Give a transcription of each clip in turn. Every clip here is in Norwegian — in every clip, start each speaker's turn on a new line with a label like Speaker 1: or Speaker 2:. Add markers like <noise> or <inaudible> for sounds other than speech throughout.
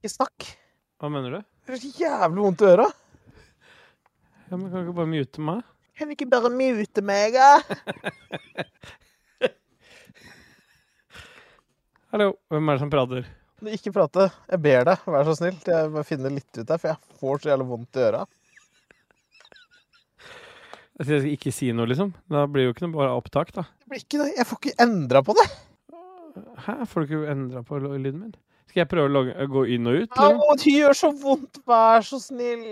Speaker 1: ikke snakk.
Speaker 2: Hva mener du?
Speaker 1: Det er så jævlig vondt i øra.
Speaker 2: Ja, men Kan du ikke bare mute meg?
Speaker 1: Kan du ikke bare mute meg, <laughs> da?
Speaker 2: Hallo, hvem er det som prater?
Speaker 1: Men Ikke prate. Jeg ber deg, vær så snill. til Jeg bare finner litt ut her, for jeg får så jævlig vondt i øra.
Speaker 2: Altså, jeg skal ikke si noe, liksom. Da blir det jo ikke noe bare opptak, da.
Speaker 1: Det blir ikke noe. Jeg får ikke endra på det.
Speaker 2: Hæ, får du ikke endra på lo- lyden min? Skal jeg prøve å logge, gå inn og ut?
Speaker 1: Au,
Speaker 2: Liksom?
Speaker 1: det gjør så vondt. Vær så snill.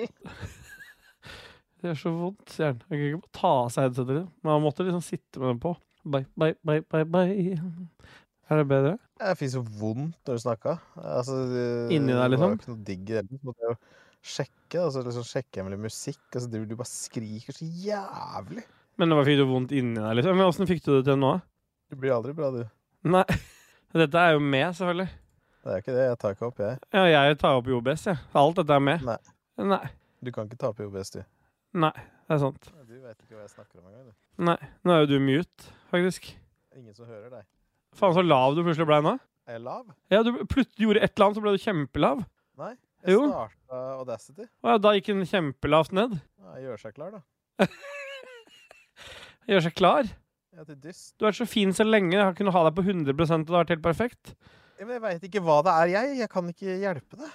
Speaker 2: Det gjør så vondt, sier han. Jeg kan ikke bare ta av seg headsetet, liksom. Man måtte liksom sitte med den på. Bye, bye, bye, bye, bye. Er det bedre?
Speaker 1: Jeg fikk så vondt når du snakka. Altså, det-
Speaker 2: Inni deg,
Speaker 1: Det var jo
Speaker 2: liksom?
Speaker 1: ikke noe digg i det. Så måtte jeg jo sjekke, og så liksom sjekke jeg med litt musikk, og så driver du bare skriker så jævlig.
Speaker 2: Men hva fikk du vondt inni deg, liksom? Men åssen fikk du det til nå?
Speaker 1: Du blir aldri bra, du.
Speaker 2: Nei. <laughs> Dette er jo med, selvfølgelig.
Speaker 1: Det er ikke det. Jeg tar ikke opp, jeg.
Speaker 2: Ja, jeg tar opp i OBS, jeg. Alt dette er med.
Speaker 1: Nei.
Speaker 2: Nei.
Speaker 1: Du kan ikke tape i OBS, du.
Speaker 2: Nei, det er sant.
Speaker 1: Du vet ikke hva jeg snakker om engang. du.
Speaker 2: Nei. Nå er jo du mute, faktisk.
Speaker 1: Ingen som hører deg.
Speaker 2: Faen, så lav du plutselig blei nå.
Speaker 1: Er jeg lav?
Speaker 2: Ja, du plutselig gjorde et eller annet, så ble du kjempelav.
Speaker 1: Nei. Jeg
Speaker 2: Jo.
Speaker 1: starta Audacity.
Speaker 2: Å ja, da gikk den kjempelavt ned.
Speaker 1: Ja, jeg gjør seg klar, da.
Speaker 2: Gjør seg klar.
Speaker 1: Jeg er til dyst.
Speaker 2: Du har vært så fin så lenge. Jeg har kunnet ha deg på 100 og det har vært helt perfekt.
Speaker 1: Ja, men jeg veit ikke hva det er, jeg. Jeg kan ikke hjelpe deg.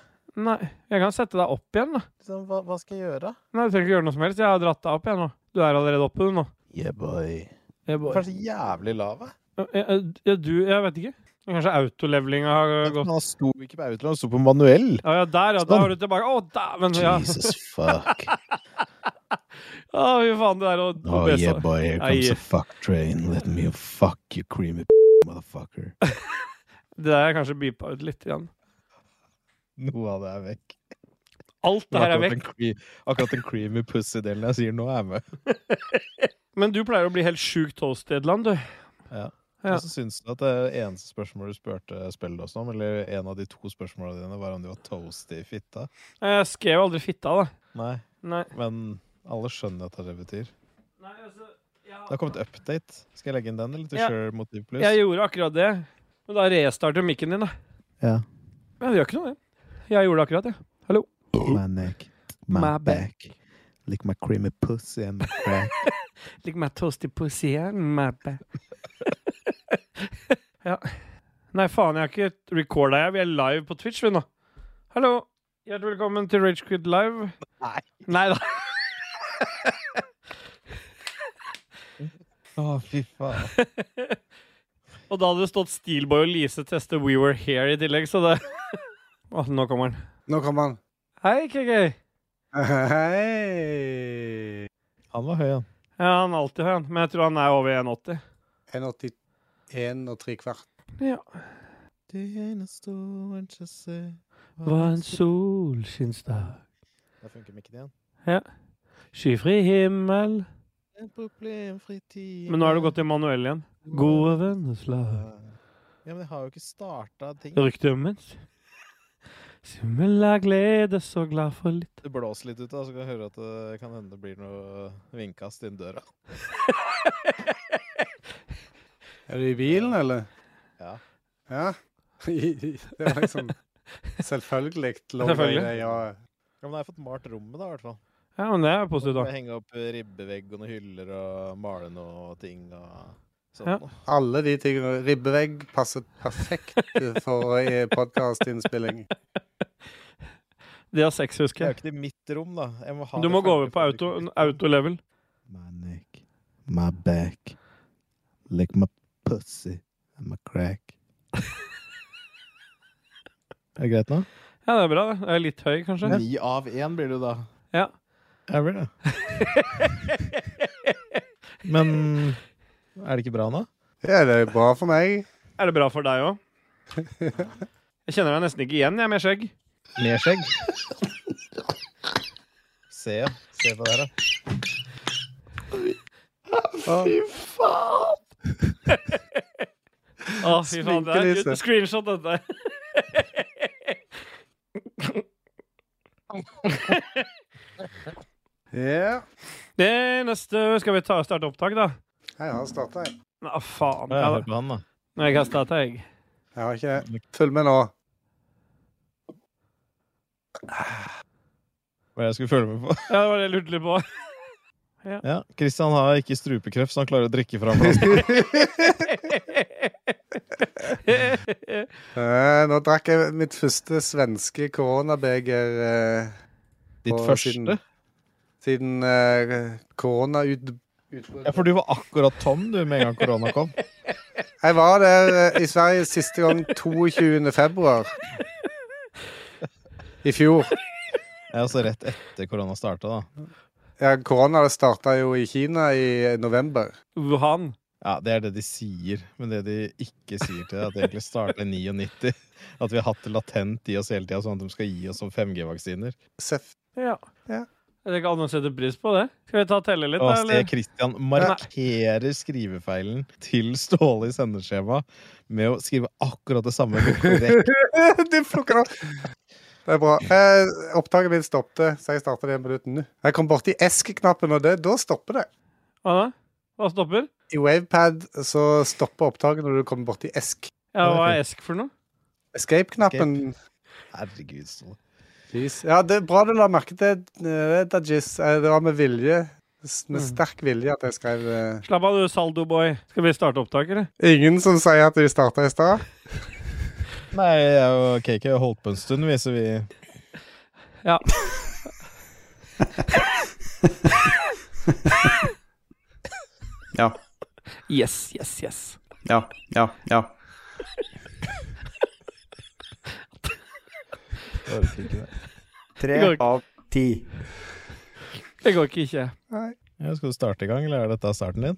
Speaker 2: Nei, jeg kan sette deg opp igjen, da.
Speaker 1: Liksom, hva, hva skal jeg gjøre?
Speaker 2: Nei, du trenger ikke gjøre noe som helst. Jeg har dratt deg opp igjen nå. Du er allerede oppe, du nå.
Speaker 1: Yeah, boy.
Speaker 2: Jeg,
Speaker 1: Du er så jævlig lav, jeg.
Speaker 2: jeg, jeg, du, jeg vet ikke. Kanskje autolevelinga har øh, gått
Speaker 1: Han sto ikke på Outland, han sto på manuell.
Speaker 2: Ja, ja, der, ja. Da er du tilbake. Å, dæven! Ja. <laughs>
Speaker 1: fuck. Oh,
Speaker 2: Å, fy faen, det er å OBS-a.
Speaker 1: boy, here
Speaker 2: comes the
Speaker 1: fuck train. Let me fuck you, creamy <laughs> motherfucker.
Speaker 2: Det der er kanskje beepa ut litt igjen.
Speaker 1: Noe av det er vekk.
Speaker 2: Alt det her er vekk.
Speaker 1: akkurat den creamy pussy-delen jeg sier nå, er med.
Speaker 2: Men du pleier å bli helt sjukt toast i et land, du.
Speaker 1: Ja.
Speaker 2: Ja.
Speaker 1: Og så syns du at det eneste spørsmålet du spurte spillet oss om, eller en av de to spørsmålene dine, var om de var toasty i fitta.
Speaker 2: Jeg skrev aldri fitta, da.
Speaker 1: Nei,
Speaker 2: Nei.
Speaker 1: men alle skjønner at det er det betyr.
Speaker 2: Nei, altså
Speaker 1: Det har kommet update. Skal jeg legge inn den, eller til
Speaker 2: Ja.
Speaker 1: Sure Motiv Plus?
Speaker 2: Jeg gjorde akkurat det. Men da restarter mikken din, da.
Speaker 1: Ja.
Speaker 2: Men det gjør ikke noe, det. Jeg gjorde det akkurat, jeg. Hallo.
Speaker 1: My neck,
Speaker 2: my My back.
Speaker 1: Lick my creamy pussy and my crack.
Speaker 2: Like my toasty pussy and my back. <laughs> ja. Nei, faen, jeg har ikke recorda, jeg. Vi er live på Twitch, vi nå. Hallo. Hjertelig velkommen til Ragequid live.
Speaker 1: Nei.
Speaker 2: Nei da.
Speaker 1: <laughs> Å, fy faen.
Speaker 2: Og da hadde det stått Steelboy og Lise teste We Were Here i tillegg, så det <laughs> Å, nå kommer han.
Speaker 3: Nå kommer han.
Speaker 2: Hei, KK.
Speaker 3: Hei!
Speaker 1: Han var høy, han.
Speaker 2: Ja, han er alltid høy, han. Men jeg tror han er over 1,80.
Speaker 3: 1,81 og tre kvart.
Speaker 2: Ja.
Speaker 1: Det eneste en skal se
Speaker 2: Var en solskinnsdag.
Speaker 1: Der funker mikken igjen.
Speaker 2: Skyfri himmel.
Speaker 1: En problemfri tid
Speaker 2: Men nå har du gått i manuell igjen. Gode venners lag.
Speaker 1: Ja, men jeg har jo ikke starta ting.
Speaker 2: Ryktet mitt. Svimmel av glede, så glad for litt.
Speaker 1: Det blåser litt ute, da, så kan jeg høre at det kan hende det blir noe vindkast inn døra.
Speaker 3: Er du i bilen, eller?
Speaker 1: Ja.
Speaker 3: Ja? <laughs> Det var liksom Selvfølgelig.
Speaker 2: Selvfølgelig.
Speaker 3: Selvfølgelig. Ja.
Speaker 1: Ja, men da har jeg fått malt rommet, da, i hvert fall.
Speaker 2: Ja, men det er
Speaker 1: Så
Speaker 2: positivt,
Speaker 1: kan jeg
Speaker 2: da.
Speaker 1: henge opp ribbevegg og noen hyller og male noe ting og sånn.
Speaker 2: Ja.
Speaker 1: da.
Speaker 3: Alle de tingene. Ribbevegg passer perfekt for eh, podkastinnspilling.
Speaker 2: Det er sex,
Speaker 1: Det
Speaker 2: husker
Speaker 1: er jo
Speaker 2: jeg.
Speaker 1: ikke det mitt rom, da. Jeg må ha
Speaker 2: Du
Speaker 1: det
Speaker 2: må gå over
Speaker 1: ferdig
Speaker 2: på
Speaker 1: for at
Speaker 2: auto,
Speaker 1: det ikke blir-
Speaker 2: auto-level.
Speaker 4: My neck, my back, lick my pussy and my crack. <laughs>
Speaker 1: Er det greit nå?
Speaker 2: Ja, det er bra, det. Jeg er litt høy, kanskje.
Speaker 1: Ni av én blir du da.
Speaker 2: Ja.
Speaker 1: Jeg blir det. Men er det ikke bra nå?
Speaker 3: Ja, det er bra for meg.
Speaker 2: Er det bra for deg
Speaker 1: <laughs>
Speaker 2: òg? Jeg kjenner deg nesten ikke igjen, jeg, med skjegg.
Speaker 1: Med skjegg. Se, se på det her, da.
Speaker 2: Å, fy faen. Det er
Speaker 3: Sminkelise.
Speaker 2: gutt- <laughs> screenshot, dette.
Speaker 3: Ja.
Speaker 2: Det neste Skal vi ta starte opptak, da?
Speaker 3: Jeg har starta, jeg.
Speaker 2: Nei, faen.
Speaker 1: Ja,
Speaker 2: Ja,
Speaker 1: hør på han, da.
Speaker 2: Nå har jeg kastet et egg.
Speaker 3: Jeg har ikke Følg med nå.
Speaker 1: Hva jeg skulle følge med på.
Speaker 2: Ja, det var det jeg lurte litt på. <laughs>
Speaker 1: Ja, Christian har ikke strupekreft, så han klarer å drikke fra en <laughs> flaske.
Speaker 3: Eh, nå drakk jeg mitt første svenske koronabeger eh,
Speaker 1: Ditt
Speaker 3: Og siden-
Speaker 1: første?
Speaker 3: siden eh, koronautbruddet.
Speaker 1: Ja, for du var akkurat tom du med en gang korona kom.
Speaker 3: Jeg var der eh, i Sverige siste gang 22. februar i fjor.
Speaker 1: Ja, altså rett etter korona starta, da.
Speaker 3: Ja, korona starta jo i Kina i november.
Speaker 2: Wuhan.
Speaker 1: Ja, Det er det de sier, men det de ikke sier til deg, at det egentlig starta i 99. <laughs> At vi har hatt det latent i oss hele tida, sånn at de skal gi oss som 5G-vaksiner.
Speaker 3: Seff. <laughs>
Speaker 2: Ja.
Speaker 3: Ja.
Speaker 2: Jeg kan annet sette pris på det. Skal vi ta og telle litt,
Speaker 1: Og
Speaker 2: da?
Speaker 1: se,
Speaker 2: Eller?
Speaker 1: Christian markerer skrivefeilen til Ståle i sendeskjema med å skrive akkurat det samme. men
Speaker 4: <laughs>
Speaker 1: korrekt.
Speaker 3: Du plukker opp. Det er bra. Eh, opptaket mitt stoppet, så jeg starter det igjen på nytt nå. Jeg kom borti esk-knappen, og det, da stopper det.
Speaker 2: Hva da? Hva stopper?
Speaker 3: I Wavepad så stopper opptaket når du kommer borti esk.
Speaker 2: Ja,
Speaker 1: fint.
Speaker 2: hva er esk for noe?
Speaker 3: Escape-knappen.
Speaker 1: Herregud, Ståle.
Speaker 3: Jeez. Ja, det er bra du la merke til det, Dajis. Eh, Det var med vilje. S- Med
Speaker 2: Mm.
Speaker 3: sterk vilje at jeg skrev eh.
Speaker 2: Slapp av, du saldoboy. Skal vi starte opptaket, eller?
Speaker 3: Ingen som sier at de starta i stad?
Speaker 1: Nei, jeg og KK har holdt på en stund, vi, så vi
Speaker 2: Ja.
Speaker 5: Ja.
Speaker 2: Yes, yes, yes.
Speaker 5: Ja. Ja. Ja.
Speaker 1: orker ikke det.
Speaker 5: Tre
Speaker 2: Jeg går ikke.
Speaker 5: av ti.
Speaker 2: Det går ikke, ikke.
Speaker 3: Nei.
Speaker 1: Ja, skal du starte i gang, eller er dette starten din?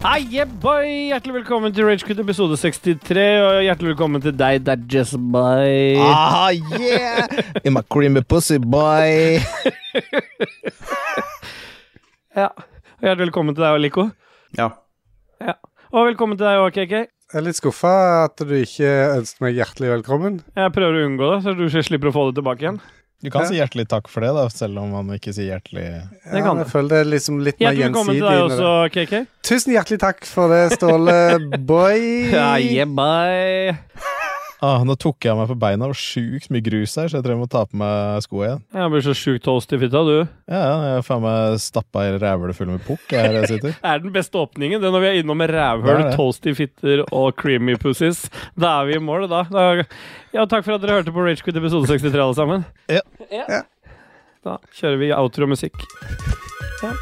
Speaker 2: Hei, yeah, boy! Hjertelig velkommen til Ragequit episode 63, og hjertelig velkommen til deg, Dadges Boy.
Speaker 1: <laughs>
Speaker 4: Ah, yeah! In my creamy pussy, boy!
Speaker 2: Ja. Og hjertelig velkommen til deg, Lico.
Speaker 5: Ja.
Speaker 2: Og velkommen til deg, OKK.
Speaker 3: Jeg er litt skuffa at du ikke ønsket meg hjertelig velkommen.
Speaker 2: Jeg prøver å unngå det, så du slipper å få det tilbake igjen.
Speaker 1: Du kan
Speaker 3: Ja.
Speaker 1: si hjertelig takk for det, da, selv om han ikke sier hjertelig
Speaker 2: Det kan
Speaker 3: ja,
Speaker 2: du.
Speaker 3: jeg føler det er liksom litt mer
Speaker 2: Hjertelig velkommen
Speaker 3: gjensidig.
Speaker 2: til deg
Speaker 3: når det-
Speaker 2: også, KK.
Speaker 3: Tusen hjertelig takk for det,
Speaker 2: <laughs>
Speaker 3: Ståle Boy.
Speaker 2: Ja, yeah, boy.
Speaker 1: Ah, nå tok jeg meg på beina og sjukt mye grus her, så jeg tror jeg må ta på meg skoa igjen.
Speaker 2: Jeg blir så sjukt toast i fitta, du.
Speaker 1: Ja, ja, jeg har faen meg stappa i rævhullet full med pukk jeg, her jeg sitter.
Speaker 2: Det er den beste åpningen. Det er når vi er innom med
Speaker 1: Det
Speaker 2: rævhull,
Speaker 1: er det.
Speaker 2: toasty fitter og creamy pussies. Da er vi i mål, da. da. Ja, takk for at dere hørte på Ragequit episode 63, alle sammen.
Speaker 1: Ja.
Speaker 3: Ja.
Speaker 2: Da kjører vi outro-musikk. Ja.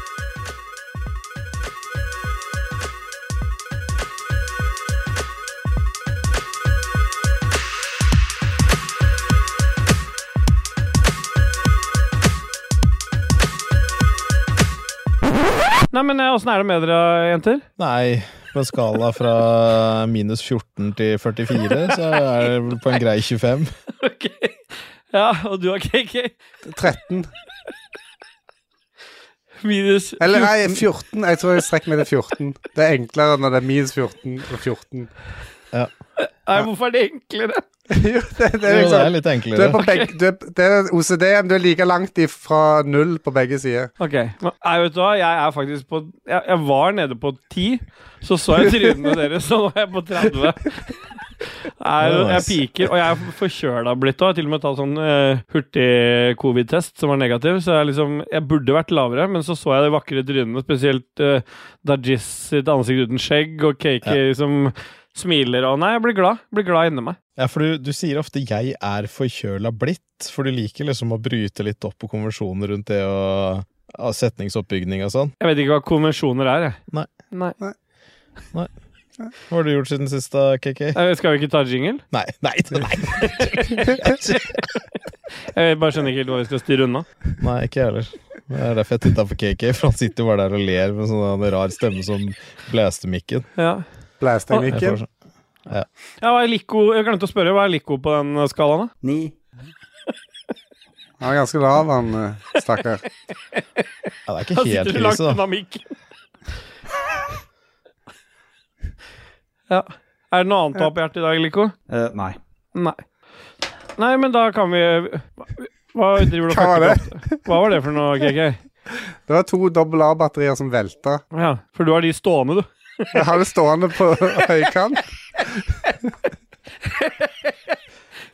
Speaker 2: Nei, men eh, åssen er det med dere, jenter?
Speaker 1: Nei, på en skala fra minus 14 til 44, så er det vel på en grei 25.
Speaker 2: Ok. Ja, og du har KK?
Speaker 3: 13.
Speaker 2: Minus
Speaker 3: Eller nei, 14. Jeg tror jeg strekker meg til 14. Det er enklere når det er minus 14 og 14.
Speaker 2: Nei, hvorfor er det enklere?
Speaker 3: <laughs> Jo, det, <laughs> det
Speaker 1: Det
Speaker 3: er
Speaker 1: er, jo, det er
Speaker 3: liksom
Speaker 1: litt
Speaker 3: du er
Speaker 1: enklere.
Speaker 3: på begge, du er, det er OCD-en. Du er like langt ifra null på begge sider.
Speaker 2: Ok, men, nei, vet du hva, jeg er faktisk på Jeg, jeg var nede på 10 Så så jeg <laughs> trynene deres, så nå er jeg på 30 Nei, jeg piker, og jeg er forkjøla blitt òg. Jeg har til og med tatt sånn eh, hurtig covid-test som var negativ, så jeg liksom Jeg burde vært lavere, men så så jeg de vakre trynene, spesielt eh, Dajis sitt ansikt uten skjegg, og Kaki som smiler, og nei, jeg blir glad. Jeg Blir glad inni meg.
Speaker 1: Ja, for du, du sier ofte 'jeg er forkjøla blitt', for du liker liksom å bryte litt opp på konvensjoner rundt det og ja, setningsoppbygning og sånn.
Speaker 2: Jeg vet ikke hva konvensjoner er, jeg.
Speaker 1: Nei.
Speaker 2: nei.
Speaker 1: Hva har du gjort siden sist, da, KK?
Speaker 2: Eh, Skal vi ikke ta jingle?
Speaker 1: Nei, nei, nei,
Speaker 3: <laughs>
Speaker 2: Jeg bare skjønner ikke helt hva vi skal styre unna.
Speaker 1: nei ikke jeg heller. Det er derfor jeg titta på KK, for han sitter jo bare der og ler med sånn en rar stemme som blæste mikken.
Speaker 2: Ja.
Speaker 1: Jeg
Speaker 3: Blæsteknikken.
Speaker 1: får sånn-
Speaker 2: Ja, hva er Lico? Jeg glemte å spørre, hva er Lico på den eh, skalaen? da?
Speaker 5: Ni.
Speaker 3: Han er ganske lav, han eh, stakkar.
Speaker 1: Ja, det er ikke
Speaker 2: Han
Speaker 1: helt altså.
Speaker 2: <laughs> sitter langt
Speaker 1: krise, da.
Speaker 2: unna mikken. Er det noe annet du har på hjertet i dag, Lico?
Speaker 5: Eh, nei.
Speaker 2: Nei. Nei, men da kan vi Hva driver du og
Speaker 3: Hva var
Speaker 2: fucker opp? Hva var det for noe, KK?
Speaker 3: Det var to dobbel A-batterier som velta.
Speaker 2: Ja, for du har de stående, du.
Speaker 3: Jeg har det stående på <laughs> høykant.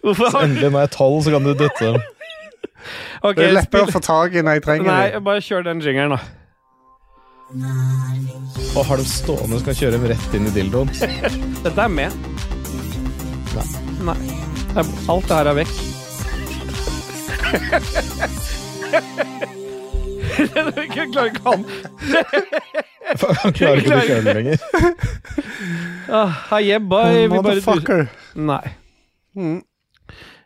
Speaker 2: Hvorfor
Speaker 1: Så
Speaker 2: har
Speaker 1: endelig, når jeg er tolv, så kan du dytte dem.
Speaker 2: Ok,
Speaker 3: Det er lettere
Speaker 2: spill.
Speaker 3: å få tak i når jeg trenger
Speaker 2: Nei,
Speaker 3: det.
Speaker 2: bare kjør den jingeren, da.
Speaker 1: Og har dem stående, så kan jeg kjøre dem rett inn i dildoen. <laughs>
Speaker 2: Dette er med. Nei. Det er- Alt det her er vekk. Jeg klarer ikke å ha den.
Speaker 1: Han klarer ikke å kjøre den lenger.
Speaker 2: Ah, hei, jebba. Vi bare duser.
Speaker 3: Motherfucker.
Speaker 2: Nei.
Speaker 3: Mm.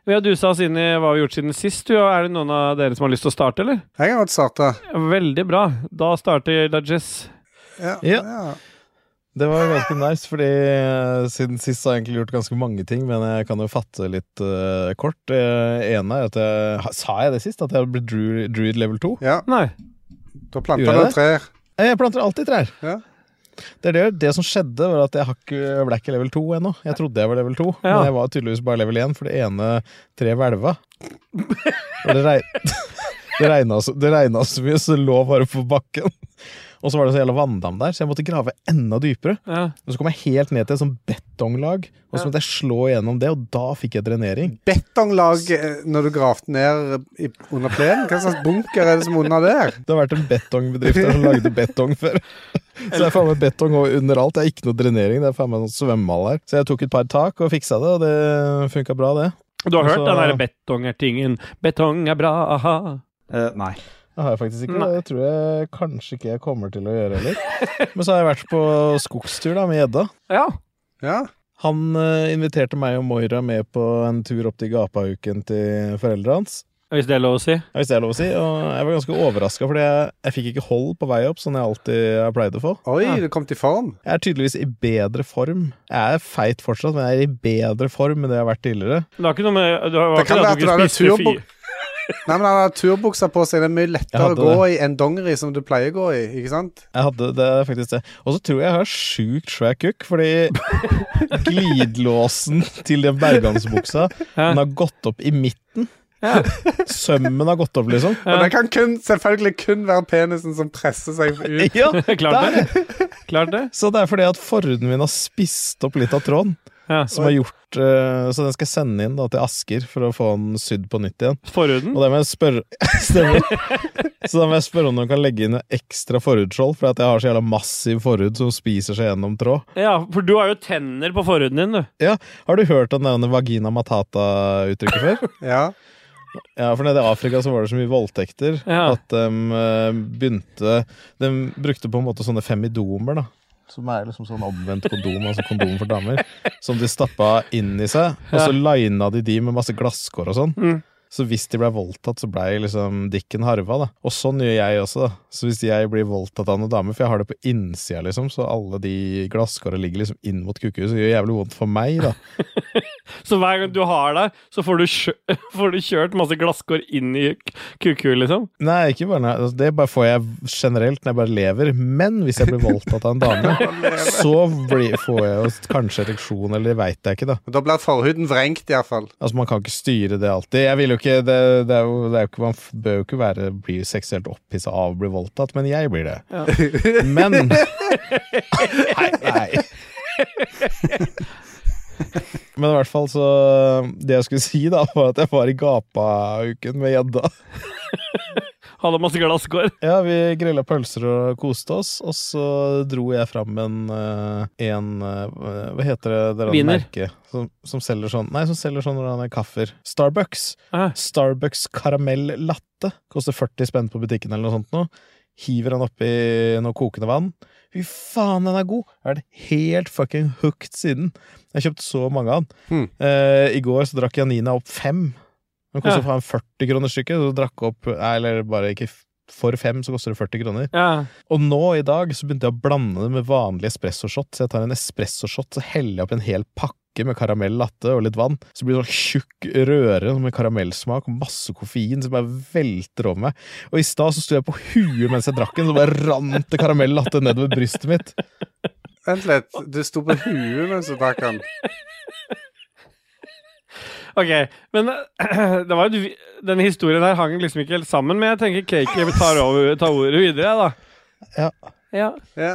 Speaker 2: Vi har dusa oss inn i hva vi har gjort siden sist. Du, er det noen av dere som har lyst til å starte, eller?
Speaker 3: Jeg har godt starta.
Speaker 2: Veldig bra. Da starter Dajess.
Speaker 3: Ja.
Speaker 1: Ja.
Speaker 3: Ja.
Speaker 1: Det var ganske nice, fordi eh, siden sist har jeg egentlig gjort ganske mange ting, men jeg kan jo fatte litt eh, kort. Det ene er at jeg ha- Sa jeg det sist? At jeg ble druid, druid level 2?
Speaker 3: ja.
Speaker 2: Nei.
Speaker 3: Da planta
Speaker 1: Gjorde jeg
Speaker 3: du
Speaker 1: det?
Speaker 3: trær.
Speaker 1: Eh, Jeg planter alltid trær.
Speaker 3: Ja.
Speaker 1: Det, er det, det som skjedde, var at jeg, har ikke, jeg ble ikke level 2 ennå. Jeg trodde jeg var level 2,
Speaker 2: Ja.
Speaker 1: men jeg var tydeligvis bare level 1, for det ene treet hvelva. Og det, reg, <laughs> det, regna så, det regna så mye, så det lå bare på bakken. Og så var det så jævla vanndam der, så jeg måtte grave enda dypere.
Speaker 2: Ja.
Speaker 1: Og så kom jeg helt ned til et sånt betonglag, og så
Speaker 2: Ja.
Speaker 1: måtte jeg slå gjennom det, og da fikk jeg drenering.
Speaker 3: Betonglag eh, når du gravde ned i, under plenen? Hva slags bunker er det som er under der?
Speaker 1: Det har vært en betongbedrift der som lagde betong før. Så det er faen meg betong og under alt. Det er ikke noe drenering. det er faen meg noe svømmehall her. Så jeg tok et par tak og fiksa det, og det funka bra, det.
Speaker 2: Du har hørt
Speaker 1: Altså-
Speaker 2: den derre betongertingen. Betong er bra, aha.
Speaker 5: Eh, nei.
Speaker 1: Det har jeg faktisk ikke.
Speaker 2: Nei.
Speaker 1: Det tror jeg kanskje ikke jeg kommer til å gjøre heller. Men så har jeg vært på skogstur da, med gjedda.
Speaker 2: Ja.
Speaker 3: Ja.
Speaker 1: Han eh, inviterte meg og Moira med på en tur opp til Gapahuken til foreldrene hans.
Speaker 2: Hvis det er lov å si.
Speaker 1: Hvis det er lov å si. Og jeg var ganske overraska, fordi jeg, jeg fikk ikke hold på vei opp, som jeg alltid har pleid å få.
Speaker 3: Oi,
Speaker 2: Ja.
Speaker 3: du kom til form.
Speaker 1: Jeg er tydeligvis i bedre form. Jeg er feit fortsatt, men jeg er i bedre form enn det jeg har vært tidligere.
Speaker 2: Det har ikke noe med Det var
Speaker 3: Det
Speaker 2: ikke
Speaker 3: kan
Speaker 2: det
Speaker 3: være
Speaker 2: at du
Speaker 3: at du
Speaker 2: ikke
Speaker 3: hadde
Speaker 2: spiste
Speaker 3: turbo-
Speaker 2: fire.
Speaker 3: Nei, men han har turbuksa på seg. Det er mye lettere å
Speaker 1: hadde
Speaker 3: gå i enn dongeri, som du pleier å gå i. ikke sant?
Speaker 1: Jeg hadde det er faktisk det. Og så tror jeg jeg har sjukt svær kukk, fordi <laughs> glidelåsen til den bergansbuksa
Speaker 2: Ja.
Speaker 1: Den har gått opp i midten.
Speaker 2: Ja.
Speaker 1: Sømmen har gått opp,
Speaker 2: <laughs>
Speaker 1: liksom.
Speaker 2: Ja.
Speaker 3: Og det kan kun, selvfølgelig kun være penisen som presser seg ut.
Speaker 1: Ja,
Speaker 2: <laughs> Klart det. Klart det.
Speaker 1: Så det er fordi at forhuden min har spist opp litt av tråden.
Speaker 2: Ja.
Speaker 1: Som har gjort eh, Så den skal jeg sende inn da, til Asker for å få den sydd på nytt igjen.
Speaker 2: Forhuden.
Speaker 1: Og det må jeg spørre <laughs> Stemmer. Så da må jeg spørre om noen kan legge inn noe ekstra forhudskjold, for at jeg har så jævla massiv forhud som spiser seg gjennom tråd.
Speaker 2: Ja, for du har jo tenner på forhuden din, du.
Speaker 1: Ja, Har du hørt om denne vagina matata-uttrykket før?
Speaker 3: Ja.
Speaker 1: Ja, for nede i Afrika så var det så mye voldtekter
Speaker 2: Ja.
Speaker 1: at de eh, begynte De brukte på en måte sånne femidomer, da. Som er liksom sånn omvendt kondom, altså kondom for damer. <laughs> Som de stappa inn i seg, og så lina de de med masse glasskår og sånn.
Speaker 2: Mm.
Speaker 1: Så hvis de ble voldtatt, så blei liksom dikken harva, da. Og sånn gjør jeg også, da. Så hvis jeg blir voldtatt av noen dame, for jeg har det på innsida, liksom, så alle de glasskåra ligger liksom inn mot kukkehuset, så gjør jævlig vondt for meg, da.
Speaker 2: Så hver gang du har deg, så får du, kjø <laughs> får du kjørt masse glasskår inn i k- kukhuet, liksom.
Speaker 1: Nei, ikke bare altså, Det bare får jeg generelt når jeg bare lever. Men hvis jeg blir voldtatt av en dame, så blir, får jeg jo kanskje ereksjon, eller det veit jeg ikke, da.
Speaker 3: Og da blir forhuden vrengt, iallfall.
Speaker 1: Altså, man kan ikke styre det alltid. Jeg vil jo ikke Det, det er jo, det er jo ikke Man f- bør jo ikke være, bli seksuelt opphissa av å bli voldtatt, men jeg blir det. <laughs> Men Nei, nei. Men i hvert fall så Det jeg skulle si, da, var at jeg var i Gapauken med gjedda.
Speaker 2: Hadde masse glasskår. <laughs>
Speaker 1: Ja, vi grilla pølser og koste oss, og så dro jeg fram en, eh, en eh, Hva heter det der
Speaker 2: Wiener.
Speaker 1: merket som, som selger sånn Nei, som selger sånn når han er kaffer. Starbucks.
Speaker 2: Ja.
Speaker 1: Starbucks karamell latte. Koster 40 spenn på butikken eller noe sånt nå. Hiver han oppi noe kokende vann. Fy faen, den er god! Jeg har vært helt fucking hooked siden. Jeg har kjøpt så mange av den.
Speaker 3: Hmm.
Speaker 1: Eh, I går så drakk Janina opp fem. Den koster
Speaker 2: Ja.
Speaker 1: faen 40 kroner stykket, så drakk opp Nei, eller bare ikke f- for fem, så koster det 40 kroner.
Speaker 2: Ja.
Speaker 1: Og nå i dag så begynte jeg å blande det med vanlig espressoshot. Så jeg tar en espressoshot, så heller jeg opp en hel pakke med karamell latte og litt vann. Så blir det sånn tjukk røre med karamellsmak og masse koffein som bare velter over meg. Og i stad så sto jeg på huet mens jeg drakk den, så bare rant det karamell latte nedover brystet mitt.
Speaker 3: Vent litt. Du sto på huet mens du drakk den.
Speaker 2: Ok, men <clears throat> eh, det var jo, du- denne historien her hang liksom ikke helt sammen, men jeg tenker Cakey tar, over- tar ordet videre, da.
Speaker 1: Ja.
Speaker 2: ja.
Speaker 3: Ja.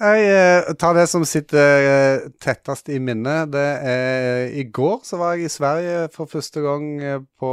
Speaker 3: Jeg eh, tar det som sitter eh, tettest i minnet. Det er eh, I går så var jeg i Sverige for første gang eh, på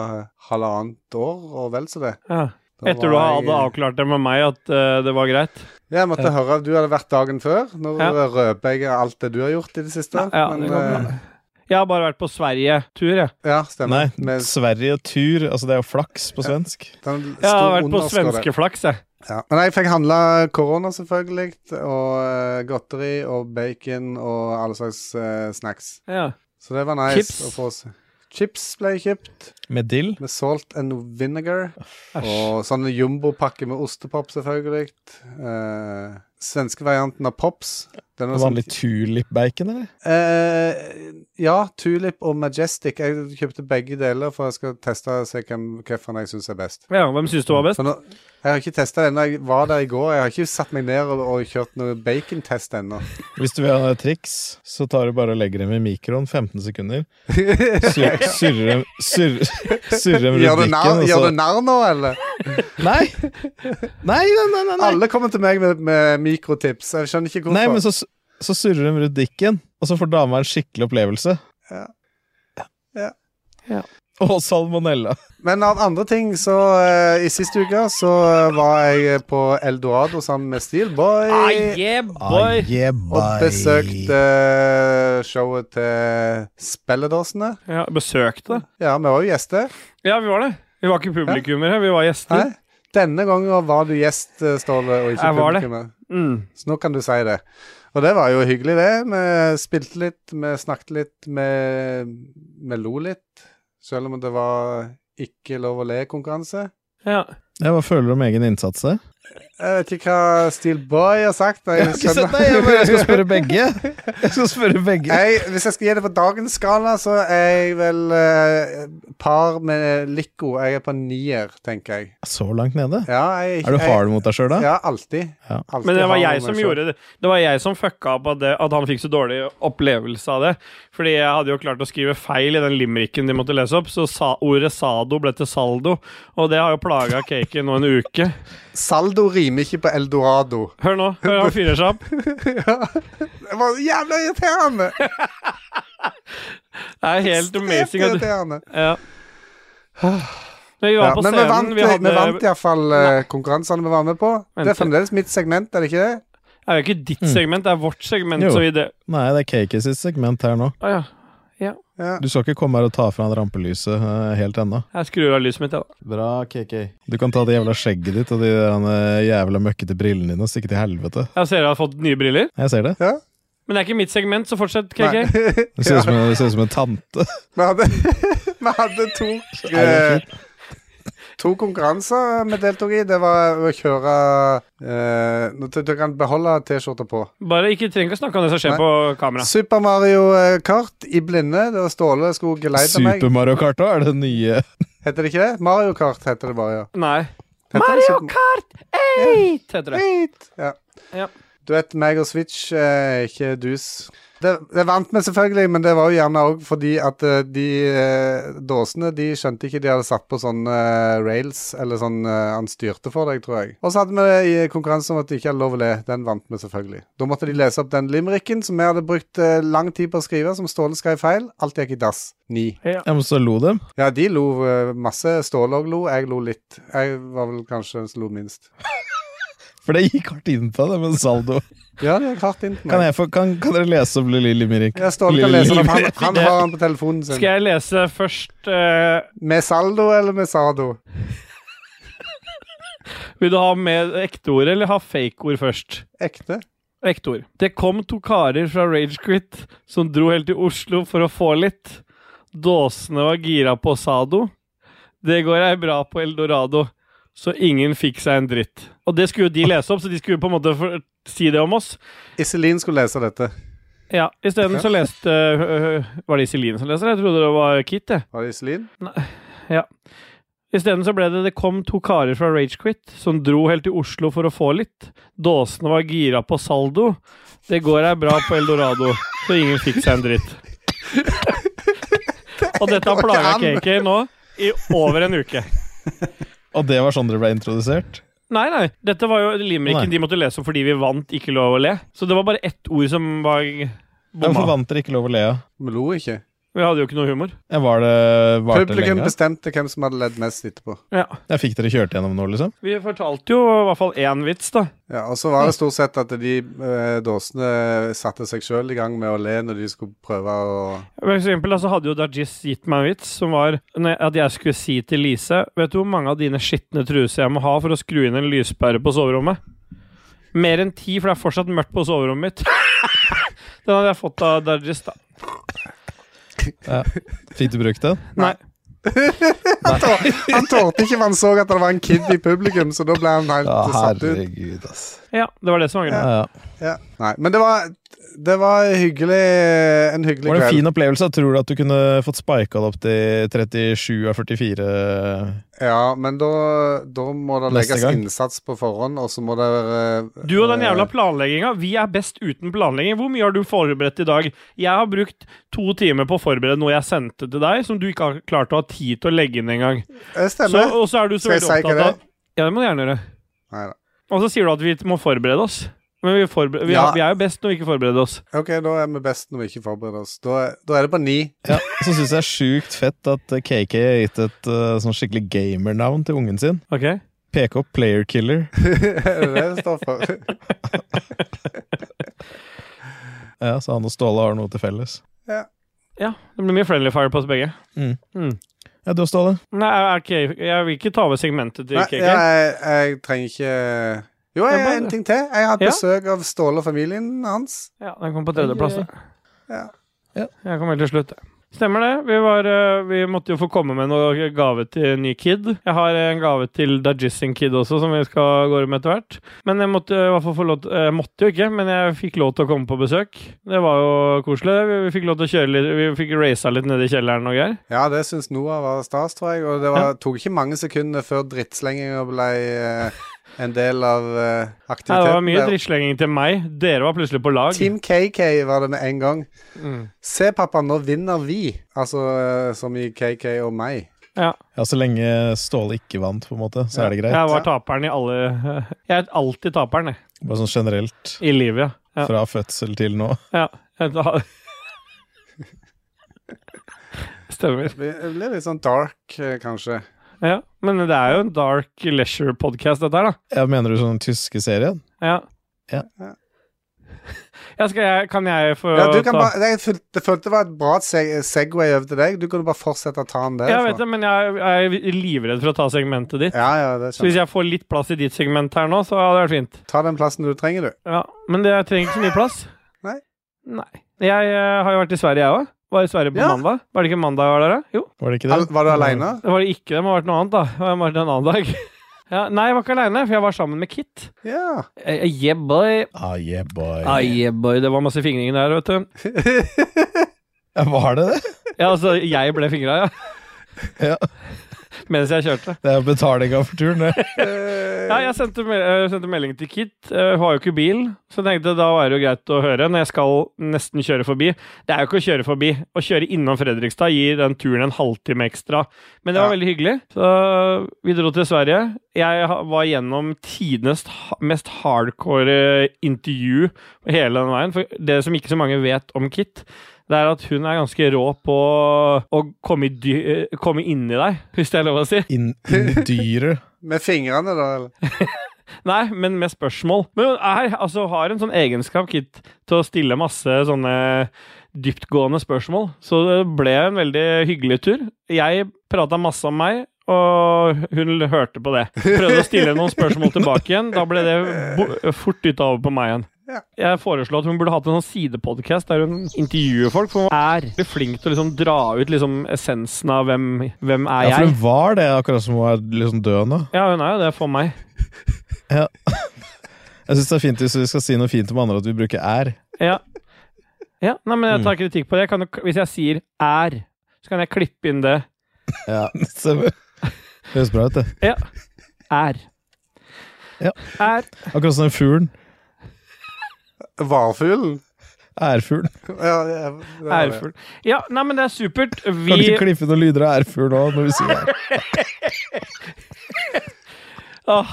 Speaker 3: eh, halvannet år, og vel så det.
Speaker 2: Ja.
Speaker 3: Da
Speaker 2: Etter du
Speaker 3: var jeg-
Speaker 2: hadde avklart det med meg at eh, det var greit.
Speaker 3: Ja, jeg måtte høre. Du hadde vært dagen før. Nå eh,
Speaker 2: Ja.
Speaker 3: røper jeg alt det du har gjort i det siste.
Speaker 2: Ja, ja, det
Speaker 3: men,
Speaker 2: går bra.
Speaker 3: eh,
Speaker 2: Jeg har bare vært på Sverigetur, jeg.
Speaker 3: ja stemmer.
Speaker 1: Nei,
Speaker 3: Med
Speaker 1: Sverige-tur. Altså, det er jo flaks på svensk.
Speaker 3: den
Speaker 2: Jeg har
Speaker 3: stor
Speaker 2: vært på
Speaker 3: underskår der.
Speaker 2: svenskeflaks, jeg.
Speaker 3: Ja. Men jeg fikk handla korona, selvfølgelig. Og eh, godteri og bacon og alle slags eh, snacks.
Speaker 2: Ja.
Speaker 3: Så det var nice
Speaker 2: Chips.
Speaker 3: å få seg. Chips ble kjøpt,
Speaker 1: Med dill.
Speaker 3: med salt and vinegar.
Speaker 2: Æsj.
Speaker 3: Og sånne jumbopakker med ostepop, selvfølgelig. Eh, svenske varianten av Pops. Den er sånn-
Speaker 1: Vanlig tulip-bacon, eller?
Speaker 3: Eh, ja, Tulip og Majestic. Jeg kjøpte begge deler, for jeg skal teste og se hvem, hvilken jeg syns er best.
Speaker 2: Ja, hvem syns du var best?
Speaker 3: For nå, jeg har ikke testa det ennå. Jeg var der i går. Jeg har ikke satt meg ned og, og kjørt noen bacontest ennå.
Speaker 1: Hvis du vil ha et triks, så tar du bare og legger dem i mikroen 15 sekunder.
Speaker 3: <laughs>
Speaker 1: Sur- Surrer dem surr- surrer dem
Speaker 3: Gjør
Speaker 1: rundt
Speaker 3: du narr
Speaker 1: dikken, og så
Speaker 3: gjør du narr nå, eller?
Speaker 1: Nei! Nei, nei, nei! nei, nei.
Speaker 3: Alle kommer til meg med, med mikrotips. Jeg skjønner ikke hvorfor.
Speaker 1: nei men så, så surrer dem rundt dikken, og så får dama en skikkelig opplevelse.
Speaker 3: Ja. Ja.
Speaker 2: Ja.
Speaker 1: Og salmonella.
Speaker 3: Men av andre ting, så eh, I siste uke så eh, var jeg på Eldorado sammen med Steelboy.
Speaker 2: Ah, yeah, boy!
Speaker 3: Og besøkte eh, showet til Spelledåsene.
Speaker 2: Ja, besøkte.
Speaker 3: Ja, vi var jo gjester.
Speaker 2: Ja, vi var det. Vi var ikke publikummere, vi var
Speaker 3: Hæ?
Speaker 2: gjester.
Speaker 3: Denne gangen var du gjest, eh, Ståle, og ikke
Speaker 2: Jeg var det.
Speaker 3: publikummer.
Speaker 2: Mm.
Speaker 3: Så nå kan du si det. Og det var jo hyggelig, det. Vi spilte litt, vi snakket litt, vi, vi lo litt. Selv om det var ikke lov å le-konkurranse.
Speaker 2: Ja.
Speaker 1: Ja, hva føler du om egen innsats der?
Speaker 3: Jeg vet ikke hva Steelboy har sagt. men
Speaker 1: Jeg
Speaker 3: Jeg
Speaker 1: har ikke
Speaker 3: skjønner-
Speaker 1: sett deg,
Speaker 3: <laughs>
Speaker 1: jeg bare- jeg skal spørre begge. Jeg skal spørre begge.
Speaker 3: Jeg, hvis jeg skal gi det på dagens skala, så er jeg vel eh, par med Lico. Jeg er på nier, tenker jeg.
Speaker 1: Så langt nede?
Speaker 3: Ja, jeg,
Speaker 1: Er du hard mot deg sjøl,
Speaker 3: Jeg,
Speaker 1: da?
Speaker 3: ja, alltid.
Speaker 1: Ja.
Speaker 3: Alltid
Speaker 2: Men det var
Speaker 3: hard
Speaker 2: jeg
Speaker 3: med
Speaker 2: som
Speaker 3: meg selv.
Speaker 2: gjorde det. Det var jeg som fucka opp at, det, at han fikk så dårlig opplevelse av det. Fordi jeg hadde jo klart å skrive feil i den limericken de måtte lese opp, så sa, ordet sado ble til saldo, og det har jo plaga cakey nå en uke.
Speaker 3: Saldo rimer ikke på eldorado. <laughs>
Speaker 2: Hør nå, hør han fyrer seg opp.
Speaker 3: Det var jævla irriterende!
Speaker 2: Det er helt amazing.
Speaker 3: Ekstremt
Speaker 2: At,
Speaker 3: irriterende.
Speaker 2: ja. Men vi
Speaker 3: Ja,
Speaker 2: var på
Speaker 3: men vi
Speaker 2: scenen.
Speaker 3: vant,
Speaker 2: Vi
Speaker 3: vi
Speaker 2: hadde
Speaker 3: vant iallfall uh, konkurransene vi var med på. Det
Speaker 2: Vent.
Speaker 3: er fremdeles mitt segment, er det ikke det?
Speaker 2: Det er jo ikke ditt segment, det er vårt segment.
Speaker 1: Jo.
Speaker 2: Så vi det
Speaker 1: Nei, det er Cakey sitt segment her nå.
Speaker 2: Å ja.
Speaker 3: Ja.
Speaker 1: Du skal ikke komme her og ta fra han rampelyset eh, helt ennå.
Speaker 2: Jeg skrur av lyset mitt, jeg, da.
Speaker 1: Bra, KK. Du kan ta det jævla skjegget ditt og de der, eh, jævla møkkete brillene dine og stikke til helvete.
Speaker 2: Jeg ser jeg har fått nye briller.
Speaker 1: Jeg ser det.
Speaker 2: Men det er ikke mitt segment, så fortsett,
Speaker 3: Nei.
Speaker 2: KK.
Speaker 1: Du ser ut som, en- du ser ut som en tante.
Speaker 3: Vi hadde, vi hadde <laughs> to
Speaker 1: det
Speaker 3: eh, To konkurranser vi deltok i. Det var å kjøre eh, nå- Du kan beholde T-skjorta på.
Speaker 2: <laughs> Bare ikke trenger ikke å snakke om det som skjer
Speaker 3: Nei.
Speaker 2: på kamera.
Speaker 3: Super Mario eh, Kart i blinde. Det var Ståle skulle geleide meg.
Speaker 1: Super Mario Kart òg er det nye.
Speaker 3: Heter det ikke det? Mario Kart heter det bare, ja.
Speaker 2: Nei.
Speaker 3: Heter det
Speaker 2: Mario
Speaker 3: Super-
Speaker 2: Kart 8 heter det.
Speaker 3: Sweet! Ja.
Speaker 2: Ja.
Speaker 3: Du vet, meg og Switch eh, er ikke dus. Det, det vant vi selvfølgelig, men det var jo gjerne òg fordi at eh, de eh, dåsene de skjønte ikke de hadde satt på sånne eh, rails, eller sånn eh, han styrte for deg, tror jeg. Og så hadde vi det i konkurransen om at de ikke hadde lov å le. Den vant vi selvfølgelig. Da måtte de lese opp den limericken som vi hadde brukt eh, lang tid på å skrive, som Ståle skrev feil. Alt gikk i dass. Ni.
Speaker 1: Jeg må så lo dem.
Speaker 3: Ja, de lo eh, masse. Ståle òg lo. Jeg lo litt. Jeg var vel kanskje den som lo minst.
Speaker 1: For det gikk hardt inn på det med saldo.
Speaker 3: Ja, det gikk hardt inn på meg.
Speaker 1: Kan, jeg få, kan, kan dere lese opp Lille Mirik?
Speaker 3: Ja, Ståle kan
Speaker 1: Lille
Speaker 3: lese den. Han,
Speaker 1: Mirik.
Speaker 3: han har den på telefonen sin.
Speaker 2: Skal jeg lese først eh,
Speaker 3: Med saldo eller med sado?
Speaker 2: Vil du ha med ekte ord eller ha fake ord først?
Speaker 3: Ekte.
Speaker 2: Ekte ord. Det kom to karer fra Ragequit som dro helt til Oslo for å få litt. Dåsene var gira på Sado. Det går ei bra på Eldorado. Så ingen fikk seg en dritt. Og det skulle jo de lese opp, så de skulle på en måte for, si det om oss.
Speaker 3: Iselin skulle lese dette.
Speaker 2: Ja, Isteden så leste øh, øh, Var det Iselin som leste det? Jeg trodde det var Kit, jeg.
Speaker 3: Var det Iselin?
Speaker 2: Isteden så ble det det kom to karer fra Ragequit som dro helt til Oslo for å få litt. Dåsene var gira på saldo. Det går ei bra på Eldorado, så ingen fikk seg en dritt. Og dette har
Speaker 3: går
Speaker 2: plaga
Speaker 3: ikke an.
Speaker 2: KK nå i over en uke.
Speaker 1: Og det var sånn dere ble introdusert?
Speaker 2: Nei, nei. Dette var jo limericken
Speaker 1: Nei.
Speaker 2: de måtte lese fordi vi vant Ikke lov å le. Så det var bare ett ord som var
Speaker 1: Hvorfor
Speaker 2: bomma.
Speaker 1: vant dere ikke lov å le av?
Speaker 3: Vi lo ikke.
Speaker 2: Vi hadde jo ikke noe humor.
Speaker 1: Ja, Var det, var det
Speaker 3: Publikum
Speaker 1: lenge?
Speaker 3: bestemte hvem som hadde ledd mest etterpå.
Speaker 2: Ja.
Speaker 1: Jeg fikk dere kjørt gjennom nå, liksom?
Speaker 2: Vi fortalte jo i hvert fall én vits, da.
Speaker 3: Ja, og så var det stort sett at de eh, dåsene satte seg sjøl i gang med å le når de skulle prøve å
Speaker 2: For eksempel altså, hadde jo Dajis gitt meg en vits som var når jeg- at jeg skulle si til Lise Vet du hvor mange av dine skitne truser jeg må ha for å skru inn en lyspære på soverommet? Mer enn ti, for det er fortsatt mørkt på soverommet mitt. <laughs> Den hadde jeg fått av Dajis, da.
Speaker 1: Fikk du brukt den?
Speaker 2: Nei.
Speaker 3: Han tålte ikke, for han så at det var en kid i publikum, så da ble han helt
Speaker 1: Ja,
Speaker 3: satt ut.
Speaker 1: herregud, ass.
Speaker 2: Ja, det var det som var greia.
Speaker 1: Ja, ja.
Speaker 3: Ja. Nei, men det var, det var hyggelig, en hyggelig
Speaker 1: Var det en
Speaker 3: kveld.
Speaker 1: fin opplevelse? Tror du at du kunne fått spika det opp til 37 av 44?
Speaker 3: Ja, men da, da må det
Speaker 1: Neste
Speaker 3: legges
Speaker 1: gang.
Speaker 3: innsats på forhånd, og så må det eh,
Speaker 2: Du og den
Speaker 3: eh,
Speaker 2: jævla planlegginga. Vi er best uten planlegging. Hvor mye har du forberedt i dag? Jeg har brukt to timer på å forberede noe jeg sendte til deg, som du ikke har klart å ha tid til å legge inn engang.
Speaker 3: eh,
Speaker 2: Så,
Speaker 3: Stemmer.
Speaker 2: og så er du så
Speaker 3: Skal jeg
Speaker 2: veldig
Speaker 3: si hva
Speaker 2: opptatt
Speaker 3: det
Speaker 2: av
Speaker 3: er?
Speaker 2: Ja, det må du gjerne gjøre.
Speaker 3: Neida.
Speaker 2: Og så sier du at vi må forberede oss. Men vi, forber vi,
Speaker 3: Ja.
Speaker 2: er, vi er jo best når vi ikke forbereder oss.
Speaker 3: Ok, da er vi best når vi ikke forbereder oss. Da, er- da er det på ni. <laughs>
Speaker 1: Ja, Så syns jeg det er sjukt fett at eh, KK har gitt et eh, sånn skikkelig gamernavn til ungen sin.
Speaker 2: Ok?
Speaker 1: PK Player Killer.
Speaker 3: er det det det står
Speaker 2: <laughs>
Speaker 3: for?
Speaker 1: Ja, Så han og Ståle har noe til felles.
Speaker 2: Ja, det blir mye friendly fire på oss begge.
Speaker 1: Ja, du og Ståle.
Speaker 2: Nei, er- er K- jeg vil ikke ta over segmentet til
Speaker 3: Nei,
Speaker 2: KK.
Speaker 3: ja, jeg, jeg trenger ikke Jo, jeg
Speaker 2: Ja,
Speaker 3: har
Speaker 2: bare-
Speaker 3: en ting til. Jeg har hatt
Speaker 2: Ja.
Speaker 3: besøk av Ståle og familien hans.
Speaker 2: Ja, den kom på tredjeplass.
Speaker 3: Ja.
Speaker 1: Ja.
Speaker 2: Jeg kom helt til slutt. jeg. Stemmer det. Vi, var, eh, vi måtte jo få komme med noe gave til en ny kid. Jeg har en gave til Dajissing Kid også, som vi skal gå med etter hvert. Men jeg måtte i hvert fall få lov til Jeg måtte jo ikke, men jeg fikk lov til å komme på besøk. Det var jo koselig. Vi, vi fikk lov til å kjøre litt Vi fikk raca litt nede i kjelleren og greier.
Speaker 3: Ja, det syns Noah var stas, tror jeg. Og det var, tok ikke mange sekundene før drittslenginga ble eh, en del av eh,
Speaker 2: Ja,
Speaker 3: aktiviteten.
Speaker 2: det var mye
Speaker 3: der.
Speaker 2: drittslenging til meg. Dere var plutselig på lag.
Speaker 3: Team KK var det med en gang.
Speaker 2: Mm.
Speaker 3: Se, pappa, nå vinner vi. Altså eh, som i KK og meg.
Speaker 2: Ja.
Speaker 1: Ja, Så lenge Ståle ikke vant, på en måte, så er det greit.
Speaker 2: Jeg var taperen i alle <laughs> Jeg er alltid taperen, jeg.
Speaker 1: Bare sånn generelt.
Speaker 2: I livet, ja.
Speaker 1: Fra fødsel til nå.
Speaker 2: ja. ja. <laughs> Stemmer.
Speaker 3: Det blir- det blir litt sånn dark, eh, kanskje.
Speaker 2: Ja. Men det er jo en dark leisure-podkast, dette her, da.
Speaker 1: Jeg mener du sånn tyske serien?
Speaker 2: Ja.
Speaker 1: Ja.
Speaker 2: Jeg skal, jeg, kan jeg få
Speaker 3: Ja, du kan
Speaker 2: ta
Speaker 3: bare, jeg følte, jeg følte det var et bra seg Segway over til deg. Du kunne bare fortsette å ta den der. altså.
Speaker 2: Jeg vet det, men jeg, jeg er livredd for å ta segmentet ditt.
Speaker 3: Ja, ja, det
Speaker 2: Så hvis
Speaker 3: skjønner jeg.
Speaker 2: jeg får litt plass i ditt segment her nå, så hadde det vært fint.
Speaker 3: Ta den plassen du trenger, du.
Speaker 2: Ja, Men det, jeg trenger ikke så mye plass.
Speaker 3: <laughs> Nei.
Speaker 2: Nei. Jeg eh, har jo vært i Sverige, jeg òg. Var i Sverige på
Speaker 3: Ja.
Speaker 2: mandag. Var det ikke mandag jeg var der, da? Jo.
Speaker 1: Var det ikke
Speaker 3: Al
Speaker 1: det?
Speaker 3: var du aleine?
Speaker 2: Det var det ikke. Det må ha vært noe annet, da. Det må ha vært en annen dag. <laughs> Ja, nei, jeg var ikke aleine, for jeg var sammen med Kit.
Speaker 3: Ja.
Speaker 2: Eh, Yeah, boy.
Speaker 1: Ah, yeah, boy.
Speaker 2: Ah, yeah, boy. Det var masse fingring der, vet <laughs> du.
Speaker 1: Ja, var det det?
Speaker 2: Ja, altså, jeg ble fingra, ja.
Speaker 1: Ja.
Speaker 2: <laughs> Mens jeg kjørte.
Speaker 1: Det er betalinga for turen, det.
Speaker 2: Ja, jeg sendte, me eh, sendte melding til Kit. eh, Hun har jo ikke bil, så tenkte jeg, da er det jo greit å høre når jeg skal nesten kjøre forbi. Det er jo ikke å kjøre forbi. Å kjøre innom Fredrikstad gir den turen en halvtime ekstra. Men det var
Speaker 3: Ja.
Speaker 2: veldig hyggelig. Så vi dro til Sverige. Jeg ha- var gjennom tidenes ha- mest hardcore eh, intervju hele den veien. For det som ikke så mange vet om Kit, det er at hun er ganske rå på å komme, i dy eh, komme inni deg, hvis det er lov å si.
Speaker 1: Inn inn i dyret.
Speaker 3: Med fingrene, da? eller?
Speaker 2: Nei, men med spørsmål. Men hun er, altså, har en sånn egenskap, Kit, til å stille masse sånne dyptgående spørsmål. Så det ble en veldig hyggelig tur. Jeg prata masse om meg, og hun hørte på det. Prøvde å stille noen spørsmål tilbake igjen. Da ble det bo fort dytta over på meg igjen.
Speaker 3: Ja.
Speaker 2: Jeg foreslo at hun burde hatt en sånn sidepodkast der hun intervjuer folk. For hun er veldig flink til å liksom dra ut liksom essensen av hvem, hvem er
Speaker 1: Ja, for
Speaker 2: jeg.
Speaker 1: hun var det, akkurat som hun er liksom død nå.
Speaker 2: Ja, hun er jo det for meg.
Speaker 1: <laughs> Jeg syns det er fint hvis vi skal si noe fint om andre, at vi bruker er.
Speaker 2: Ja. ja. Nei, men jeg tar kritikk på det. Jeg
Speaker 1: <laughs>
Speaker 2: kan, jo- hvis jeg sier 'er', så kan jeg klippe inn det.
Speaker 1: Ja, stemmer. Høres bra ut, det.
Speaker 2: Er.
Speaker 1: Ja.
Speaker 2: Er.
Speaker 1: Akkurat som den fuglen.
Speaker 3: Varfuglen?
Speaker 1: Ærfuglen.
Speaker 3: Ja, det- det var det.
Speaker 2: Ærfull. Ja, nei, men det er supert.
Speaker 1: Kan
Speaker 2: Vi
Speaker 1: ikke klippe noen lyder av ærfugl nå når vi sier det.
Speaker 2: Åh,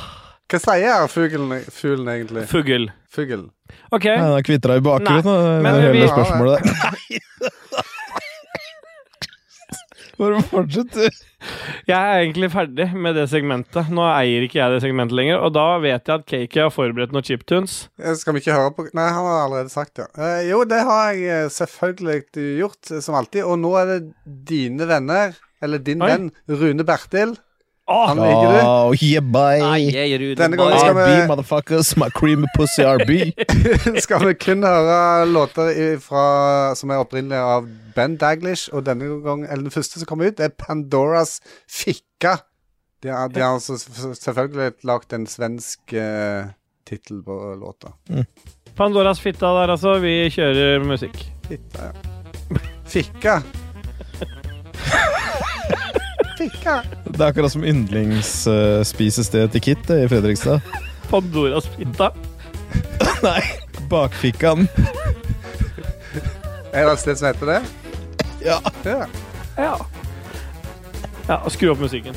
Speaker 3: Hva sier ærfuglen fuglen egentlig?
Speaker 2: Fugl.
Speaker 3: Fugl.
Speaker 2: OK.
Speaker 1: Nei, Den har kvitra i bakgrunnen, og
Speaker 2: men
Speaker 1: det er hele
Speaker 2: vi-
Speaker 1: spørsmålet der. <laughs> Bare fortsett, du.
Speaker 2: Jeg er egentlig ferdig med det segmentet. Nå eier ikke jeg det segmentet lenger, og da vet jeg at Cakey har forberedt noen chiptunes.
Speaker 3: Eh, Skal vi ikke høre på Nei, han har allerede sagt det. Eh, jo, det har jeg eh, selvfølgelig gjort, eh, som alltid. Og nå er det dine venner, eller din
Speaker 2: Oi.
Speaker 3: venn, Rune Bertil.
Speaker 2: Åh,
Speaker 3: Han liker det.
Speaker 1: Oh, yeah, bye.
Speaker 3: Denne gangen skal
Speaker 1: RB,
Speaker 3: vi,
Speaker 1: motherfuckers. My creamy pussy <laughs> RB.
Speaker 3: <laughs> skal vi kun høre låter i- fra, som er opprinnelig av Ben Daglish, og denne gang, eller den første som kommer ut, er Pandoras Fikka. De har, de har altså s- selvfølgelig lagt en svensk uh, tittel på låta.
Speaker 2: Pandoras fitta der, altså. Vi kjører musikk.
Speaker 3: Fitta, ja. Fikka. <laughs> Fikka.
Speaker 1: Det er akkurat som yndlingspisestedet til Kit det, i Fredrikstad.
Speaker 2: Pandoras fitta.
Speaker 1: <laughs> Nei, bakfikkan.
Speaker 3: Er det et sted som heter det?
Speaker 1: Ja.
Speaker 3: Ja.
Speaker 2: Ja. ja og skru opp musikken.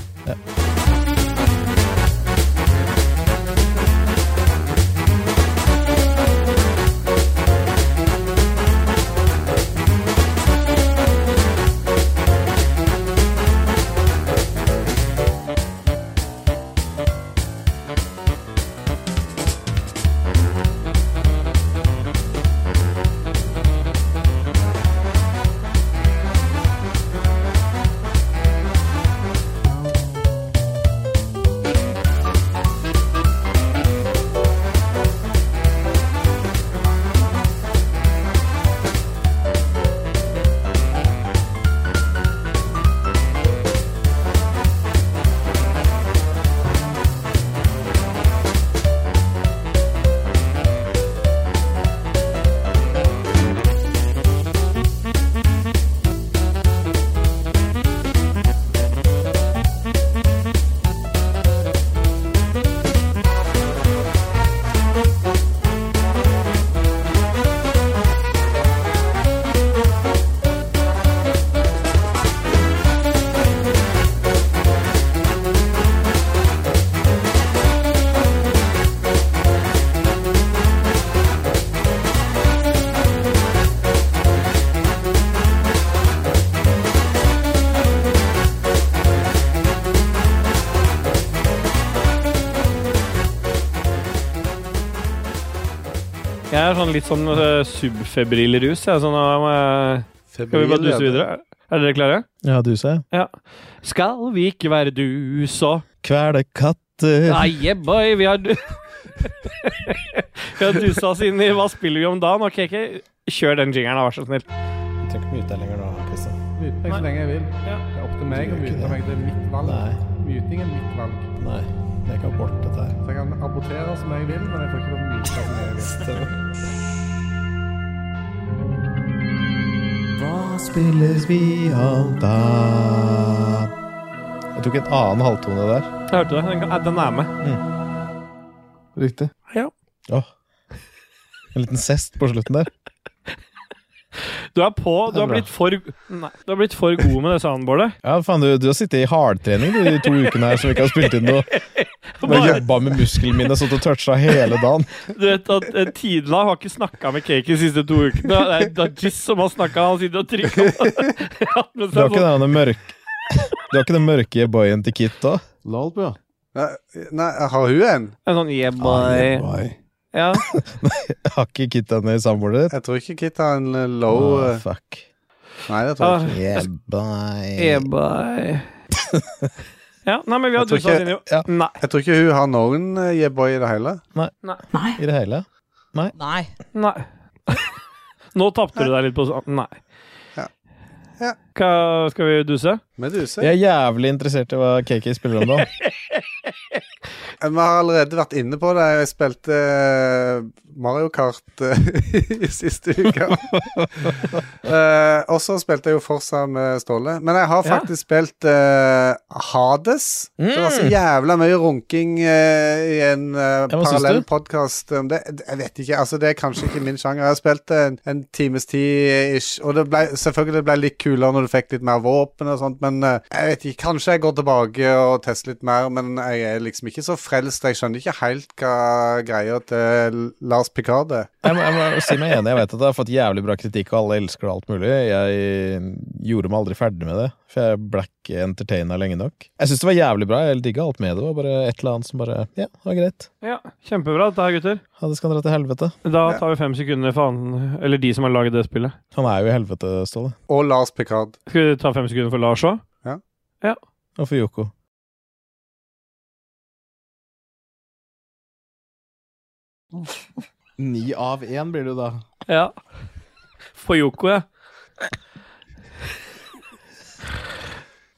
Speaker 2: Jeg er sånn litt sånn uh, subfebril rus. Jeg, sånn, eh, skal vi bare duse videre? Er dere klare?
Speaker 1: Ja, du sa jeg.
Speaker 2: Skal vi ikke være dus og
Speaker 1: Kvele katter.
Speaker 2: Nei, yeah, boy, vi har du... <laughs> Vi har dusa oss inn i Hva spiller vi om dagen? Ok, ok. Kjør den jingeren, da, vær så snill.
Speaker 1: Jeg trenger ikke mute deg lenger nå, Kristian.
Speaker 3: Mute meg så lenge jeg vil.
Speaker 2: Ja.
Speaker 3: Det er opp til
Speaker 1: meg å mute meg,
Speaker 3: Det er mitt valg.
Speaker 1: Nei.
Speaker 3: Muting er mitt valg.
Speaker 1: Nei, det er ikke abort, dette her.
Speaker 3: Så jeg kan abortere som jeg vil, men jeg får ikke lov til å myte som jeg vil.
Speaker 1: Hva spilles vi om da? Jeg tok en annen halvtone der.
Speaker 2: Jeg hørte det. Den, kan- den er med.
Speaker 1: Riktig.
Speaker 2: Ja.
Speaker 1: Åh. En liten sest på slutten der.
Speaker 2: Du er på. Du
Speaker 1: Det er
Speaker 2: har
Speaker 1: bra.
Speaker 2: blitt for, nei, du har blitt for god med det
Speaker 1: <laughs>
Speaker 2: soundboardet.
Speaker 1: Ja, faen, du, du har sittet i hardtrening du, de to ukene her som vi ikke har spilt inn noe. <laughs> Bare
Speaker 2: Bare,
Speaker 1: jobba med musklene mine, sånn at du toucha hele dagen.
Speaker 2: du vet at eh, Tidla har ikke snakka med Cake de siste to ukene. Det er Dajis som har snakka. Han sitter og trykker på <laughs> hatt med
Speaker 1: Du har
Speaker 2: seg
Speaker 1: ikke
Speaker 2: sånn.
Speaker 1: den mørke Du har ikke den mørke boyen til Kit òg?
Speaker 4: Lolbua.
Speaker 3: Nei, Nei, har hun en?
Speaker 2: En sånn yeah, boy.
Speaker 3: <laughs>
Speaker 2: Ja.
Speaker 1: Har ikke Kit denne i samboeren din?
Speaker 3: Jeg tror ikke Kit har en eh, low
Speaker 1: Åh,
Speaker 3: eh,
Speaker 1: fuck.
Speaker 3: Nei, det
Speaker 2: ah,
Speaker 3: tror jeg ikke.
Speaker 1: Yeah,
Speaker 2: Yeah,
Speaker 1: bye.
Speaker 2: boy.
Speaker 3: <laughs>
Speaker 2: Ja, nei, men vi har
Speaker 3: Jeg tror
Speaker 2: dusa oss
Speaker 3: ikke-
Speaker 2: inn i
Speaker 1: ja.
Speaker 2: Nei.
Speaker 3: Jeg tror ikke hun har noen eh, yeah boy i det hele. Eh,
Speaker 1: I det hele?
Speaker 6: Nei.
Speaker 2: Nei. <laughs> Nå tapte du deg litt på sånn Nei.
Speaker 3: Ja. Ja.
Speaker 2: Hva skal vi duse?
Speaker 3: Meduse.
Speaker 1: Jeg er jævlig interessert i hva KK spiller om nå.
Speaker 3: Vi har allerede vært inne på det. Jeg spilte eh, Mario Kart eh, <laughs> i siste uke. Eh, og så spilte jeg jo Forsa med Ståle. Men jeg har
Speaker 2: Ja.
Speaker 3: faktisk spilt eh, Hades. Det var så jævla mye runking eh, i en eh,
Speaker 1: Mm. Ja, hva syns
Speaker 3: parallell
Speaker 1: du?
Speaker 3: podkast om det. Det- Jeg vet ikke. Altså, det er kanskje ikke min sjanger. Jeg har spilt det en, en times tid ish. Og det ble, selvfølgelig det ble litt kulere når du fikk litt mer våpen og sånt, men eh, jeg vet ikke. Kanskje jeg går tilbake og tester litt mer, men jeg er liksom ikke så frelst. Jeg skjønner ikke helt hva greia til Lars Picard er.
Speaker 1: Jeg må, jeg må si meg enig. Jeg vet at jeg har fått jævlig bra kritikk, og alle elsker det og alt mulig. Jeg gjorde meg aldri ferdig med det, for jeg ble ikke entertaina lenge nok. Jeg syns det var jævlig bra. Jeg digga alt med det. Det var bare et eller annet som bare Ja, det var greit.
Speaker 2: Ja, Kjempebra, dette her, gutter.
Speaker 1: Ja, det skal dra til helvete.
Speaker 2: Da tar vi fem sekunder for han, eller de som har laget det spillet.
Speaker 1: Han er jo i helvete, Ståle.
Speaker 3: Og Lars Picard.
Speaker 2: Skal vi ta fem sekunder for Lars òg?
Speaker 1: Og for Yoko. Ni av én blir du da.
Speaker 2: Ja. For Yoko, ja.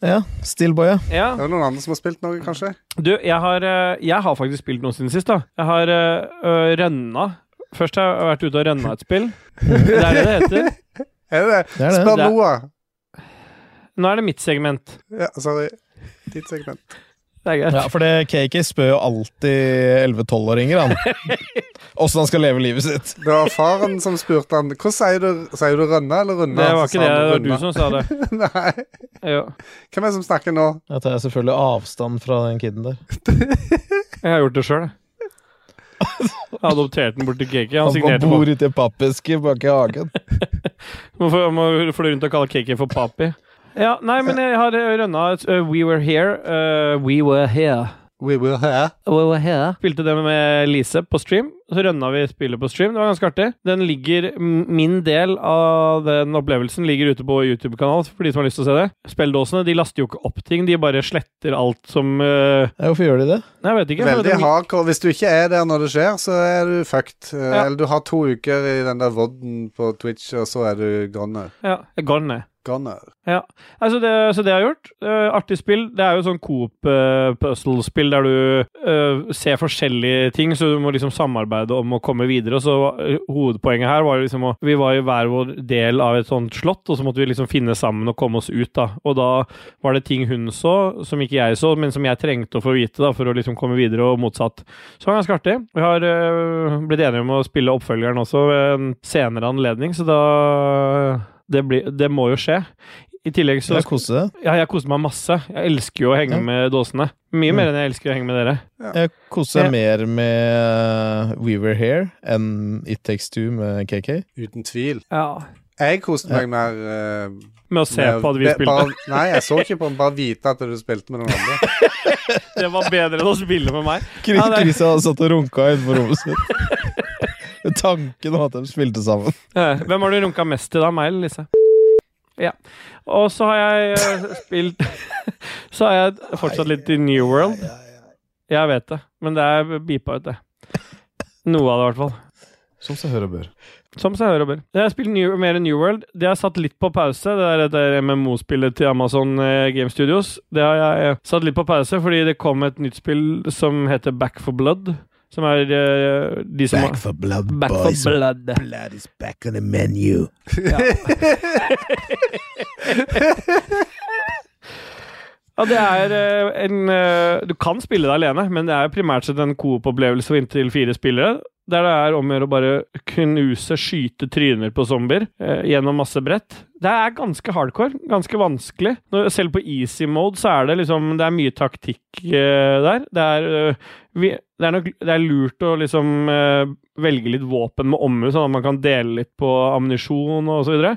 Speaker 1: Ja. Stillboy, ja.
Speaker 2: ja.
Speaker 3: Er det noen andre som har spilt noe, kanskje?
Speaker 2: Du, jeg har, eh, jeg har faktisk spilt noe siden sist, da. Jeg har eh, ø, rønna. Først har jeg vært ute og rønna et spill. Det er det det heter.
Speaker 3: Er det det?
Speaker 1: Det er det.
Speaker 3: Spør
Speaker 2: Det er-
Speaker 3: Noah.
Speaker 2: Nå er det mitt segment.
Speaker 3: Ja, sorry. Ditt segment.
Speaker 2: Det er greit.
Speaker 1: Ja, for det KK spør jo alltid 11-12-åringer, <laughs> han. Åssen han skal leve livet sitt.
Speaker 3: Det var faren som spurte han Hvordan sier du, sier du rønne eller runde?
Speaker 2: Det var
Speaker 3: Så
Speaker 2: ikke det,
Speaker 3: sa han
Speaker 2: det var du
Speaker 3: runde.
Speaker 2: som sa det.
Speaker 3: <laughs> Nei.
Speaker 2: Jo.
Speaker 3: Hvem er det som snakker nå?
Speaker 1: Jeg tar selvfølgelig avstand fra den kiden der.
Speaker 2: Jeg har gjort det sjøl, jeg. Jeg adopterte den bort til Kiki. Han
Speaker 1: Han
Speaker 2: signerte på
Speaker 1: bor ute i pappeske bak i <laughs> hagen.
Speaker 2: Må få- må fly rundt og kalle Kiki for papi. Ja, nei, men jeg har eh, rønna et eh, We Were Here. eh, we Were Here.
Speaker 3: We were here.
Speaker 2: We Were Here. Spilte det med Lise på stream. Så rønna vi spillet på stream. Det var ganske artig. Den ligger, m- Min del av den opplevelsen ligger ute på YouTube-kanalen for de som har lyst til å se det. Spelledåsene de laster jo ikke opp ting. De bare sletter alt som eh,
Speaker 1: Ja, hvorfor gjør de det?
Speaker 2: Nei, jeg vet ikke.
Speaker 3: Veldig
Speaker 2: De-
Speaker 3: hardcore. Hvis du ikke er der når det skjer, så er du fucked. Eh,
Speaker 2: Ja.
Speaker 3: Eller du har to uker i den der vodden på Twitch, og så er du goner.
Speaker 2: Ja, jeg går ned.
Speaker 3: Goner.
Speaker 2: Nei, så Altså, det, så det jeg har gjort. eh, artig spill. Det er jo sånn coop-puzzle-spill der du eh, ser forskjellige ting, så du må liksom samarbeide om å komme videre. Og så var- Hovedpoenget her var jo liksom å Vi var i hver vår del av et sånt slott, og så måtte vi liksom finne sammen og komme oss ut, da. Og da var det ting hun så, som ikke jeg så, men som jeg trengte å få vite da, for å liksom komme videre, og motsatt. Så det var ganske artig. Vi har eh, blitt enige om å spille oppfølgeren også ved en senere anledning, så da Det, blir, det må jo skje. I tillegg så
Speaker 1: Jeg koser deg.
Speaker 2: ja, jeg koser meg masse. Jeg elsker jo å henge
Speaker 1: Ja.
Speaker 2: med dåsene. Mye mer enn jeg elsker å henge med dere.
Speaker 1: Jeg koser
Speaker 2: Ja.
Speaker 1: meg mer med uh, We Were Here enn It Takes Two med KK.
Speaker 3: Uten tvil.
Speaker 2: Ja.
Speaker 3: Jeg koste meg mer eh,
Speaker 2: Med å se
Speaker 3: med-
Speaker 2: på at vi
Speaker 3: med-
Speaker 2: spilte.
Speaker 3: Bare, nei, jeg så ikke på den, bare vite at du spilte med noen andre.
Speaker 2: <laughs> Det var bedre enn å spille med meg.
Speaker 1: Chris,
Speaker 2: Ja, det-
Speaker 1: Chris hadde satt og runka innenfor rommet sitt. <laughs> Med Tanken om at de spilte sammen.
Speaker 2: Eh, Hvem har du runka mest til da? Meg eller Lise? Ja. Og så har jeg eh, spilt <laughs> Så har jeg fortsatt litt i New World. Jeg vet det, men det er beepa ut, det. Noe av det, i hvert fall.
Speaker 1: Som seg hør og bør.
Speaker 2: Som seg hør og bør. Jeg har spilt New, mer New World. Det har jeg satt litt på pause. Det er det der MMO-spillet til Amazon eh, Game Studios. Det har jeg eh, satt litt på pause fordi det kom et nytt spill som heter Back for Blood. Som er eh, de som
Speaker 4: Back for blood,
Speaker 2: har Back
Speaker 4: boys.
Speaker 2: for Blood.
Speaker 4: blood is back on the menu.
Speaker 2: Ja, det er eh, en eh, Du kan spille det alene, men det er primært sett en coop-opplevelse for inntil fire spillere. Der det er om å gjøre å bare knuse, skyte tryner på zombier eh, gjennom masse brett. Det er ganske hardcore. Ganske vanskelig. Når, selv på easy mode så er det liksom Det er mye taktikk eh, der. Det er, eh, vi, det, er nok, det er lurt å liksom eh, velge litt våpen med omhu, sånn at man kan dele litt på ammunisjon og så videre.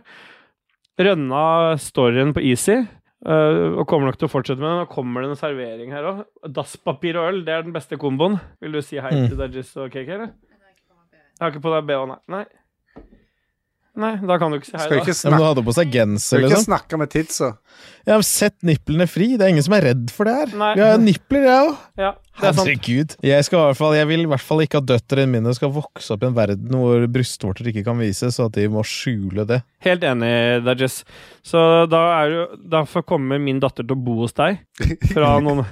Speaker 2: Rønna storyen på easy. Eh, og kommer nok til å fortsette med den. Nå kommer det en servering her òg. Dasspapir og øl, det er den beste komboen. Vil du si hei
Speaker 1: Mm.
Speaker 2: til Dajis og cake, eller? Jeg har ikke på deg BH, nei. nei. Nei, da kan du ikke si hei,
Speaker 3: Skal
Speaker 2: da.
Speaker 3: ikke
Speaker 1: Ja, men du
Speaker 3: snakke,
Speaker 1: hadde på seg genser,
Speaker 3: skal ikke
Speaker 1: liksom.
Speaker 3: snakke med tidsa.
Speaker 1: Ja, men Sett nipplene fri. Det er ingen som er redd for det her.
Speaker 2: Nei.
Speaker 1: Vi har jo nipler, jeg òg.
Speaker 2: Ja, det er sant.
Speaker 1: Herregud. Jeg, skal i hvert fall, jeg vil i hvert fall ikke at døtrene mine skal vokse opp i en verden hvor brystvorter ikke kan vises, og at de må skjule det.
Speaker 2: Helt enig, Dajis. Så da er jo Derfor kommer min datter til å bo hos deg fra noen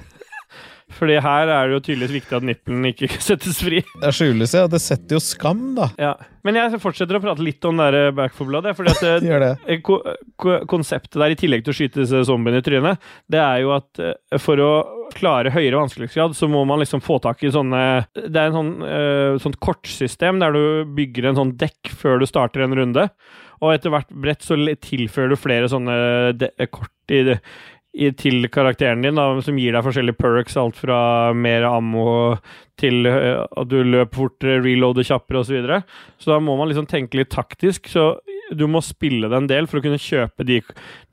Speaker 2: Fordi her er det jo tydeligvis viktig at nippelen ikke <laughs> settes fri.
Speaker 1: Det skjules, ja. Det setter jo skam, da.
Speaker 2: Ja. Men jeg fortsetter å prate litt om det der Back for Blood. jeg, Fordi at
Speaker 1: Det
Speaker 2: eh,
Speaker 1: gjør det.
Speaker 2: eh, ko- ko- konseptet der, i tillegg til å skyte disse zombiene i trynet, det er jo at eh, for å klare høyere vanskelighetsgrad, så må man liksom få tak i sånne Det er en sånn, eh, sånt kortsystem der du bygger en sånn dekk før du starter en runde. Og etter hvert brett så le- tilfører du flere sånne de eh, kort i, i, til karakteren din, da, som gir deg forskjellige perks, alt fra mer ammo til eh, at du løper fortere, reloader kjappere osv. Så, videre. så da må man liksom tenke litt taktisk. Så du må spille det en del for å kunne kjøpe de,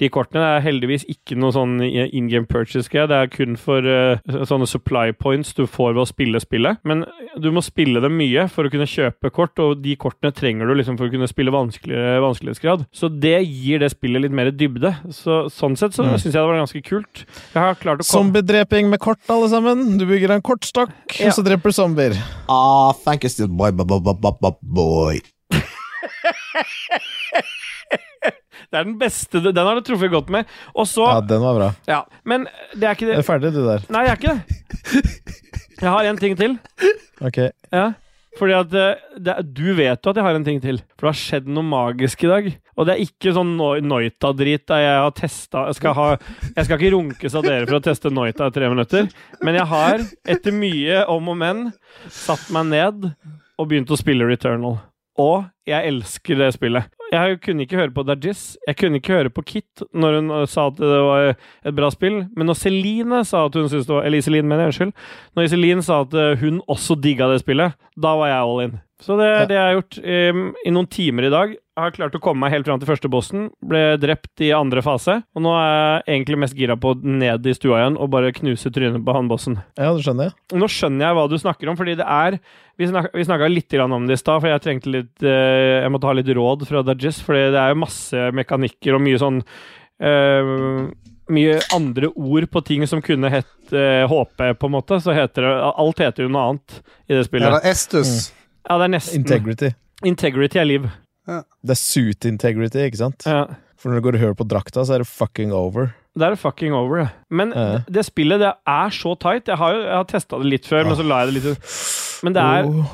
Speaker 2: de kortene. Det er heldigvis ikke noe sånn in game purchase-greie. Det er kun for eh, sånne supply points du får ved å spille spillet. Men du må spille dem mye for å kunne kjøpe kort, og de kortene trenger du liksom for å kunne spille vanskeligere vanskelighetsgrad. Så det gir det spillet litt mer dybde. Så, sånn sett så
Speaker 1: Mm.
Speaker 2: syns jeg det var ganske kult. Jeg har klart å komme
Speaker 1: Zombiedreping med kort, alle sammen. Du bygger en kortstokk,
Speaker 2: Ja.
Speaker 1: og så dreper du zombier.
Speaker 4: Ah, thank you, still boy, boy, boy, boy, boy, boy.
Speaker 2: Det er den beste, den har du truffet godt med. Og så
Speaker 1: Ja,
Speaker 2: ja.
Speaker 1: den var bra.
Speaker 2: Men det er ikke
Speaker 1: Er
Speaker 2: det
Speaker 1: du ferdig, du der?
Speaker 2: Nei, jeg er ikke det. Jeg har en ting til.
Speaker 1: Ok.
Speaker 2: Ja. Fordi at eh, det, er- Du vet jo at jeg har en ting til, for det har skjedd noe magisk i dag. Og det er ikke sånn no Noita-drit der jeg har testa jeg, skal ha- jeg skal ikke runkes av dere for å teste Noita i tre minutter, men jeg har, etter mye om og men, satt meg ned og begynt å spille Returnal. Og jeg elsker det spillet. Jeg kunne ikke høre på Dajis, jeg kunne ikke høre på Kit når hun eh, sa at det var et bra spill, men når Celine sa at hun syntes det var Eller Iselin, mener jeg, unnskyld. Når Iselin sa at eh, hun også digga det spillet, da var jeg all in. Så det er det jeg har gjort em, i noen timer i dag. Jeg har klart å komme meg helt fram til første bossen. Ble drept i andre fase. Og nå er jeg egentlig mest gira på å ned i stua igjen og bare knuse trynet på han bossen.
Speaker 1: Ja, det skjønner jeg.
Speaker 2: Nå skjønner jeg hva du snakker om, fordi det er Vi, snak, vi snakka litt grann om det i stad, for jeg trengte litt eh, Jeg måtte ha litt råd fra Dajis, fordi det er jo masse mekanikker og mye sånn eh, mye andre ord på ting som kunne hett eh, HP, på en måte. Så heter det Alt heter jo noe annet i det
Speaker 3: Ja,
Speaker 2: spillet.
Speaker 3: det er
Speaker 2: Mm.
Speaker 3: Estus.
Speaker 2: Ja, det er nesten
Speaker 1: Integrity.
Speaker 2: Integrity er liv.
Speaker 1: Det er suit integrity, ikke sant?
Speaker 2: Ja.
Speaker 1: For når du går og hører på drakta, så er det fucking over.
Speaker 2: Det er fucking over, det. Men
Speaker 1: Ja.
Speaker 2: det- det spillet, det er så tight. Jeg har jo jeg har testa det litt før, men så la jeg det litt Men det er,
Speaker 1: Åh.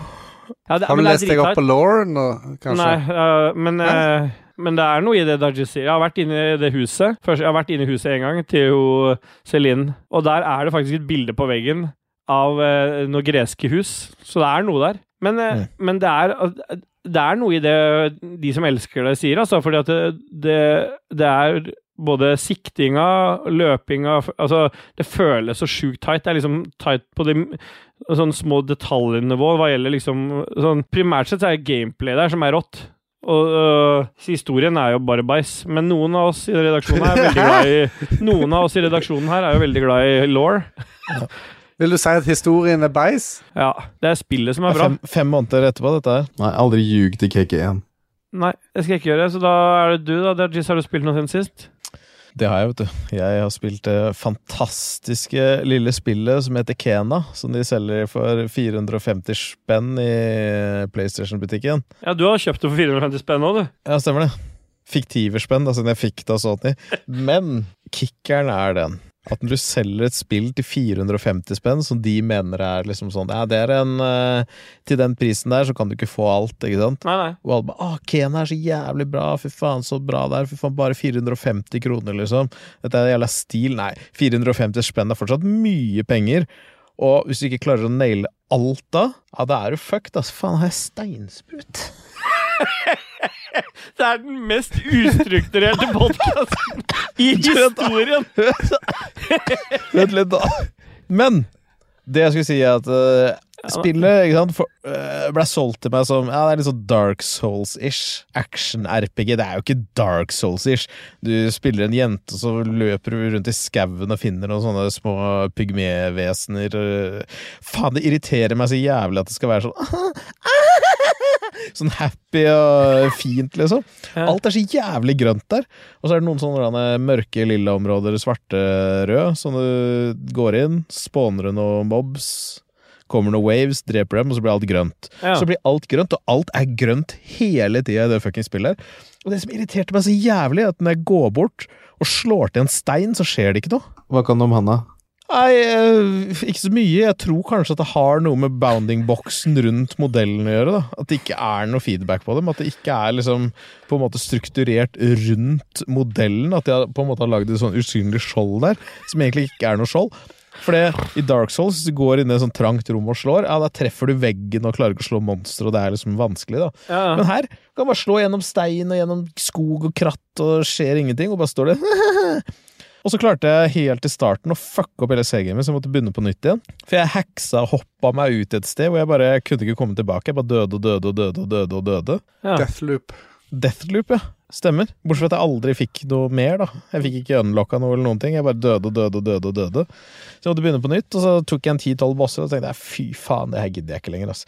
Speaker 2: ja, det,
Speaker 3: Har du
Speaker 2: men det er
Speaker 3: lest deg opp
Speaker 2: drittight.
Speaker 3: på Lauren nå, kanskje?
Speaker 2: Nei, øh, men,
Speaker 3: Hæ?
Speaker 2: øh, men det er noe i det Dajis sier. Jeg har vært inne i det huset Først, Jeg har vært inne i huset en gang, til jo Celine. Og der er det faktisk et bilde på veggen av øh, noen greske hus. Så det er noe der. Men, øh,
Speaker 1: Mm.
Speaker 2: men det er eh, det er noe i det de som elsker det, sier, altså. Fordi at det, det, det er både siktinga, løpinga f- Altså, det føles så sjukt tight. Det er liksom tight på de sånn små detaljnivå hva gjelder liksom sånn, Primært sett så er det gameplay der som er rått. Og øh, historien er jo bare bæsj. Men noen av oss i redaksjonen her er veldig glad i Noen av oss i redaksjonen her er jo veldig glad i law.
Speaker 3: Vil du si at historien er beis?
Speaker 2: Ja. Det er spillet som
Speaker 1: Det er
Speaker 2: er bra.
Speaker 1: fem, fem måneder etterpå, dette her.
Speaker 4: Nei, aldri ljug til KK igjen.
Speaker 2: Nei, det skal jeg ikke gjøre. Så da er det du, da. Dajis, har du spilt noe siden sist?
Speaker 1: Det har jeg, vet du. Jeg har spilt det fantastiske lille spillet som heter Kena, som de selger for 450 spenn i PlayStation-butikken.
Speaker 2: Ja, du har kjøpt det for 450 spenn nå, du.
Speaker 1: Ja, stemmer det. Fiktive spenn, da, siden jeg fikk det av Sony. Men kickeren er den. At når du selger et spill til 450 spenn, som de mener er liksom sånn Ja, det er en eh, Til den prisen der, så kan du ikke få alt, ikke sant?
Speaker 2: Nei, nei.
Speaker 1: Og alle bare 'Å, Kena er så jævlig bra. Fy faen, så bra det er. Fy faen, bare 450 kroner, liksom. Dette er jævla stil.' Nei, 450 spenn er fortsatt mye penger. Og hvis du ikke klarer å naile alt da, ja, da er du fucked, ass. Faen, har jeg steinsprut?
Speaker 2: Det er den mest ustrukturerte <laughs> podkasten i historien!
Speaker 1: Vent litt, da. Men det jeg skulle si, er at eh, Spillet ikke sant, for, øh, ble solgt til meg som Ja, det er litt sånn Dark Souls-ish. Action-RPG. Det er jo ikke Dark Souls-ish. Du spiller en jente, så løper du rundt i skauen og finner noen sånne små pygmevesener. øh. Faen, det irriterer meg så jævlig at det skal være sånn <laughs> Sånn happy og fint, liksom.
Speaker 2: Ja.
Speaker 1: Alt er så jævlig grønt der. Og så er det noen sånne der mørke, lilla områder, svarte, røde, som du går inn, spawner du noen mobs kommer noen waves, dreper dem, og så blir alt grønt.
Speaker 2: Ja.
Speaker 1: Så blir alt grønt, og alt er grønt hele tida i det fuckings spillet. her. Og det som irriterte meg så jævlig, er at når jeg går bort og slår til en stein, så skjer det ikke noe.
Speaker 4: Hva kan du om Hanna?
Speaker 1: Nei, eh, ikke så mye. Jeg tror kanskje at det har noe med bounding-boksen rundt modellen å gjøre. da. At det ikke er noe feedback på dem. At det ikke er liksom på en måte strukturert rundt modellen. At de har på en måte har lagd et sånn usynlig skjold der, som egentlig ikke er noe skjold. For det- i Dark Souls hvis du går inn i et sånt trangt rom og slår, ja, da treffer du veggen og klarer ikke å slå monstre, og det er liksom vanskelig, da.
Speaker 2: Ja, ja.
Speaker 1: Men her kan man bare slå gjennom stein og gjennom skog og kratt, og det skjer ingenting, og bare står det <laughs> Og så klarte jeg helt til starten å fucke opp hele C-gamet, så jeg måtte begynne på nytt igjen. For jeg hacksa og hoppa meg ut et sted hvor jeg bare kunne ikke komme tilbake. Jeg bare døde og døde og døde og døde. og døde.
Speaker 2: Ja.
Speaker 3: Deathloop.
Speaker 1: Deathloop, ja. Stemmer. Bortsett fra at jeg aldri fikk noe mer, da. Jeg fikk ikke unlocka noe eller noen ting. Jeg bare døde og døde og døde og døde. Så jeg måtte begynne på nytt, og så tok jeg en ti-tolv bosser og tenkte jeg, fy faen, det her gidder jeg ikke lenger, ass.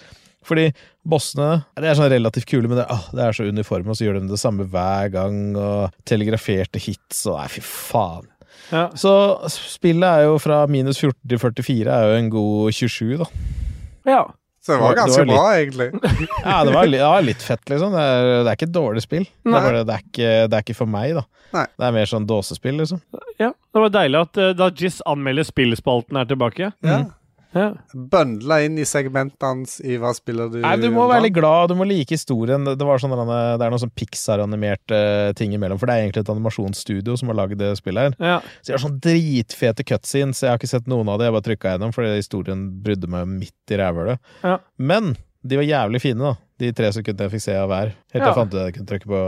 Speaker 1: Fordi bossene de er sånn relativt kule, men det, ah, det er så uniforme, og så gjør de det samme hver gang, og telegraferte hits, og nei, fy faen.
Speaker 2: Ja.
Speaker 1: Så spillet er jo fra minus 14 til 44 er jo en god 27, da.
Speaker 2: ja.
Speaker 3: Så det var
Speaker 1: Det var
Speaker 3: ganske
Speaker 1: litt-
Speaker 3: bra,
Speaker 1: <laughs>
Speaker 3: egentlig.
Speaker 1: Ja, det var, li- det var litt fett, liksom. Det er, det er ikke et dårlig spill. Det
Speaker 3: Nei.
Speaker 1: er, bare, det, er ikke, det er ikke for meg, da.
Speaker 3: Nei.
Speaker 1: Det er mer sånn dåsespill, liksom.
Speaker 2: ja. Det var deilig at eh, da Jizz anmelder spillspalten er tilbake.
Speaker 3: Ja.
Speaker 2: Ja.
Speaker 3: Bøndla inn i segmentet hans i hva spiller du
Speaker 1: Nei, du må
Speaker 3: om
Speaker 1: være
Speaker 3: dagen.
Speaker 1: litt glad, du må like historien. Det, var sånn, det er noen sånn Pixar-animerte ting imellom, for det er egentlig et animasjonsstudio som har lagd det spillet her.
Speaker 2: Ja.
Speaker 1: Så de har sånn dritfete cutscenes, jeg har ikke sett noen av det, jeg bare trykka gjennom fordi historien brydde meg midt i rævhølet.
Speaker 2: Ja.
Speaker 1: Men de var jævlig fine, da, de tre sekundene jeg fikk se av hver. Helt til
Speaker 2: Ja.
Speaker 1: jeg fant ut at jeg kunne trykke på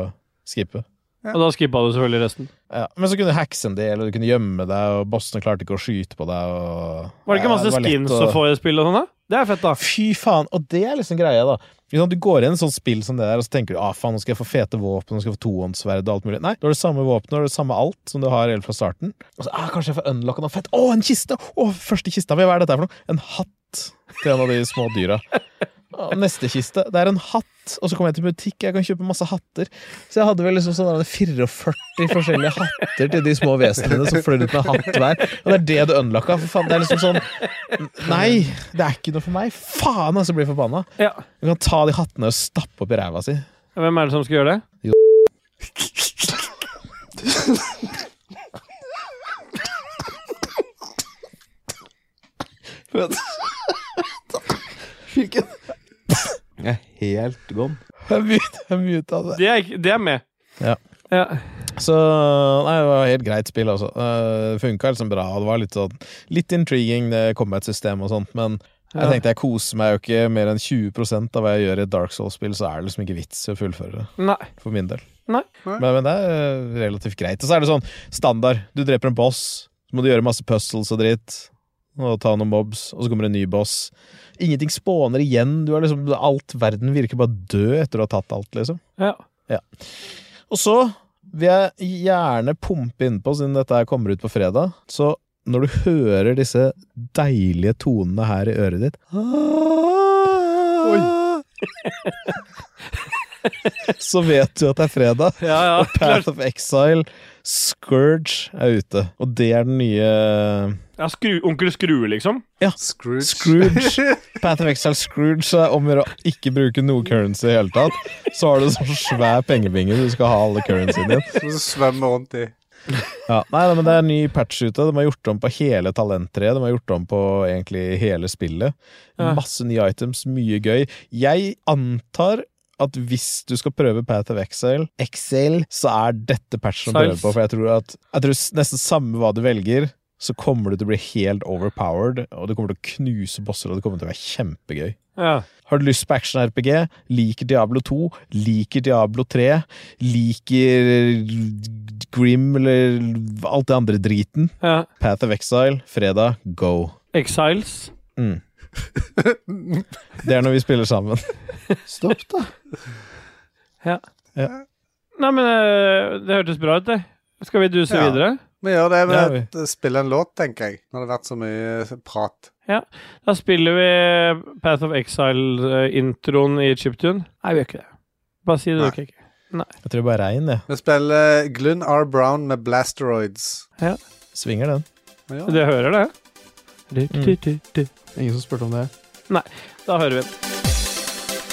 Speaker 1: skippe.
Speaker 2: Og da skippa du selvfølgelig resten.
Speaker 1: Ja, men så kunne du hacke en del, og du kunne gjemme deg, og bossene klarte ikke å skyte på deg. Og...
Speaker 2: Var det ikke
Speaker 1: Ja,
Speaker 2: masse
Speaker 1: var lett
Speaker 2: skins
Speaker 1: å-
Speaker 2: å få i spill og sånn, da? Det er fett, da.
Speaker 1: Fy faen, og det er liksom greia, da. Ikke sant, Du går inn i et sånt spill som det der, og så tenker du ah, faen, nå skal jeg få fete våpen, nå skal jeg få tohåndssverd og alt mulig. Nei, du har det samme våpenet og det samme alt som du har helt fra starten. Og så, ah, Kanskje jeg får unlocka noe fett. Å, en kiste! Å, første kista mi, hva er dette her for noe? En hatt til en av de små dyra. Og Neste kiste, det er en hatt, og så kommer jeg til butikk, jeg kan kjøpe masse hatter. Så jeg hadde vel liksom sånn der 44 forskjellige hatter til de små vesenene som fløy rundt med hatt hver. Og det er det du unlocka. For faen, det er liksom sånn Nei, det er ikke noe for meg. Faen, altså, jeg blir forbanna.
Speaker 2: Ja.
Speaker 1: Du kan ta de hattene og stappe opp i ræva si.
Speaker 2: Hvem er det som skal gjøre det?
Speaker 4: Jeg er helt gone.
Speaker 1: Jeg mute- jeg muta det.
Speaker 2: Det er, ikke- det er med.
Speaker 1: Ja.
Speaker 2: ja.
Speaker 1: Så nei, det var helt greit spill, altså. Eh, Funka liksom bra. og Det var litt sånn litt intriguing, det combat-system og sånt, men jeg
Speaker 2: Ja.
Speaker 1: tenkte jeg koser meg jo ikke mer enn 20 av hva jeg gjør i et Dark Souls-spill, så er det liksom ikke vits i å fullføre det,
Speaker 2: Nei.
Speaker 1: for min del.
Speaker 2: Nei.
Speaker 3: Nei.
Speaker 1: Men, men det er eh, relativt greit. Og så er det sånn standard. Du dreper en boss, så må du gjøre masse puzzles og dritt, og ta noen mobs, og så kommer en ny boss. Ingenting spåner igjen. Du er liksom, alt verden virker bare død etter å ha tatt alt, liksom.
Speaker 2: Ja.
Speaker 1: Og så vil jeg gjerne pumpe innpå, siden dette her kommer ut på fredag. Så når du hører disse deilige tonene her i øret ditt Så vet du at det er fredag.
Speaker 2: Ja, ja. Klart.
Speaker 1: Path of Exile, Scourge er ute. Og det er den nye
Speaker 2: ja skru, onkel Skrue, liksom?
Speaker 3: Scrooge.
Speaker 1: Scrooge. Path of Exile Scrooge så er om å gjøre å ikke bruke noe currency i det hele tatt. Så har du sånn svær pengebinge du skal ha alle currencyene din.
Speaker 3: Som du svømmer rundt i.
Speaker 1: Ja, nei, nei, men Det er en ny patch ute. De har gjort om på hele talenttreet. De har gjort om på egentlig hele spillet.
Speaker 2: Ja.
Speaker 1: Masse nye items, mye gøy. Jeg antar at hvis du skal prøve Path of Exile, Exile så er dette patchen å prøve
Speaker 2: Siles.
Speaker 1: på. For jeg tror at jeg tror s- nesten samme hva du velger, så kommer du til å bli helt overpowered, og du kommer til å knuse bosser, og det kommer til å være kjempegøy.
Speaker 2: Ja.
Speaker 1: Har du lyst på action-RPG? Liker Diablo 2? Liker Diablo 3? Liker eh, Grim eller alt det andre driten?
Speaker 2: ja.
Speaker 1: Path of Exile, fredag, go.
Speaker 2: Exiles.
Speaker 1: Mm. Det er når vi spiller sammen.
Speaker 4: Stopp, da.
Speaker 2: Nei, men eh, det hørtes bra ut, det. Skal vi duse
Speaker 3: Ja.
Speaker 2: videre?
Speaker 3: Vi gjør det
Speaker 1: Ja,
Speaker 3: med
Speaker 1: vi-
Speaker 3: å spille en låt, tenker jeg. Når det har vært så mye eh, prat.
Speaker 2: Da spiller vi Path of Exile-introen i Chiptune. Nei, vi gjør ikke det. Bare si det,
Speaker 3: Nei.
Speaker 2: du ikke.
Speaker 1: <laughs> Jeg tror det bare er regn, jeg.
Speaker 3: Vi spiller Glynn R. Brown med Blasteroids.
Speaker 1: Svinger den.
Speaker 3: Vi gjør det.
Speaker 2: Du hører det? Du, du, du, du.
Speaker 1: Ingen som spurte om det.
Speaker 2: Da hører vi den.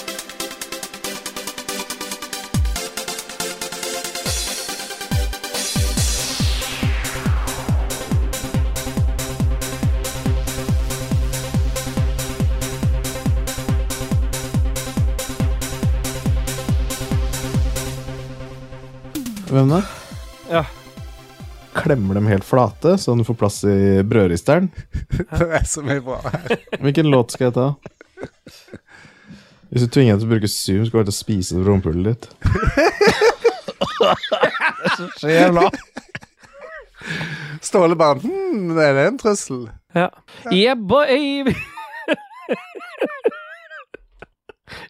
Speaker 1: Hvem da?
Speaker 2: Ja.
Speaker 1: Klemmer dem helt flate, så den får plass i brødristeren.
Speaker 3: <laughs> Det er så mye bra.
Speaker 1: Hvilken låt skal jeg ta? Hvis du tvinger deg til å bruke Zoom, skal du bare til å spise rumpehullet ditt.
Speaker 3: Så jævla <laughs> Ståle bare Hm, er det en trussel?
Speaker 2: Ja. Yeah, boy!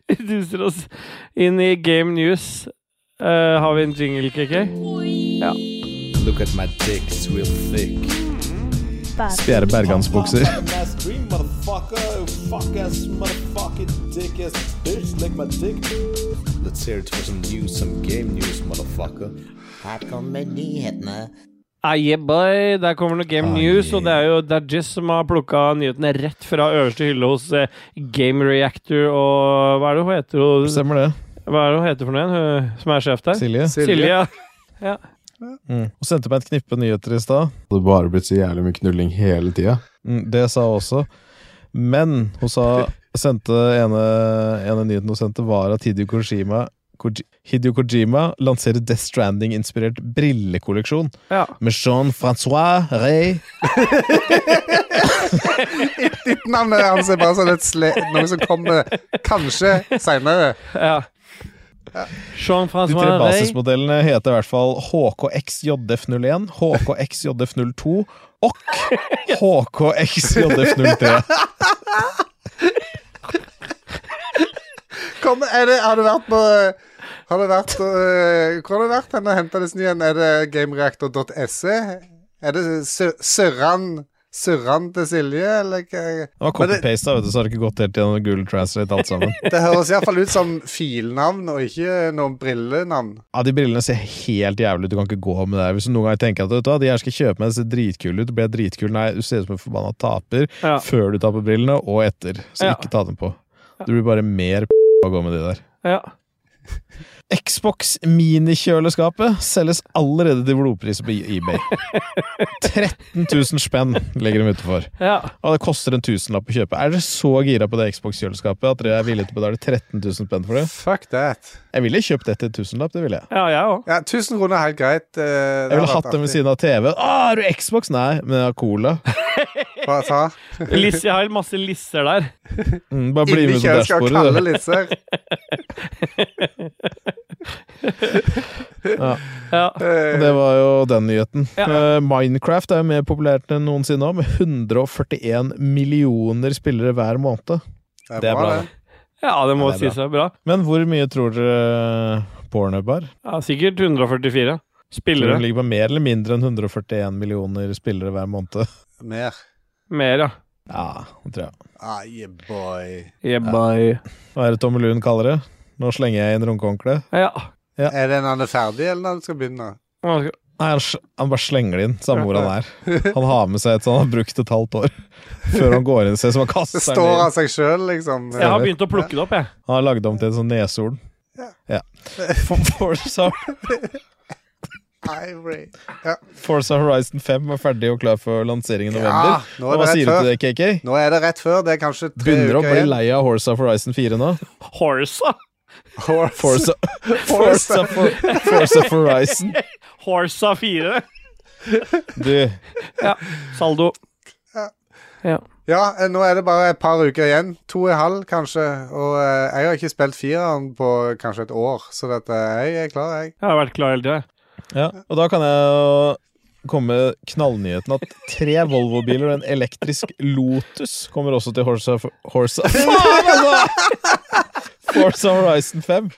Speaker 2: Vi duser oss inn i Game News. Eh, har vi en jingle, KK?
Speaker 6: Look at my dick, it's real thick.
Speaker 1: Spjære bergansbukser.
Speaker 6: Last cream, motherfucker. Fuck ass, motherfucking dick ass bitch, lick my dick. Let's hear it for some news, some game news, motherfucker.
Speaker 7: Her kommer nyhetene.
Speaker 2: Ah, yeah, boy. Der kommer noe Game
Speaker 1: Ah,
Speaker 2: News,
Speaker 1: yeah.
Speaker 2: og det er jo Dajis som har plukka nyhetene rett fra øverste hylle hos eh, Game Reactor og Hva er det hun heter? Hun,
Speaker 1: Stemmer det,
Speaker 2: hva er det hun heter for noe igjen, hun som er sjef der?
Speaker 1: Silje?
Speaker 2: Silje. ja.
Speaker 1: Mm. Og sendte meg et knippe nyheter i stad. Det hadde bare blitt så jævlig mye knulling hele tida. Mm, det sa hun også. Men hun sa sendte ene, ene nyheten hun sendte, var at Hidio Kojima, Koji, Hideo Kojima lanserer Death Stranding-inspirert brillekolleksjon
Speaker 2: Ja.
Speaker 1: med Jean-Francois Rey.
Speaker 3: Ditt navn er hans er bare sånn et sle... Noe som kommer kanskje seinere.
Speaker 2: ja.
Speaker 1: De
Speaker 2: Jean-François
Speaker 1: tre
Speaker 2: Rey.
Speaker 1: basismodellene heter i hvert fall HKXJF01, HKXJF02
Speaker 2: <laughs>
Speaker 1: og HKXJF03.
Speaker 3: Kom, er det, har du vært på Har du vært øh, Hvor har du vært hen og henta disse nye? Er det gamereactor.se? Er det Sur- Surran Surran til Silje, eller
Speaker 1: Det
Speaker 3: hva?
Speaker 1: var
Speaker 3: Men det-
Speaker 1: copy-pasta, vet du, så har det ikke gått helt gjennom Google Translate alt sammen.
Speaker 3: Det høres iallfall ut som filnavn, og ikke noen brillenavn.
Speaker 1: Ja, De brillene ser helt jævlig ut. Du kan ikke gå med det. her. Hvis du noen ganger tenker at vet du, hva, de her skal jeg kjøpe meg, det ser dritkule ut, blir jeg dritkul. Nei, du ser ut som en forbanna taper
Speaker 2: Ja.
Speaker 1: før du tar på brillene, og etter. Så
Speaker 2: Ja.
Speaker 1: ikke ta dem på. Du blir bare mer p*** av å gå med de der.
Speaker 2: Ja.
Speaker 1: Xbox minikjøleskapet selges allerede til blodpris på eBay. 13 000 spenn legger de ute for.
Speaker 2: ja.
Speaker 1: Og det koster en tusenlapp å kjøpe. Er dere så gira på det Xbox-kjøleskapet at dere er villige til å betale 13 000 spenn for det?
Speaker 3: Fuck that.
Speaker 1: Jeg ville kjøpt det til en tusenlapp, det ville jeg.
Speaker 2: Ja, jeg òg.
Speaker 3: Ja, 1000 kroner er helt greit. eh, det
Speaker 1: Jeg ville
Speaker 3: har vært
Speaker 1: hatt den ved
Speaker 3: artig.
Speaker 1: siden av TV. Å, har du Xbox? Nei, men jeg har Cola.
Speaker 3: Bare ta.
Speaker 2: Jeg har masse lisser der.
Speaker 1: Mm, bare bli
Speaker 3: Inni
Speaker 1: med på
Speaker 3: kjøleskapet, kalde
Speaker 1: dashbordet, du. <laughs>
Speaker 3: lisser.
Speaker 2: Ja.
Speaker 1: Og
Speaker 3: Eh,
Speaker 1: Det var jo den nyheten.
Speaker 2: Ja.
Speaker 1: Eh, Minecraft er jo mer populært enn noensinne nå, med 141 millioner spillere hver måned. Det er bra, det.
Speaker 2: ja, det må
Speaker 1: Ja, det er
Speaker 2: si seg bra.
Speaker 1: Men hvor mye tror dere eh, Pornhub er?
Speaker 2: Ja, sikkert 144
Speaker 1: Tror dere
Speaker 2: spillere.
Speaker 1: den ligger på mer eller mindre enn 141 millioner spillere hver måned?
Speaker 3: Mer.
Speaker 2: Mer, ja.
Speaker 1: Ja, det tror jeg.
Speaker 3: Ah, yeah, boy.
Speaker 2: Yeah, bye.
Speaker 1: Hva er det Tommy Lund kaller det? Nå slenger jeg inn runkehåndkleet.
Speaker 2: Ja.
Speaker 3: Er det når han er ferdig, eller når han skal begynne?
Speaker 2: Hva skal-
Speaker 1: Nei, han, sl- han bare slenger det inn, samme hvor han er. Han har med seg et sånt han har brukt et halvt år. <laughs> Før han går inn og ser som han kaster
Speaker 3: Det
Speaker 1: den inn.
Speaker 3: står av seg sjøl, liksom.
Speaker 2: Jeg har begynt å plukke det opp, jeg.
Speaker 1: Han har lagd om til en sånn neshorn.
Speaker 3: Ja.
Speaker 1: Ja. Forza,
Speaker 3: Ivory. Ja.
Speaker 1: Forza Horizon 5 var ferdig og klar for lansering i
Speaker 3: Ja,
Speaker 1: november.
Speaker 3: nå
Speaker 1: Og
Speaker 3: er
Speaker 1: Hva
Speaker 3: det
Speaker 1: sier
Speaker 3: rett
Speaker 1: du
Speaker 3: før.
Speaker 1: til det, KK?
Speaker 3: Nå er det rett før. Det er kanskje tre
Speaker 1: Begynner å
Speaker 3: uker
Speaker 1: bli
Speaker 3: igjen.
Speaker 1: lei av Horsa Horizon 4 nå.
Speaker 2: Horsa!
Speaker 1: Forza, Forza, for, Forza Horizon.
Speaker 2: Horsa 4.
Speaker 1: Du,
Speaker 2: Saldo.
Speaker 3: Ja, eh, nå er det bare et par uker igjen. To og en halv, kanskje. Og eh, jeg har ikke spilt fireren på kanskje et år, så dette, jeg er klar, jeg.
Speaker 2: Jeg har vært klar hele tida.
Speaker 1: ja. Og da kan jeg jo komme med knallnyheten at tre Volvo-biler og en elektrisk Lotus kommer også til Horsa Horsa Faen, altså! Forza Horizon 5.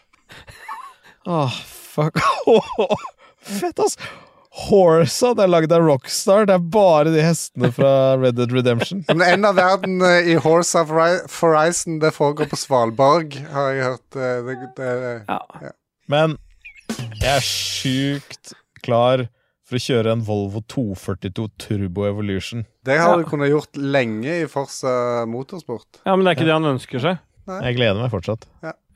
Speaker 1: Ah, fuck. <laughs> Fett, ass. Horsa, det er lagd av Rockstar. Det er bare de hestene fra Red Dead Redemption.
Speaker 3: Men en av verden eh, i Horse of Ri- Horizon, det foregår på Svalbard, har jeg hørt. eh, Det, det,
Speaker 2: Ja.
Speaker 1: Men jeg er sjukt klar for å kjøre en Volvo 242 Turbo Evolution.
Speaker 3: det har
Speaker 2: Ja.
Speaker 3: du kunnet gjort lenge i Forsa Motorsport.
Speaker 2: ja, men det er ikke det han ønsker seg.
Speaker 1: Jeg gleder meg fortsatt.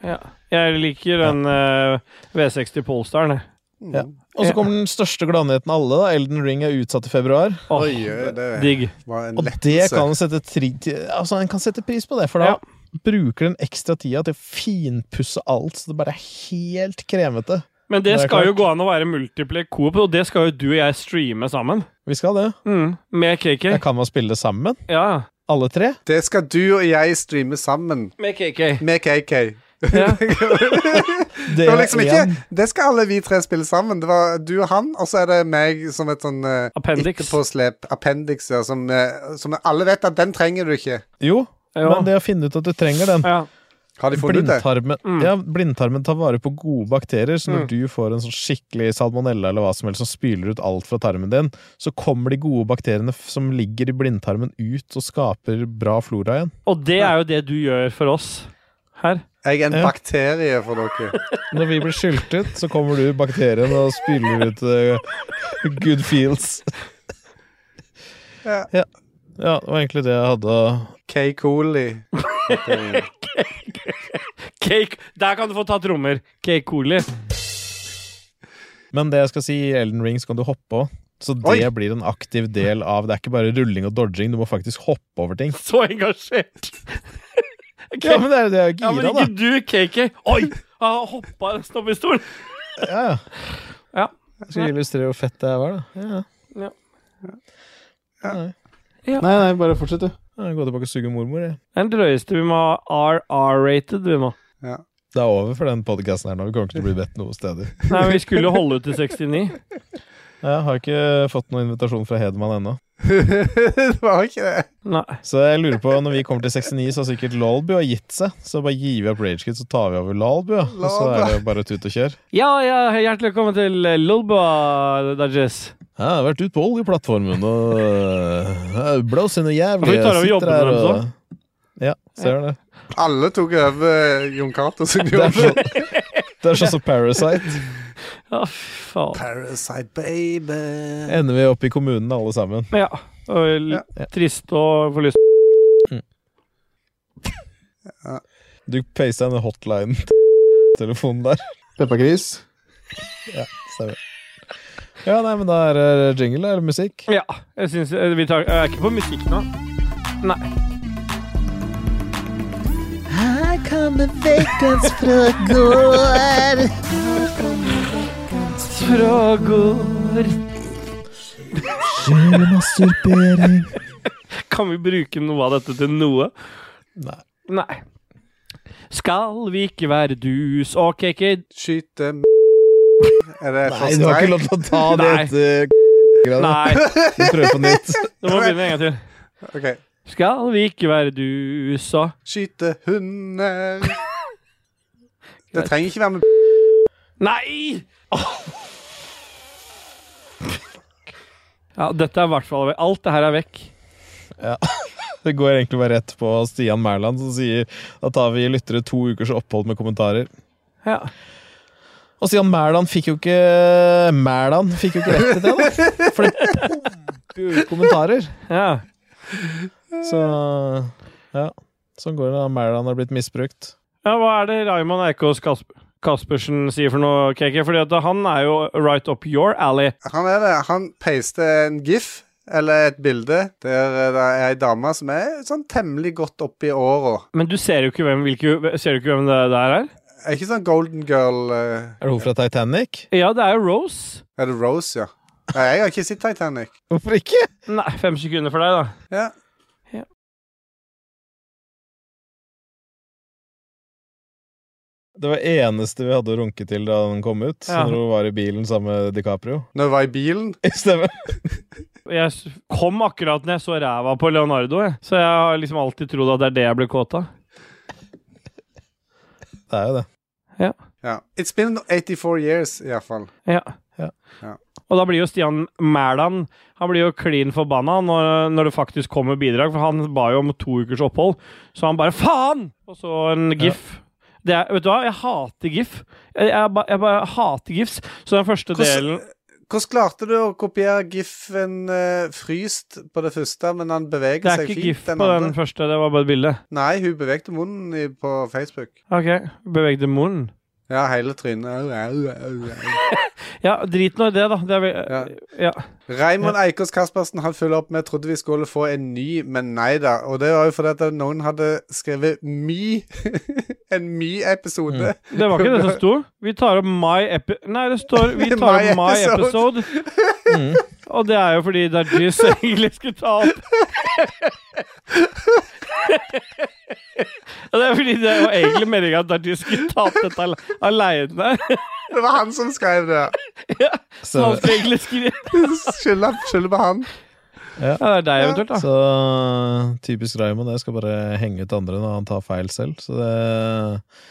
Speaker 2: Ja. Jeg liker den eh, V60 Polestaren. jeg.
Speaker 1: Ja. Og så kommer den største gladnyheten av alle. da Elden Ring er utsatt til februar.
Speaker 2: Åh,
Speaker 3: Oi, oi, det
Speaker 2: digg.
Speaker 3: var en
Speaker 1: Og det
Speaker 3: lettelse.
Speaker 1: kan en sette, tri altså, en kan sette pris på, det. For da
Speaker 2: Ja.
Speaker 1: bruker den ekstra tida til å finpusse alt, så det bare er helt kremete.
Speaker 2: Men det,
Speaker 1: Det er
Speaker 2: skal jo
Speaker 1: klart.
Speaker 2: gå an å være multiple coop, og det skal jo du og jeg streame sammen.
Speaker 1: Vi skal det.
Speaker 2: Mm, med KK.
Speaker 1: Jeg kan man spille sammen?
Speaker 2: Ja,
Speaker 1: Alle tre?
Speaker 3: Det skal du og jeg streame sammen
Speaker 2: med KK.
Speaker 3: med KK.
Speaker 2: <laughs> Ja.
Speaker 3: Det var liksom ikke
Speaker 1: igjen.
Speaker 3: Det skal alle vi tre spille sammen. Det var du og han, og så er det meg som et sånn eh,
Speaker 2: Appendix.
Speaker 3: etterpåslep. Appendix, ja. Som, eh, som alle vet at den trenger du ikke.
Speaker 1: Jo,
Speaker 2: Jo.
Speaker 1: men det å finne ut at du trenger den
Speaker 2: ja.
Speaker 3: Har de funnet ut det?
Speaker 1: Blindtarmen,
Speaker 2: Mm.
Speaker 1: ja, blindtarmen tar vare på gode bakterier, så når du får en sånn skikkelig salmonella eller hva som helst som spyler ut alt fra tarmen din, så kommer de gode bakteriene f- som ligger i blindtarmen ut og skaper bra flora igjen.
Speaker 2: Og det er jo det du gjør for oss her.
Speaker 3: Jeg er en
Speaker 1: Ja.
Speaker 3: bakterie for dere.
Speaker 1: Når vi blir skyltet, så kommer du bakteriene og spyler ut eh, good feels.
Speaker 3: Ja.
Speaker 1: Ja. ja, det var egentlig det jeg hadde.
Speaker 3: K.
Speaker 1: <laughs>
Speaker 3: Cooley.
Speaker 2: Cake. Der kan du få ta trommer. Cake Coli.
Speaker 1: Men det jeg skal si, i Elden Ring skal du hoppe òg. Så det
Speaker 3: Oi.
Speaker 1: blir en aktiv del av Det er ikke bare rulling og dodging, du må faktisk hoppe over ting.
Speaker 2: <laughs> Så engasjert. Ok.
Speaker 1: <laughs> Ja, men det er det jeg er
Speaker 2: Ja, men
Speaker 1: gira,
Speaker 2: ikke du, KK. Oi! Han har hoppa nesten opp i stolen.
Speaker 1: da. Ja, ja.
Speaker 2: Ja.
Speaker 1: Jeg skal illustrere hvor fett det her var, da. Ja.
Speaker 4: Nei, nei, bare fortsett, du.
Speaker 1: Ja, Jeg går tilbake og suger mormor, jeg.
Speaker 2: Den drøyeste vi må ha RR-rated, vi må.
Speaker 1: Det er over for den podkasten her nå. Vi kommer ikke til å bli bedt noe steder.
Speaker 2: Nei, men vi skulle holde ut til 69.
Speaker 1: Jeg har ikke fått noen invitasjon fra Hedman ennå.
Speaker 3: det var ikke det.
Speaker 2: Nei.
Speaker 1: Så jeg lurer på, når vi kommer til 69, så har sikkert Lolbu har gitt seg. Så bare gir vi opp Ragekids, så tar vi over Lolbu, ja. og så er det bare tut og kjør.
Speaker 2: Ja, ja, hjertelig velkommen til eh, Lolba, Dajess.
Speaker 1: Ja, jeg har vært ute på oljeplattformen og øh, blåser noe
Speaker 2: Ja,
Speaker 1: jævlig.
Speaker 2: for vi tar over
Speaker 1: Jeg
Speaker 2: jobben
Speaker 1: sitter her
Speaker 2: deres
Speaker 1: og- Ja, ser du det.
Speaker 3: Alle tok over eh, Jon Cato
Speaker 1: <laughs>
Speaker 3: som
Speaker 1: Det er
Speaker 3: gjorde
Speaker 1: så- det er sånn som Parasite.
Speaker 2: Ja, fy faen.
Speaker 3: Parasite Baby.
Speaker 1: Ender vi opp i kommunen alle sammen.
Speaker 2: Ja. Og l-
Speaker 1: Ja.
Speaker 2: Trist og for lyst.
Speaker 1: Du pasta den hotlinen telefonen der.
Speaker 4: Peppergris.
Speaker 1: Stemmer. Ja, nei, men da er det jingle eller musikk.
Speaker 2: Ja. Jeg syns eh, Vi tar Jeg er ikke på musikk nå. Nei.
Speaker 7: Her kommer Vekas frågor.
Speaker 2: Frågor
Speaker 4: Masturbering.
Speaker 2: Kan vi bruke noe av dette til noe?
Speaker 1: Nei.
Speaker 2: Nei. Skal vi ikke være dus og KK
Speaker 3: Skyte m... Er det
Speaker 1: Nei, du
Speaker 3: for
Speaker 1: har ikke
Speaker 3: streik?
Speaker 1: lov til å ta det
Speaker 2: Nei.
Speaker 1: etter <laughs>
Speaker 2: Nei,
Speaker 1: Vi prøver på nytt.
Speaker 2: du må begynne en gang til.
Speaker 3: Ok.
Speaker 2: Skal vi ikke være dus og
Speaker 3: Skyte
Speaker 2: <laughs>
Speaker 3: hunder. Det trenger ikke være med
Speaker 2: Nei! Ja, dette er i hvert fall Alt det her er vekk.
Speaker 1: Det går egentlig bare rett på Stian Mæland som sier da tar vi lyttere to ukers opphold med kommentarer.
Speaker 2: Ja.
Speaker 1: Og Stian Mæland fikk jo ikke Mæland fikk jo ikke rett til det, da. For det pumper jo ut kommentarer.
Speaker 2: ja.
Speaker 1: Så ja. Sånn går det da Mæland har blitt misbrukt.
Speaker 2: Ja, hva er det Raymond Eikås Kasp Kaspersen sier for noe, KK? Fordi at han er jo right up your alley.
Speaker 3: Han er det. Han paste en gif, eller et bilde, der eh, det er ei dame som er sånn temmelig godt oppi åra.
Speaker 2: Men du ser jo ikke hvem, hvilke, ser du ikke hvem det der er?
Speaker 3: Er ikke sånn Golden Girl eh,
Speaker 1: Er det hun fra Titanic?
Speaker 2: Ja, det er jo Rose.
Speaker 3: Er det Rose, ja? Nei, jeg har ikke sett Titanic.
Speaker 1: Hvorfor ikke?
Speaker 2: Nei, fem sekunder for deg, da.
Speaker 3: Ja.
Speaker 1: Det var eneste vi hadde å runke til da den kom ut.
Speaker 2: Ja.
Speaker 1: Når hun var i bilen sammen med DiCaprio. <laughs>
Speaker 3: Når jeg var i bilen.
Speaker 1: Stemmer.
Speaker 2: Jeg s- kom akkurat når jeg så ræva på Leonardo, jeg. så jeg har liksom alltid trodd at det er det jeg ble kåt av.
Speaker 1: Det er jo det.
Speaker 3: Ja. It's been 84 years, iallfall.
Speaker 2: Ja.
Speaker 1: Ja.
Speaker 3: Ja.
Speaker 2: Og da blir jo Stian Mæland Han blir jo klin forbanna når, når det faktisk kommer bidrag, for han ba jo om to ukers opphold. Så han bare faen! Og så en gif. Det er, vet du hva, jeg hater gif. Jeg, jeg, ba- jeg bare hater gifs. Så den første
Speaker 3: Hvordan,
Speaker 2: delen
Speaker 3: hvordan klarte du å kopiere gif-en eh, fryst på det første, men han beveger
Speaker 2: Det er
Speaker 3: seg
Speaker 2: ikke
Speaker 3: fint?
Speaker 2: gif på
Speaker 3: andre?
Speaker 2: den første, det var bare et bilde.
Speaker 3: Nei, hun bevegde munnen i, på Facebook.
Speaker 2: Ok, Bevegde munnen.
Speaker 3: Ja, hele trynet. Au, au, au, au.
Speaker 2: Ja, drit nå i det, da. Det er vel,
Speaker 3: Ja.
Speaker 2: ja.
Speaker 3: Raymond Eikås Kaspersen han følger opp med 'trodde vi skulle få en ny, men nei da'. Og det var jo fordi at noen hadde skrevet Me. <laughs> en Me-episode.
Speaker 2: Det var ikke det som sto. Vi tar opp my epi... Nei, det står vi tar
Speaker 3: My
Speaker 2: opp <laughs> my
Speaker 3: episode.
Speaker 2: episode. <laughs> Og det er jo fordi Dajis egentlig skulle ta opp Og Det er fordi det var egentlig meninga at Dajis skulle ta opp dette al- aleine.
Speaker 3: Det var han som skrev det.
Speaker 2: Så
Speaker 1: Så,
Speaker 2: han skulle egentlig skrive
Speaker 3: Skylder skylder på han.
Speaker 2: Ja, det er deg eventuelt, da.
Speaker 1: så typisk Raymond, jeg skal bare henge ut andre når han tar feil selv. Så det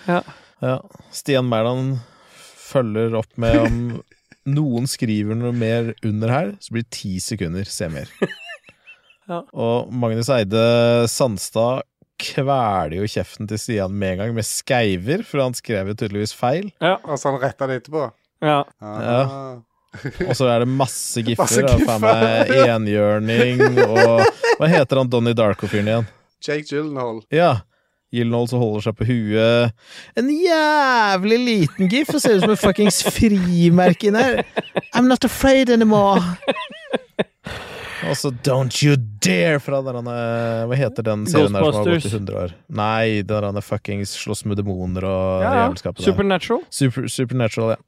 Speaker 2: Ja.
Speaker 1: Ja. Stian Mæland følger opp med om noen skriver noe mer under her, så blir det ti sekunder, se mer.
Speaker 3: <laughs>
Speaker 2: Ja.
Speaker 1: Og Magnus Eide Sandstad kveler jo kjeften til Stian med en gang med skeiver, for han skrev jo tydeligvis feil.
Speaker 3: Og så han retta det etterpå.
Speaker 2: ja.
Speaker 3: Ah.
Speaker 1: Og så er det masse
Speaker 3: Masse
Speaker 1: giffer. Og faen meg
Speaker 3: giffer,
Speaker 1: enhjørning og Hva heter han Donnie Darko-fyren igjen?
Speaker 3: Jake Gyllenhaal.
Speaker 1: Ja. Gyllenhaal som holder seg på huet.
Speaker 7: En jævlig liten gif, og ser ut som et fuckings frimerke inni her. I'm not afraid anymore.
Speaker 1: Og så Altså, Don't You Dare fra der han er Hva heter den serien der som har gått i
Speaker 2: Ghostbusters.
Speaker 1: 100 år? Nei, der han er fuckings slåss med demoner og
Speaker 2: ja, ja.
Speaker 1: jævelskapet der.
Speaker 2: Supernatural.
Speaker 1: Super, supernatural, ja.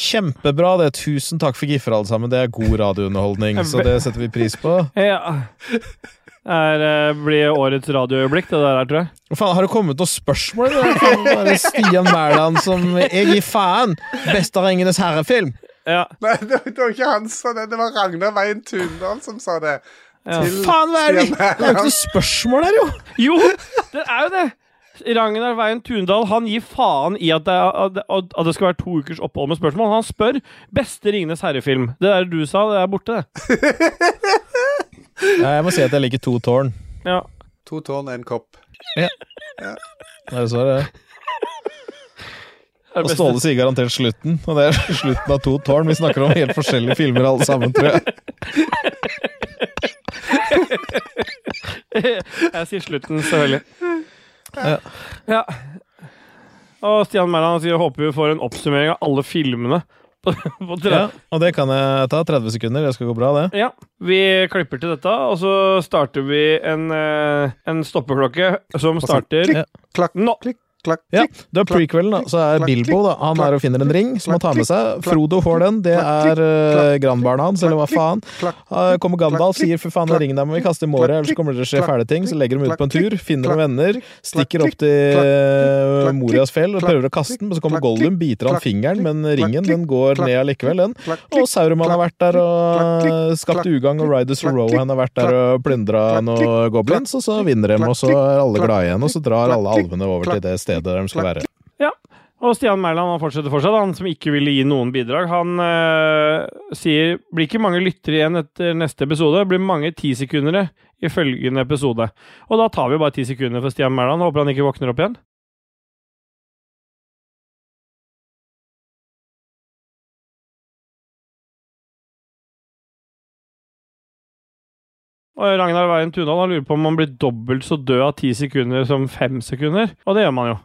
Speaker 1: Kjempebra, det. Tusen takk for giffer, alle sammen. Det er god
Speaker 2: <laughs>
Speaker 1: radiounderholdning, så det setter vi pris på.
Speaker 2: Ja. Det eh, blir årets radioøyeblikk, det der, her, tror jeg.
Speaker 1: Hva Faen, har det kommet noen spørsmål? eller? Det er bare Stian Mæland som Jeg gir faen! Beste av Ringenes herre-film!
Speaker 2: Ja.
Speaker 3: Nei, det var- det var ikke han som sa det. Det var Ragnar Veien Tundal som sa det.
Speaker 2: Ja.
Speaker 3: Til
Speaker 1: Faen, hva er det?
Speaker 3: Stian
Speaker 1: Det er jo ikke
Speaker 3: Mæland.
Speaker 1: noe spørsmål her, jo!
Speaker 2: Jo, det er jo det! Ragnar Veien Tundal han gir faen i at det, er, at at det skal være to ukers opphold med spørsmål. Han spør 'Beste Ringenes herre-film'. Det der du sa, det er borte, det.
Speaker 1: Ja, jeg må si at jeg liker To tårn.
Speaker 2: Ja.
Speaker 3: To tårn, en kopp.
Speaker 1: Det er så det er.
Speaker 2: Det er
Speaker 1: Og
Speaker 2: det
Speaker 1: Ståle
Speaker 2: beste.
Speaker 1: sier garantert slutten, og det er <laughs> slutten av To tårn. Vi snakker om helt forskjellige filmer alle sammen, tror jeg.
Speaker 2: Jeg sier slutten, selvfølgelig.
Speaker 1: Ja.
Speaker 2: Ja. Og Stian Mæland sier 'håper vi får en oppsummering av alle filmene'. På, på tre.
Speaker 1: Ja, og det kan jeg ta. 30 sekunder, det skal gå bra, det.
Speaker 2: Ja, vi klipper til dette, og så starter vi en, eh, en stoppeklokke som
Speaker 3: så
Speaker 2: starter
Speaker 3: klikk, klakk,
Speaker 2: nå.
Speaker 3: Klikk, klakk,
Speaker 1: Ja,
Speaker 3: klikk.
Speaker 1: det er prequelen, da. Så er Bilbo, da. Han er og finner en ring som han tar med seg. Frodo får den. Det er uh, grandbarnet hans, eller hva faen.
Speaker 3: Klakk,
Speaker 1: Uh, kommer Gandalf, sier 'fy faen, den ringen der må vi kaste i måret', ellers kommer det til å skje fæle ting. Så legger de ut på en tur, finner noen venner, stikker opp til uh, Morias fjell og prøver å kaste den, men så kommer Gollum, biter han fingeren, men ringen den går ned allikevel, den. Og Sauruman har vært der og skapt ugagn, og Riders of Rohan har vært der og plyndra noen goblins, og så vinner de, og så er alle glade igjen, og så drar alle alvene over til det stedet de skal være. <laughs>
Speaker 2: Og Stian Mæland han fortsetter fortsatt, han som ikke ville gi noen bidrag. Han eh, sier blir ikke mange lyttere igjen etter neste episode, blir mange tisekundere i følgende episode. Og da tar vi bare ti sekunder for Stian Mæland, håper han ikke våkner opp igjen. Og Ragnar Veien Tundal han lurer på om man blir dobbelt så død av ti sekunder som fem sekunder. Og det gjør man jo.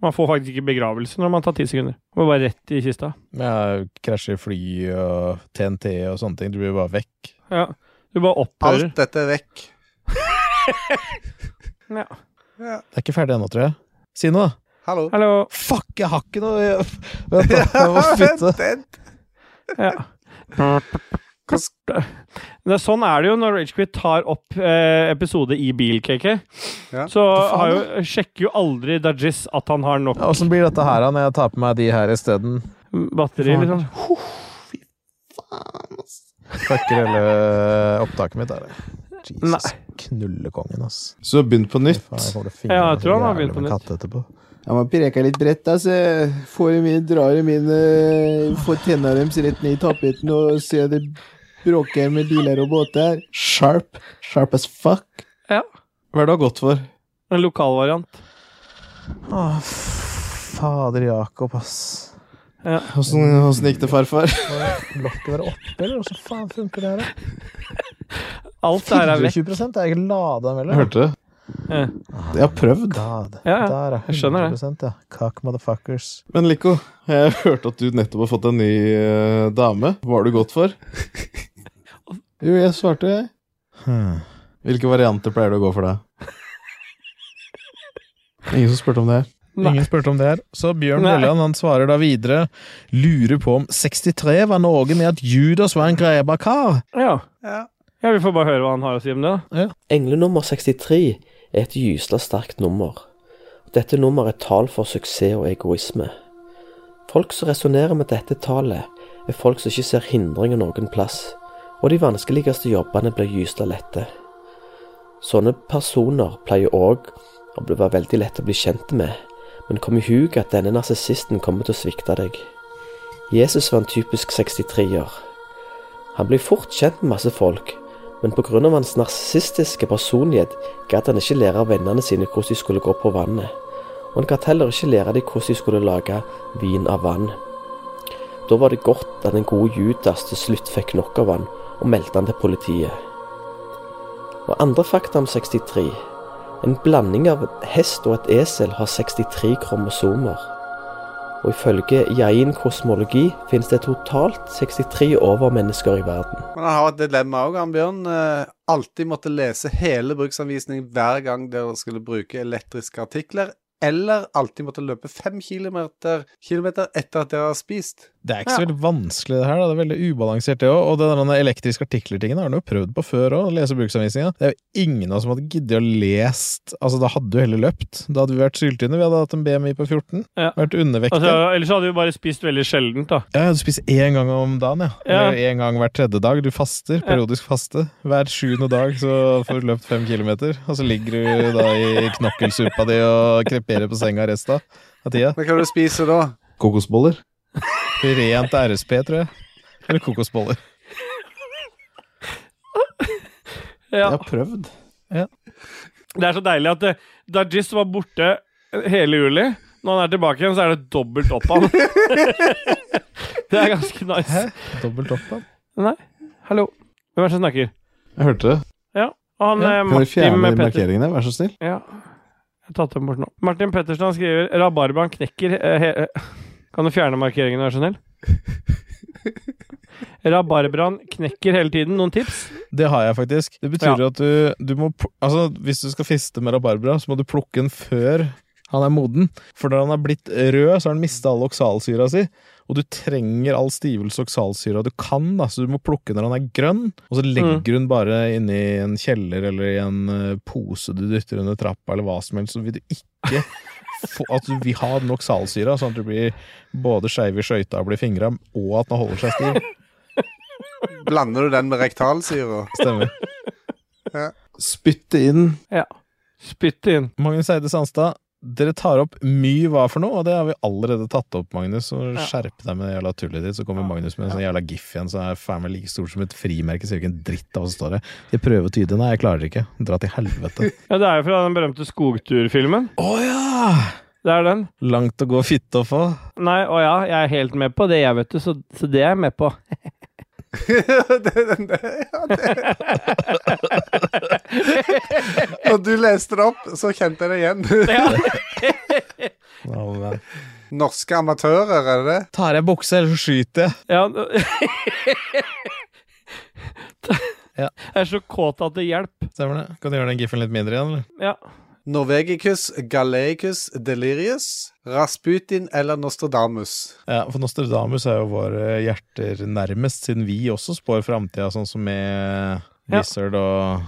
Speaker 2: Man får faktisk ikke begravelse når man tar ti sekunder. Man går bare rett i kista.
Speaker 1: Ja, krasjer fly og TNT og sånne ting. Du blir bare vekk.
Speaker 2: Ja. Du bare opphører.
Speaker 3: Alt dette er vekk.
Speaker 2: Ja.
Speaker 1: Det er ikke ferdig ennå, tror jeg. Si noe, da.
Speaker 3: Hallo.
Speaker 2: Hallo.
Speaker 1: Fuck, jeg har ikke noe jeg- Vent, da. Jeg må flytte.
Speaker 3: Den-
Speaker 2: Ja. Det, sånn er det jo når Ragequit tar opp eh, episode i bil, KK.
Speaker 3: Ja.
Speaker 2: Så har jo, sjekker jo aldri Dajis at han har nok
Speaker 1: Ja,
Speaker 3: Altså,
Speaker 1: Åssen blir dette her da, når jeg tar på meg de her isteden?
Speaker 2: batteri, liksom.
Speaker 1: Fucker hele opptaket mitt. Er det. Jesus,
Speaker 2: Nei.
Speaker 1: knullekongen, ass.
Speaker 6: Så begynn på nytt.
Speaker 1: Faen, jeg kommer til å finne
Speaker 2: Ja, jeg tror han har
Speaker 1: jævlig
Speaker 2: begynt på
Speaker 1: med
Speaker 2: nytt.
Speaker 1: katt etterpå.
Speaker 4: Jeg må preke litt bredt, altså. Får i mine, drar i mine Får tenna deres rett ned i tapeten og ser det bråker med biler og båter. Sharp. Sharp as fuck.
Speaker 6: Hva er det du har gått for?
Speaker 2: En lokalvariant.
Speaker 1: Å, fader Jakob, ass.
Speaker 6: Åssen åssen gikk det, farfar?
Speaker 1: Lokket var oppe, eller? Hvordan faen funker det her, da?
Speaker 2: Alt det her er vekk.
Speaker 1: 24 er jeg ikke lada mellom.
Speaker 6: Hørte det?
Speaker 2: Ja.
Speaker 1: Jeg har prøvd.
Speaker 7: God.
Speaker 2: Ja, ja.
Speaker 7: Der,
Speaker 2: Jeg skjønner det.
Speaker 7: ja. Cock motherfuckers.
Speaker 1: Men Lico, jeg hørte at du nettopp har fått en ny eh, dame. Hva har du gått for? Jo, jeg svarte, jeg.
Speaker 7: Hmm.
Speaker 1: Hvilke varianter pleier du å gå for deg? Ingen som spurte om det.
Speaker 2: Nei.
Speaker 1: Ingen spurte om det her. Så Bjørn
Speaker 2: Nei.
Speaker 1: Mølland han svarer da videre. Lurer på om 63 var Norge med at Judas var en greba kar.
Speaker 2: Ja.
Speaker 3: Ja.
Speaker 2: ja, vi får bare høre hva han har å si om det. da.
Speaker 8: Englenummer 63 er et gysla sterkt nummer. Dette nummeret er et tall for suksess og egoisme. Folk som resonnerer med dette tallet, er folk som ikke ser hindringer noen plass, og de vanskeligste jobbene blir gysla lette. Sånne personer pleier òg å bli- være veldig lett å bli kjent med, men kom i hug at denne narsissisten kommer til å svikte deg. Jesus var en typisk 63-er. Han blir fort kjent med masse folk, men pga. hans narsissistiske personlighet gadd han ikke lære vennene sine hvordan de skulle gå på vannet. Og han gadd heller ikke lære dem hvordan de skulle lage vin av vann. Da var det godt at den gode Judas til slutt fikk nok av han og meldte han til politiet. Og andre fakta om 63. En blanding av et hest og et esel har 63 kromosomer. Og ifølge jain kosmologi finnes det totalt 63 overmennesker i verden.
Speaker 3: Men han har et dilemma òg, han Bjørn. Eh, alltid måtte lese hele bruksanvisningen hver gang dere skulle bruke elektriske artikler. Eller alltid måtte løpe fem kilometer, kilometer etter at dere har spist.
Speaker 1: Det er ikke så veldig vanskelig, det her. da. Det er veldig ubalansert, det òg. Og den der elektriske artikler-tingen har han jo prøvd på før òg, lese bruksanvisninga. Det er jo ingen av oss som hadde giddet å lest Altså, da hadde du heller løpt. Da hadde vi vært syltynne. Vi hadde hatt en BMI på 14.
Speaker 2: Ja.
Speaker 1: Vært undervektige.
Speaker 2: Altså, ellers hadde vi bare spist veldig sjeldent, da.
Speaker 1: Ja, du spiser én gang om dagen, ja.
Speaker 2: Ja.
Speaker 1: Eller én gang hver tredje dag. Du faster, periodisk faste. Hver sjuende dag så får du løpt fem kilometer, og så ligger du da i knokkelsuppa di og kreperer på senga resten av tida.
Speaker 3: Men hva er det du spiser da?
Speaker 1: Kokosboller. <laughs> Rent RSP, tror jeg. Eller kokosboller.
Speaker 2: Ja.
Speaker 1: Jeg har prøvd.
Speaker 2: Det er så deilig at eh, Dajis var borte eh, hele juli. Når han er tilbake igjen, så er det dobbelt opp <laughs> av han. det er ganske nice.
Speaker 1: Hæ? Dobbelt opp, da.
Speaker 2: Nei, hallo. Hvem er det som snakker?
Speaker 1: Jeg hørte det.
Speaker 2: Og han eh,
Speaker 1: Kan dere
Speaker 2: Martin
Speaker 1: fjerne de
Speaker 2: Pettersen.
Speaker 1: markeringene, vær så snill?
Speaker 2: Ja. Jeg har tatt dem bort nå. Martin Pettersen han skriver 'Rabarbraen knekker'. eh, he- eh. Kan du fjerne markeringene, vær så
Speaker 1: <laughs>
Speaker 2: snill? Rabarbraen knekker hele tiden. Noen tips?
Speaker 1: Det har jeg faktisk. Det betyr at du, du må pl- Altså, hvis du skal fiste med rabarbra, så må du plukke den før han er moden. For når han er blitt rød, så har han mista all oksalsyra si. Og du trenger all stivelse og oksalsyra du kan, da, så du må plukke når han er grønn. Og så legger du den bare inni en kjeller eller i en eh, pose du dytter under trappa, eller hva som helst, så vil du ikke <laughs> få At du vil ha den oksalsyra, sånn at du blir både skeiv i skøyta og blir fingra, og at den holder seg stiv.
Speaker 3: Blander du den med rektalsyre?
Speaker 1: <laughs> Stemmer.
Speaker 3: Ja.
Speaker 1: Spytte inn
Speaker 2: Spytt det inn.
Speaker 1: Magnus Eide Sandstad, dere tar opp mye hva for noe, og det har vi allerede tatt opp, Magnus. Så skjerp deg med det jævla tullet ditt, så kommer Magnus med en sånn jævla gif igjen som er faen meg like stort som et frimerke. Ser ikke en dritt av hva som står der. Jeg prøver å tyde den, nei, jeg klarer det ikke. Dra til helvete.
Speaker 2: Ja, det er jo fra den berømte skogturfilmen.
Speaker 1: <laughs> Å ja!
Speaker 2: Det er den.
Speaker 1: Langt å gå fitte å få.
Speaker 2: Nei, å ja, jeg er helt med på det, jeg, vet du. Så, så det er jeg med på.
Speaker 3: det, den der, ja, det. Når du leste det opp, så kjente jeg det igjen.
Speaker 1: Å, men.
Speaker 3: Norske amatører, er det det?
Speaker 1: Tar jeg buksa, eller så skyter jeg.
Speaker 2: Ja. <laughs>
Speaker 1: Ja.
Speaker 2: Jeg er så kåt at det hjelper.
Speaker 1: Stemmer det? Kan du gjøre den gifen litt mindre igjen, eller?
Speaker 2: Ja.
Speaker 3: Norvegicus, Galeicus, Delirius, Rasputin eller Nostradamus?
Speaker 1: Ja, for Nostradamus er jo våre hjerter nærmest, siden vi også spår framtida, sånn som med
Speaker 2: Ja.
Speaker 1: Wizard og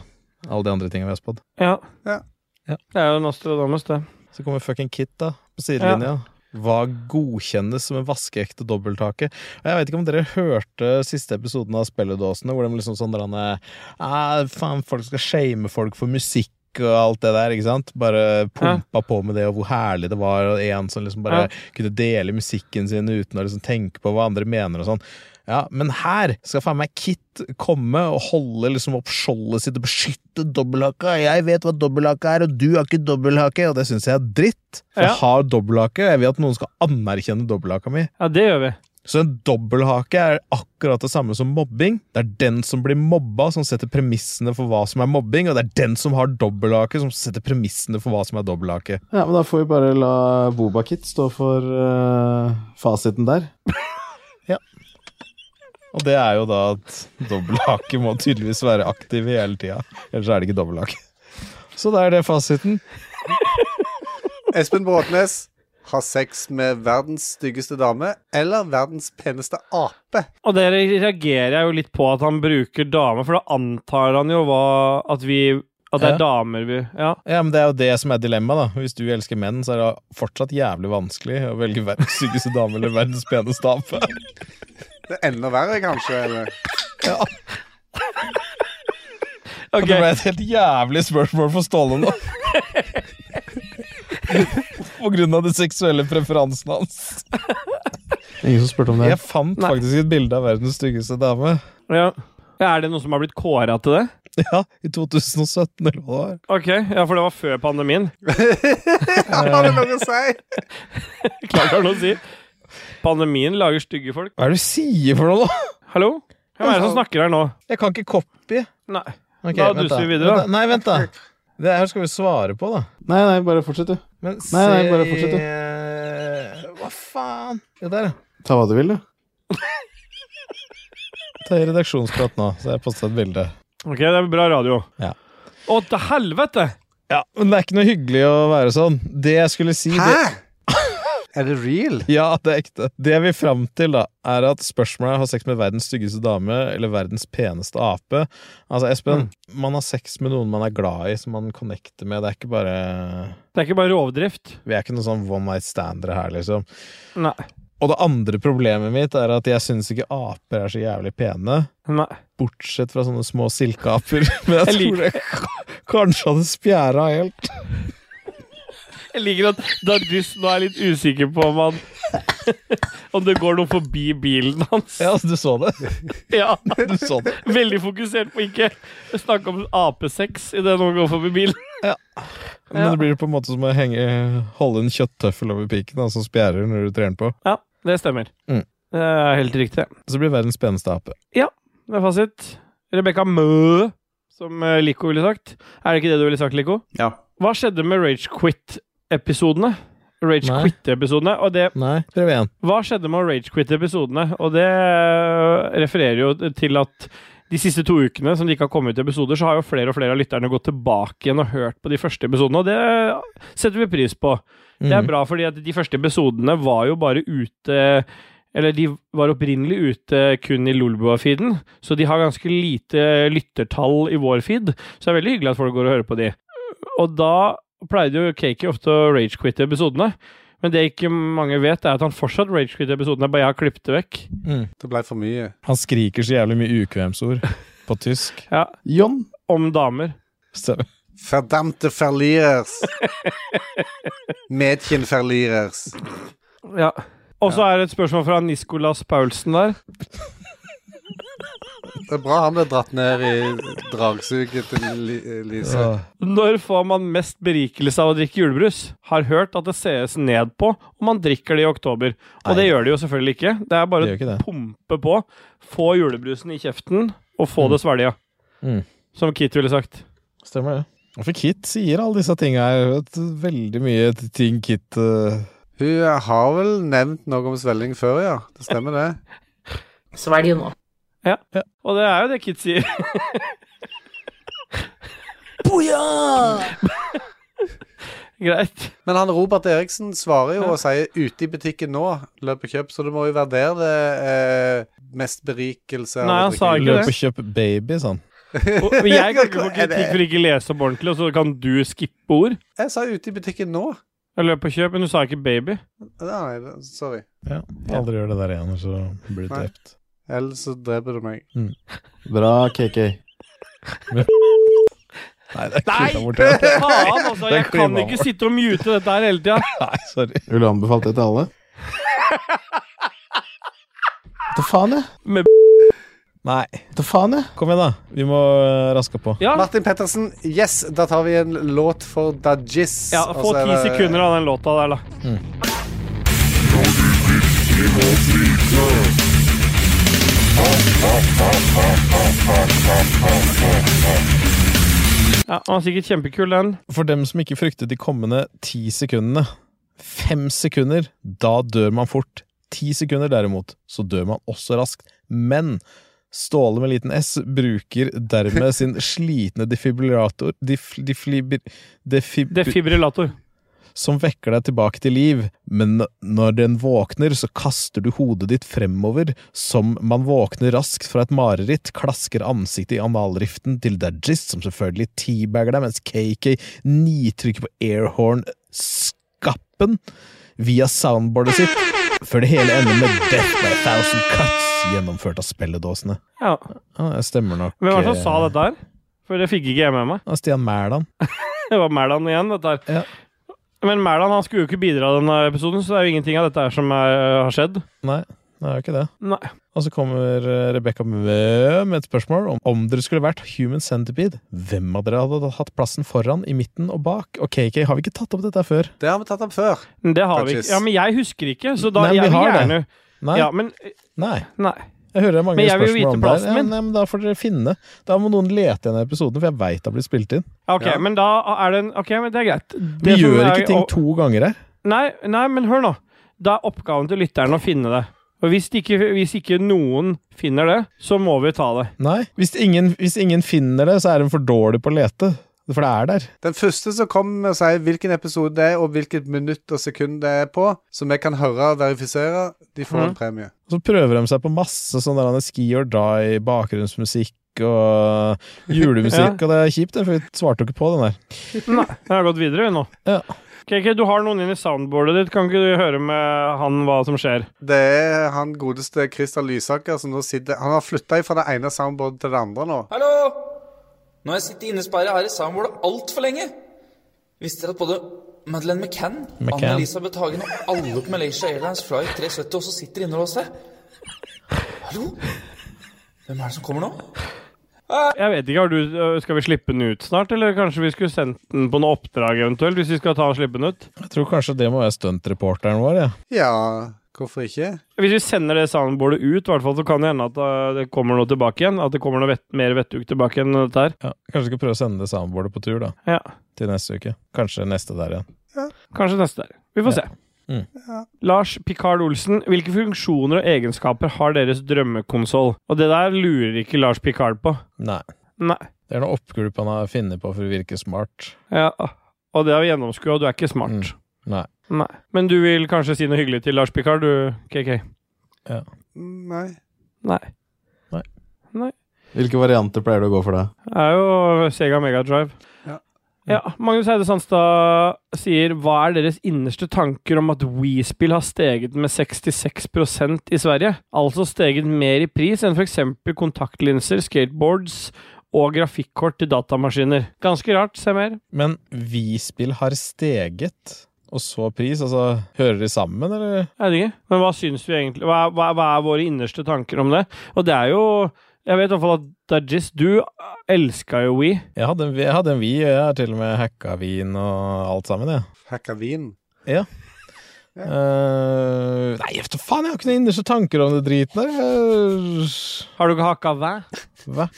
Speaker 1: alle de andre tinga vi har spådd.
Speaker 2: ja.
Speaker 3: Ja.
Speaker 1: Ja.
Speaker 2: Det er jo Nostradamus, det.
Speaker 1: Så kommer fucking Kit da, på sidelinja. Hva godkjennes som en vaskeekte dobbelthake? Og Jeg vet ikke om dere hørte siste episoden av Spelledåsene, hvor de liksom sånn der han er, ah, Faen, folk skal shame folk for musikk. Og alt det der, ikke sant? Bare pumpa på med det, og hvor herlig det var. Og en som liksom bare kunne dele musikken sin uten å liksom tenke på hva andre mener og sånn. Ja, men her skal faen meg Kit komme og holde liksom opp skjoldet sitt og beskytte dobbelthaka. Jeg vet hva dobbelthaka er, og du har ikke dobbelthake, og det syns jeg er dritt. For
Speaker 2: Ja.
Speaker 1: jeg har dobbelthake, og jeg vil at noen skal anerkjenne dobbelthaka mi.
Speaker 2: Ja, det gjør vi.
Speaker 1: Så en dobbelthake er akkurat det samme som mobbing. Det er den som blir mobba, som setter premissene for hva som er mobbing, og det er den som har dobbelthake, som setter premissene for hva som er dobbelthake.
Speaker 4: Ja, men da får vi bare la Bobakit stå for eh, fasiten der.
Speaker 1: Og det er jo da at dobbelthake må tydeligvis være aktiv hele tida. Ellers er det ikke dobbelthake. Så da er det fasiten.
Speaker 3: Espen Bråtnes har sex med verdens styggeste dame eller verdens peneste ape.
Speaker 2: Og det reagerer jeg jo litt på at han bruker damer, for da antar han jo hva At vi At det er
Speaker 1: Ja.
Speaker 2: damer vi Ja.
Speaker 1: Ja, men Det er jo det som er dilemmaet. da Hvis du elsker menn, så er det fortsatt jævlig vanskelig å velge verdens styggeste dame eller verdens peneste ape.
Speaker 3: Det er enda verre, kanskje. Eller? <laughs>
Speaker 1: Det ble et helt jævlig spørsmål for Ståle nå. På grunn av de seksuelle preferansene hans.
Speaker 4: Ingen som spurte om det.
Speaker 1: Jeg fant
Speaker 2: Nei.
Speaker 1: faktisk et bilde av verdens styggeste dame.
Speaker 2: ja. Er det noen som har blitt kåra til det?
Speaker 1: Ja, i 2017, eller hva det var.
Speaker 2: Ok, ja, for det var før pandemien.
Speaker 3: Har det noe å si?
Speaker 2: Klart han å si. Pandemien lager stygge folk.
Speaker 1: Hva er det du sier for noe, da?
Speaker 2: Hallo? Hvem er det som snakker her nå?
Speaker 1: Jeg kan ikke copy.
Speaker 2: Nei.
Speaker 1: Ok,
Speaker 2: Da
Speaker 1: vent
Speaker 2: duser vi videre, da.
Speaker 1: Vent Nei, vent, da. Det her skal vi svare på, da.
Speaker 4: Nei, nei, bare fortsett, du.
Speaker 1: Men
Speaker 4: Nei, nei, bare fortsett,
Speaker 1: se
Speaker 4: du.
Speaker 1: Hva faen? Jo, der, ja.
Speaker 4: Ta hva du vil, du.
Speaker 1: Ta i redaksjonsprat nå, så jeg posta et bilde.
Speaker 2: Ok, det er bra radio.
Speaker 1: Ja.
Speaker 2: Å, til helvete!
Speaker 1: Ja, Men det er ikke noe hyggelig å være sånn. Det jeg skulle si det,
Speaker 3: Hæ? Er det real?
Speaker 1: Ja, det er ekte. Det jeg vil fram til, da, er at spørsmålet har sex med verdens styggeste dame eller verdens peneste ape. Altså, Espen, man har sex med noen man er glad i, som man connecter med. Det er ikke bare
Speaker 2: Det er ikke bare rovdrift.
Speaker 1: Vi er ikke noen sånn one night standere her, liksom.
Speaker 2: Nei.
Speaker 1: Og det andre problemet mitt er at jeg syns ikke aper er så jævlig pene.
Speaker 2: Nei.
Speaker 1: Bortsett fra sånne små silkeaper. <laughs> Men jeg
Speaker 2: Jeg
Speaker 1: tror
Speaker 2: liker-
Speaker 1: jeg k- kanskje hadde spjæra helt.
Speaker 2: Jeg liker at Dardis nå er litt usikker på om han Om det går noe forbi bilen hans.
Speaker 1: Ja, altså, du så det.
Speaker 2: Ja.
Speaker 1: <laughs> Du så det.
Speaker 2: Veldig fokusert på ikke snakke om apesex idet noen går forbi bilen.
Speaker 1: Men
Speaker 2: Ja.
Speaker 1: det blir på en måte som å henge, holde en kjøtttøffel over piken, da, som spjærer når du trer den på.
Speaker 2: Ja, det stemmer.
Speaker 1: Mm.
Speaker 2: Det er helt riktig.
Speaker 1: Så blir verdens peneste ape.
Speaker 2: Det er fasit. Rebekka Mø, som eh, Lico ville sagt. Er det ikke det du ville sagt, Lico?
Speaker 5: Ja.
Speaker 2: Hva skjedde med Rage Quit-episodene? Rage
Speaker 1: Nei.
Speaker 2: Quit-episodene, og det
Speaker 1: Nei, prøv igjen.
Speaker 2: Hva skjedde med Rage Quit-episodene? Og det eh, refererer jo til at de siste to ukene som det ikke har kommet ut episoder, så har jo flere og flere av lytterne gått tilbake igjen og hørt på de første episodene, og det setter vi pris på.
Speaker 1: Mm.
Speaker 2: Det er bra, fordi at de første episodene var jo bare ute Eller de var opprinnelig ute kun i Lolbua-feeden, så de har ganske lite lyttertall i vår feed, så det er veldig hyggelig at folk går og hører på de. Og da pleide jo Cakey ofte å ragequitte episodene. Men det ikke mange vet, er at han fortsatt ragequitter episodene, bare jeg har klippet det vekk.
Speaker 3: Det ble for mye.
Speaker 1: Han skriker så jævlig mye ukvemsord på tysk.
Speaker 2: Ja,
Speaker 4: John,
Speaker 2: Om damer.
Speaker 1: Stemmer.
Speaker 3: Verdamte verlierers. Medkin verlierers.
Speaker 2: Ja. Og så er det et spørsmål fra Nicolas Paulsen der.
Speaker 3: Det er bra han ble dratt ned i dragsuget til Li- Lise.
Speaker 1: Åh.
Speaker 2: Når får man mest berikelse av å drikke julebrus? Har hørt at det sees ned på om man drikker det i oktober. Og det
Speaker 1: Nei.
Speaker 2: gjør det jo selvfølgelig ikke. Det er bare
Speaker 1: Det gjør ikke
Speaker 2: å
Speaker 1: det.
Speaker 2: pumpe på. Få julebrusen i kjeften, og få det svelga.
Speaker 1: Mm.
Speaker 2: Som Kit ville sagt.
Speaker 1: Stemmer det. For Kit sier alle disse tinga her. Vet, du, veldig mye t- ting Kit eh,
Speaker 3: Hun har vel nevnt noe om svelling før, ja. Det stemmer, det.
Speaker 9: Svelg nå.
Speaker 2: Og det er jo det
Speaker 1: <laughs>
Speaker 2: Kit sier. <laughs> Greit.
Speaker 3: Men han Robert Eriksen svarer jo og sier 'ute i butikken nå, løp og kjøp', så du må jo vurdere det eh, mest berikelse
Speaker 2: Nei, han sa ikke det.
Speaker 1: løp og kjøp baby, sånn.
Speaker 2: Og og jeg
Speaker 1: <laughs>
Speaker 2: kan ikke få kritikk for ikke å lese opp ordentlig, og så kan du skippe ord.
Speaker 3: Jeg sa 'ute i butikken nå'.
Speaker 2: Jeg løp på kjøp, men du sa ikke baby.
Speaker 3: Nei, det- sorry.
Speaker 1: Aldri gjør det der igjen, så blir du
Speaker 3: Nei.
Speaker 1: drept.
Speaker 3: Ellers så dreper du meg.
Speaker 4: bra KK.
Speaker 1: Nei, det er
Speaker 2: Nei!
Speaker 1: klippet bort,
Speaker 2: <laughs>
Speaker 1: ja.
Speaker 2: Faen, altså! Jeg
Speaker 1: Det
Speaker 2: kan
Speaker 1: klimaet
Speaker 2: ikke
Speaker 1: vårt.
Speaker 2: sitte og mute dette her hele tida.
Speaker 1: Nei, sorry.
Speaker 4: Vil du anbefale det til alle? Ta faen, jeg.
Speaker 1: Nei.
Speaker 4: Ta faen, jeg.
Speaker 1: Kom igjen, da. Vi må eh, raske på.
Speaker 2: Ja.
Speaker 3: Martin Pettersen, yes, da tar vi en låt for Dajis.
Speaker 2: ja,
Speaker 3: og
Speaker 1: altså,
Speaker 2: få
Speaker 3: så er
Speaker 2: ti
Speaker 3: det-
Speaker 1: Mm.
Speaker 2: sekunder av den låta der, da. Ja, han var sikkert kjempekul, den.
Speaker 1: For dem som ikke fryktet de kommende ti sekundene. Fem sekunder, da dør man fort. Ti sekunder derimot, så dør man også raskt. Men Ståle med liten S bruker dermed sin slitne defibrillator dif, diflibir, defib,
Speaker 2: Defibrillator.
Speaker 1: Som vekker deg tilbake til liv, men når den våkner, så kaster du hodet ditt fremover, som man våkner raskt fra et mareritt, klasker ansiktet i analriften til Dajis, som selvfølgelig teabagger deg, mens KK nitrykker på airhorn-skappen via soundboardet sitt, før det hele ender med Death by a Thousand Cuts, gjennomført av spilledåsene.
Speaker 2: Ja.
Speaker 1: Ja, det stemmer nok.
Speaker 2: Hvem var det som
Speaker 1: eh,
Speaker 2: sa dette her? For det fikk ikke jeg med meg.
Speaker 1: ja, Stian Mæland.
Speaker 2: Det var Mæland igjen, dette
Speaker 1: Ja.
Speaker 2: her. Men Mæland han skulle jo ikke bidra i denne episoden, så det er jo ingenting av dette her som er, har skjedd.
Speaker 1: Nei, det er jo ikke det.
Speaker 2: Nei.
Speaker 1: Og så kommer eh, Rebecca Mø med et spørsmål om om dere skulle vært human centipede. Hvem av dere hadde hatt plassen foran, i midten og bak? Og KK, har vi ikke tatt opp dette før?
Speaker 3: Det har vi tatt opp før.
Speaker 2: Men Det har vi ikke.
Speaker 3: Touches.
Speaker 2: Ja, men jeg husker ikke, så da
Speaker 1: Nei, men vi
Speaker 2: jeg vil
Speaker 1: har det.
Speaker 2: gjerne
Speaker 1: Nei.
Speaker 2: Ja, men
Speaker 1: Nei.
Speaker 2: Nei.
Speaker 1: Jeg hører det er mange
Speaker 2: Men jeg vil jo
Speaker 1: spørsmål
Speaker 2: vite
Speaker 1: om det. her.
Speaker 2: plassen
Speaker 1: Ja,
Speaker 2: min.
Speaker 1: nei, men da får dere finne. Da må noen lete igjen i episoden, for jeg veit det har blitt spilt inn.
Speaker 2: Ja, Ok,
Speaker 3: Ja.
Speaker 2: men da er det en Ok, men det er greit.
Speaker 1: Vi
Speaker 2: Det som
Speaker 1: gjør
Speaker 2: er-
Speaker 1: ikke ting
Speaker 2: og-
Speaker 1: to ganger her.
Speaker 2: Nei, nei, men hør nå. Da er oppgaven til lytteren å finne det. Og hvis ikke, hvis ikke noen finner det, så må vi ta det.
Speaker 1: Nei. Hvis ingen, hvis ingen finner det, så er de for dårlig på å lete. For det er der.
Speaker 3: Den første som kommer og sier hvilken episode det er, og hvilket minutt og sekund det er på, som vi kan høre og verifisere, de får
Speaker 2: Mhm.
Speaker 3: en premie.
Speaker 1: Og så prøver de seg på masse sånn der ski or die, bakgrunnsmusikk
Speaker 2: <laughs>
Speaker 1: og julemusikk, og det er kjipt, for vi svarte jo ikke på den der.
Speaker 2: Nei, jeg har gått videre vi, nå.
Speaker 1: Ja.
Speaker 2: KK, du har noen inn i soundboardet ditt. Kan ikke du høre med han hva som skjer?
Speaker 3: Det er han godeste Christer Lysaker som nå sitter Han har flytta fra det ene soundboardet til det andre nå.
Speaker 10: Hallo! Nå har jeg sittet innesperret her i Soundboardet altfor lenge. Visste dere at både Madeleine McCann,
Speaker 1: McCann.
Speaker 10: Anne-Elisabeth Hagen og alle på Malaysia Airlines Flight 370 også sitter innelåst her? Hallo? Hvem er det som kommer nå?
Speaker 2: Jeg vet ikke, har du, øh, Skal vi slippe den ut snart, eller kanskje vi skulle sendt den på noe oppdrag eventuelt? Hvis vi skal ta og slippe den ut?
Speaker 1: Jeg tror kanskje det må være stuntreporteren vår, ja.
Speaker 3: Ja, hvorfor ikke?
Speaker 2: Hvis vi sender det soundboardet ut, i hvert fall, så kan det hende at øh, det kommer noe tilbake igjen. At det kommer noe vett, mer vettug tilbake enn dette her.
Speaker 1: ja. Kanskje vi skal prøve å sende det soundboardet på tur, da.
Speaker 2: Ja.
Speaker 1: Til neste uke. Kanskje neste der igjen.
Speaker 2: Kanskje neste der. Vi får se.
Speaker 1: Mm.
Speaker 2: Lars Picard Olsen, hvilke funksjoner og egenskaper har deres drømmekonsoll? Og det der lurer ikke Lars Picard på.
Speaker 1: Nei.
Speaker 2: Nei.
Speaker 1: Det er noe oppgulp han har funnet på for å virke smart.
Speaker 2: Ja, og det har vi gjennomskua, og du er ikke smart.
Speaker 1: Mm. Nei.
Speaker 2: Nei. Men du vil kanskje si noe hyggelig til Lars Picard, du, KK?
Speaker 3: Mm, Nei.
Speaker 2: Nei.
Speaker 1: Hvilke varianter pleier du å gå for det?
Speaker 2: Det er jo Sega Megadrive.
Speaker 3: Ja.
Speaker 2: Ja, Magnus Eide Sandstad sier Hva er deres innerste tanker om at Wii-spill har steget med 66 i Sverige? Altså steget mer i pris enn f.eks. kontaktlinser, skateboards og grafikkort til datamaskiner. Ganske rart, se mer.
Speaker 1: Men vi-spill har steget, og så pris. Altså, hører de sammen, eller?
Speaker 2: Jeg vet ikke. Men hva syns vi egentlig? Hva, er- hva, er- hva er våre innerste tanker om det? Og det er jo Jeg vet i hvert fall at Dajis, du elska jo We.
Speaker 1: Jeg hadde en, jeg hadde en vi, og jeg har til og med hacka vin og alt sammen, jeg.
Speaker 3: Hacka vin.
Speaker 1: Eh, nei, jeg vet da faen, jeg har ikke noen innerste tanker om det driten der. Jeg-
Speaker 2: Har du ikke hakka hva?
Speaker 1: Hva?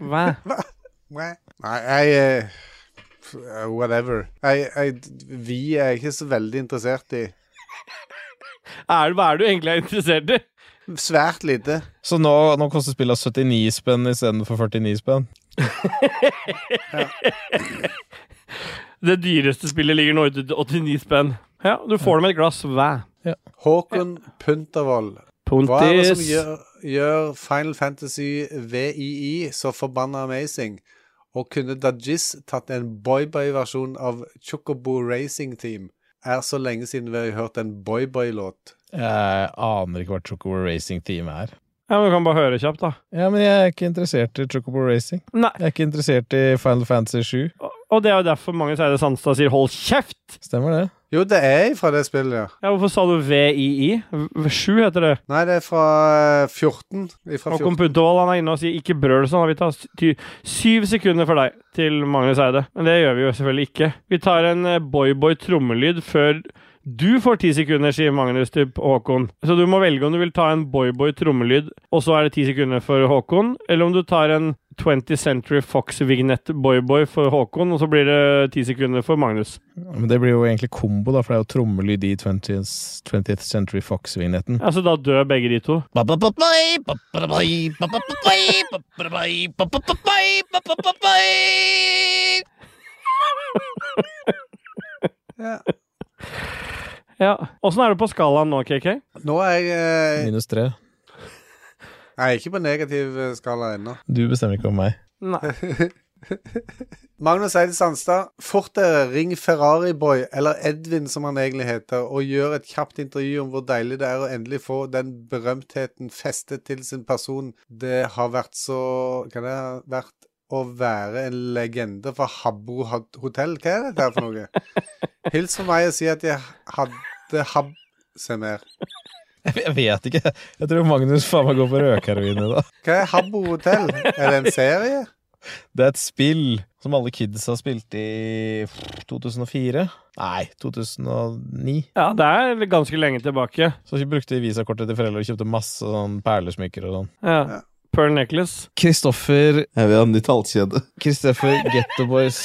Speaker 2: Hva?
Speaker 3: Nei, jeg eh, f- eh, Whatever. Jeg, jeg, vi er jeg ikke så veldig interessert i.
Speaker 2: Er, hva er du egentlig er interessert i?
Speaker 3: Svært lite.
Speaker 1: Så nå, nå koster spillet 79 spenn istedenfor 49 spenn.
Speaker 2: Det dyreste spillet ligger nå ute til 89 spenn. Ja, du får det med et glass hva?
Speaker 3: Håkon Puntervold. Hva er det som
Speaker 2: Pontis.
Speaker 3: gjør, gjør Final Fantasy VII så forbanna amazing? Og kunne Dajis tatt en boyboy-versjon av Chocobo Racing Team? Er så lenge siden vi har hørt en boyboy-låt.
Speaker 1: Jeg aner ikke hva Chocobo Racing Team er.
Speaker 2: Ja, men Du kan bare høre kjapt, da.
Speaker 1: Ja, men jeg er ikke interessert i Chocobo Racing.
Speaker 2: Nei.
Speaker 1: Jeg er ikke interessert i Final Fantasy 7.
Speaker 2: Og- Og det er jo derfor Magnus Eide Sandstad sier 'hold kjeft'!
Speaker 1: Stemmer det?
Speaker 3: Jo, det er fra det spillet, ja.
Speaker 2: Ja, Hvorfor sa du VII? V- Sju heter det.
Speaker 3: Nei, det er fra eh, 14. Ifra
Speaker 2: Håkon
Speaker 3: 14.
Speaker 2: Puntervold han er inne og sier 'ikke brøl sånn'. Vi tar ty syv sekunder for deg til Magnus Eide. Men det gjør vi jo selvfølgelig ikke. Vi tar en eh, boyboy trommelyd før Du får ti sekunder, sier Magnus til Håkon. Så du må velge om du vil ta en boyboy trommelyd, og så er det ti sekunder for Håkon, eller om du tar en 20th Century Fox-vignett boyboy for Håkon, og så blir det ti sekunder for Magnus.
Speaker 1: Men det blir jo egentlig kombo, da, for det er jo trommelyd i 20th, 20th Century Fox-vignetten.
Speaker 2: Ja, så Altså, da dør begge de to. Ja. Åssen er du på skalaen nå, KK?
Speaker 3: Nå er jeg eh,
Speaker 1: Minus tre.
Speaker 3: Jeg er ikke på negativ eh, skala ennå.
Speaker 1: Du bestemmer ikke om meg. <laughs>
Speaker 2: Nei.
Speaker 3: Magnus Eide Sandstad, fort dere, ring Ferrariboy, eller Edvin som han egentlig heter, og gjør et kjapt intervju om hvor deilig det er å endelig få den berømtheten festet til sin person. Det har vært så Hva det har vært å være en legende for Habbo hotell? Hva er dette her for noe? Hils for meg og si at jeg hadde hab... Se mer.
Speaker 1: Jeg vet ikke. Jeg tror Magnus faen meg går på rødheroin i dag.
Speaker 3: Hva er Habbo hotell? Er det en serie?
Speaker 1: Det er et spill som alle kids har spilt i 2004. Nei, 2009.
Speaker 2: Ja, det er ganske lenge tilbake.
Speaker 1: Så vi brukte visakortet til foreldre og kjøpte masse sånn perlesmykker og sånn.
Speaker 2: Ja. Pearl necklace.
Speaker 1: Kristoffer
Speaker 11: Jeg vil ha en nytt halskjede.
Speaker 1: Kristoffer Getto Boys.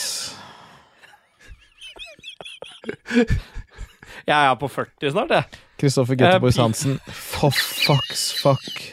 Speaker 2: Jeg er på 40 snart, jeg.
Speaker 1: Kristoffer
Speaker 2: Eh,
Speaker 1: Getto Boys
Speaker 2: pi-
Speaker 1: Hansen. For fucks fuck.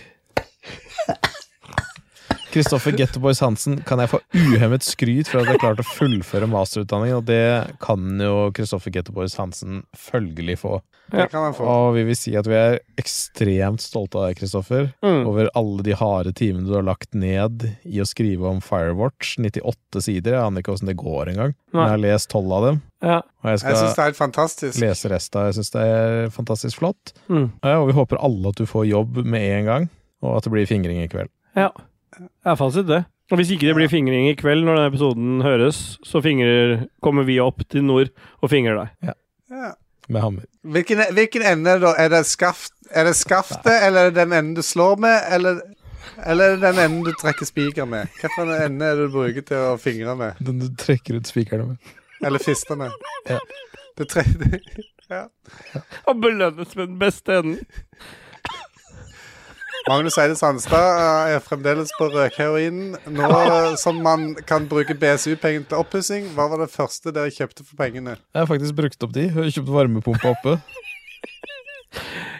Speaker 1: Kristoffer Getto Boys Hansen, kan jeg få uhemmet skryt for at jeg klarte å fullføre masterutdanningen? Og det kan jo Kristoffer Getto Boys Hansen følgelig få.
Speaker 3: Det kan man få.
Speaker 1: Og vi vil si at vi er ekstremt stolte av deg, Kristoffer.
Speaker 2: Mm.
Speaker 1: Over alle de harde timene du har lagt ned i å skrive om Firewatch. 98 sider. Jeg aner ikke åssen det går engang. Men
Speaker 2: Nei.
Speaker 1: jeg har lest tolv av dem,
Speaker 2: Ja.
Speaker 1: og jeg
Speaker 3: Jeg syns
Speaker 1: skal
Speaker 3: det er helt fantastisk.
Speaker 1: lese resten. Jeg syns det er fantastisk flott.
Speaker 2: Mm.
Speaker 1: Ja, Og vi håper alle at du får jobb med en gang, og at det blir fingring i kveld.
Speaker 2: Ja. Det er fasit, det. Og hvis ikke det blir fingring i kveld når denne episoden høres, så fingrer, kommer vi opp til nord og fingrer deg.
Speaker 3: Ja.
Speaker 1: Med hammer.
Speaker 3: Hvilken, hvilken ende er det da? Er det, skaft, er det skaftet, eller er det den enden du slår med, eller, eller er det den enden du trekker spiker med? Hvilken ende er det du bruker til å fingre med?
Speaker 1: Den du trekker ut spikeren med.
Speaker 3: Eller fiste med?
Speaker 1: Ja.
Speaker 3: Det tre, <laughs>
Speaker 2: Og belønnes med den beste enden.
Speaker 3: Magnus Eide Sandstad eh, er fremdeles på røkheroinen. Nå eh, som man kan bruke BSU-pengene til oppussing, hva var det første dere kjøpte for pengene?
Speaker 1: Jeg har faktisk brukt opp de. Jeg har kjøpt varmepumpe oppe.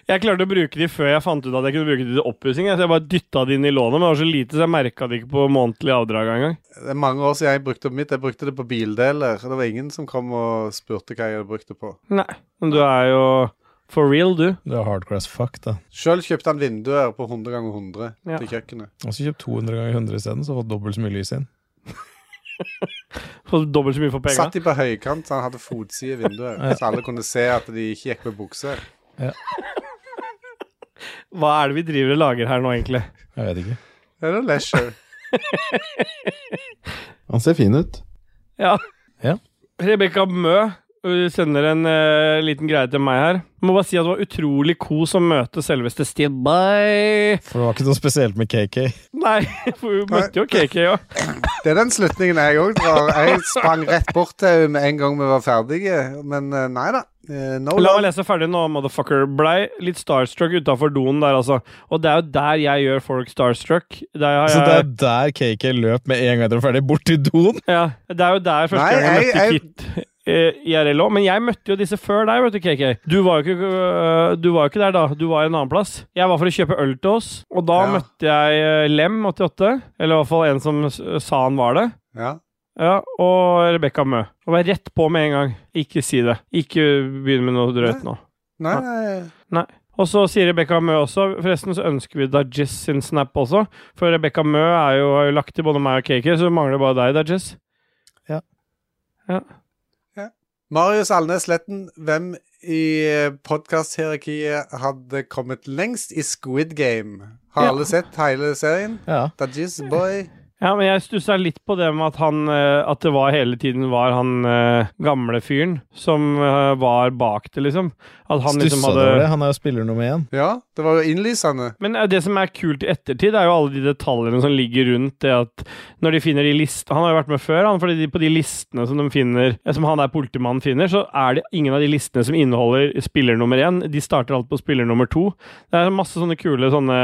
Speaker 2: Jeg klarte å bruke de før jeg fant ut at jeg kunne bruke de til oppussing. jeg, Så jeg bare dytta de inn i lånet, men det var så lite, så jeg merka det ikke på månedlig avdrag engang.
Speaker 3: Det er mange år siden jeg brukte opp mitt. Jeg brukte det på bildeler. Det var ingen som kom og spurte hva jeg hadde brukt det på.
Speaker 2: Nei. Men du er jo for real, du.
Speaker 1: Du er hardcore as fuck, da.
Speaker 3: Sjøl kjøpte han vinduer på 100 ganger 100
Speaker 2: Ja.
Speaker 3: til kjøkkenet.
Speaker 1: Og så kjøpt 200 ganger 100 isteden, så fått dobbelt så mye lys inn.
Speaker 2: Får dobbelt så mye for penga.
Speaker 3: Satt de på høykant, så han hadde fotside
Speaker 2: <laughs>
Speaker 3: i vinduet. Så alle kunne se at de ikke gikk med bukse.
Speaker 2: Hva er det vi driver og lager her nå, egentlig?
Speaker 1: Jeg vet ikke.
Speaker 3: Det er noe leisure.
Speaker 11: Han ser fin ut.
Speaker 2: Ja.
Speaker 1: Ja.
Speaker 2: Rebekka Mø hun sender en eh, liten greie til meg her. Må bare si at det var utrolig kos å møte selveste Stibay.
Speaker 1: For det var ikke noe spesielt med KK.
Speaker 2: Nei, <laughs> for hun møtte jo KK òg.
Speaker 3: Det er den slutningen jeg òg drar. Jeg sprang rett bort til henne med en gang vi var ferdige, men eh, nei da. Eh, No
Speaker 2: La meg
Speaker 3: love.
Speaker 2: lese ferdig nå, motherfucker. Blei litt starstruck utafor doen der, altså. Og det er jo der jeg gjør folk starstruck. Der har
Speaker 1: Så det er
Speaker 2: jeg,
Speaker 1: der KK løp med en gang dere var ferdig, bort til doen?
Speaker 2: ja, det er jo der første
Speaker 3: Nei,
Speaker 2: gang jeg møtte
Speaker 3: jeg-
Speaker 2: Kit. eh, IRL òg, men jeg møtte jo disse før deg, vet du, KK. Du var jo ikke, øh, du var jo ikke der da. Du var en annen plass. Jeg var for å kjøpe øl til oss, og da
Speaker 3: Ja.
Speaker 2: møtte jeg eh, Lem88. Eller i hvert fall en som s- øh, sa han var det.
Speaker 3: Ja.
Speaker 2: Ja, Og Rebekka Mø. Og vær rett på med en gang. Ikke si det. Ikke begynn med noe drøyt nå.
Speaker 3: Nei, nei.
Speaker 2: Og så sier Rebekka Mø også Forresten så ønsker vi Dajess sin snap også. For Rebekka Mø er jo, har jo lagt til både meg og KK, så mangler det bare deg, Dajess.
Speaker 3: Marius Alnes Sletten, hvem i podkast-hierarkiet hadde kommet lengst i Squid Game? Har
Speaker 2: Ja.
Speaker 3: alle sett hele serien?
Speaker 1: Ja.
Speaker 3: Dajis Boy?
Speaker 2: Ja, men jeg stussa litt på det med at han eh, At det var hele tiden var han eh, gamle fyren som eh, var bak det, liksom. At han liksom
Speaker 4: Stussa du
Speaker 2: hadde
Speaker 4: over det? Han er jo spiller nummer én.
Speaker 3: Ja, det var jo innlysende.
Speaker 2: Men eh, det som er kult i ettertid, er jo alle de detaljene som ligger rundt det at når de finner de listene Han har jo vært med før, han, fordi de, på de listene som de finner, eh, som han der politimannen finner, så er det ingen av de listene som inneholder spiller nummer én. De starter alt på spiller nummer to. Det er masse sånne kule sånne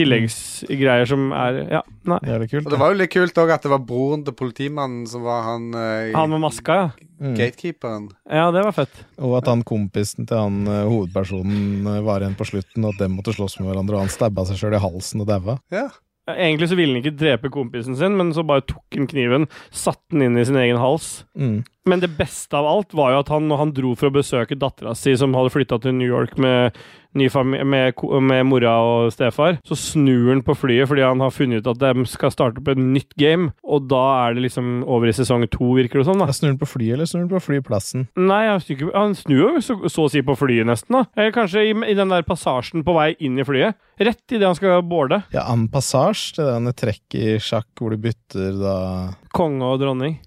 Speaker 2: tilleggsgreier som er Ja, nei.
Speaker 4: Det er litt kult.
Speaker 3: Og det var jo litt kult òg at det var broren til politimannen som var han eh,
Speaker 2: Han med maska, ja.
Speaker 3: gatekeeperen.
Speaker 2: Ja, det var fett.
Speaker 4: Og at han kompisen til han eh, hovedpersonen eh, var igjen på slutten, og at dem måtte slåss med hverandre, og han stabba seg sjøl i halsen og daua.
Speaker 2: Ja, Egentlig så ville han ikke drepe kompisen sin, men så bare tok han kniven, satte den inn i sin egen hals.
Speaker 4: Mm.
Speaker 2: Men det beste av alt var jo at han, når han dro for å besøke dattera si, som hadde flytta til New York med, ny fami- med, ko- med mora og stefar, så snur han på flyet fordi han har funnet ut at de skal starte opp et nytt game, og da er det liksom over i sesong to, virker det som. da.
Speaker 4: Snur den på flyet, eller snur den på flyplassen?
Speaker 2: Nei, han snur, ikke- han snur jo så, så å si på flyet, nesten. da. Eller kanskje i, i den der passasjen på vei inn i flyet. Rett idet han skal boarde.
Speaker 4: Ja, en passasje, det der med trekk i sjakk hvor du bytter da
Speaker 2: Konge og dronning.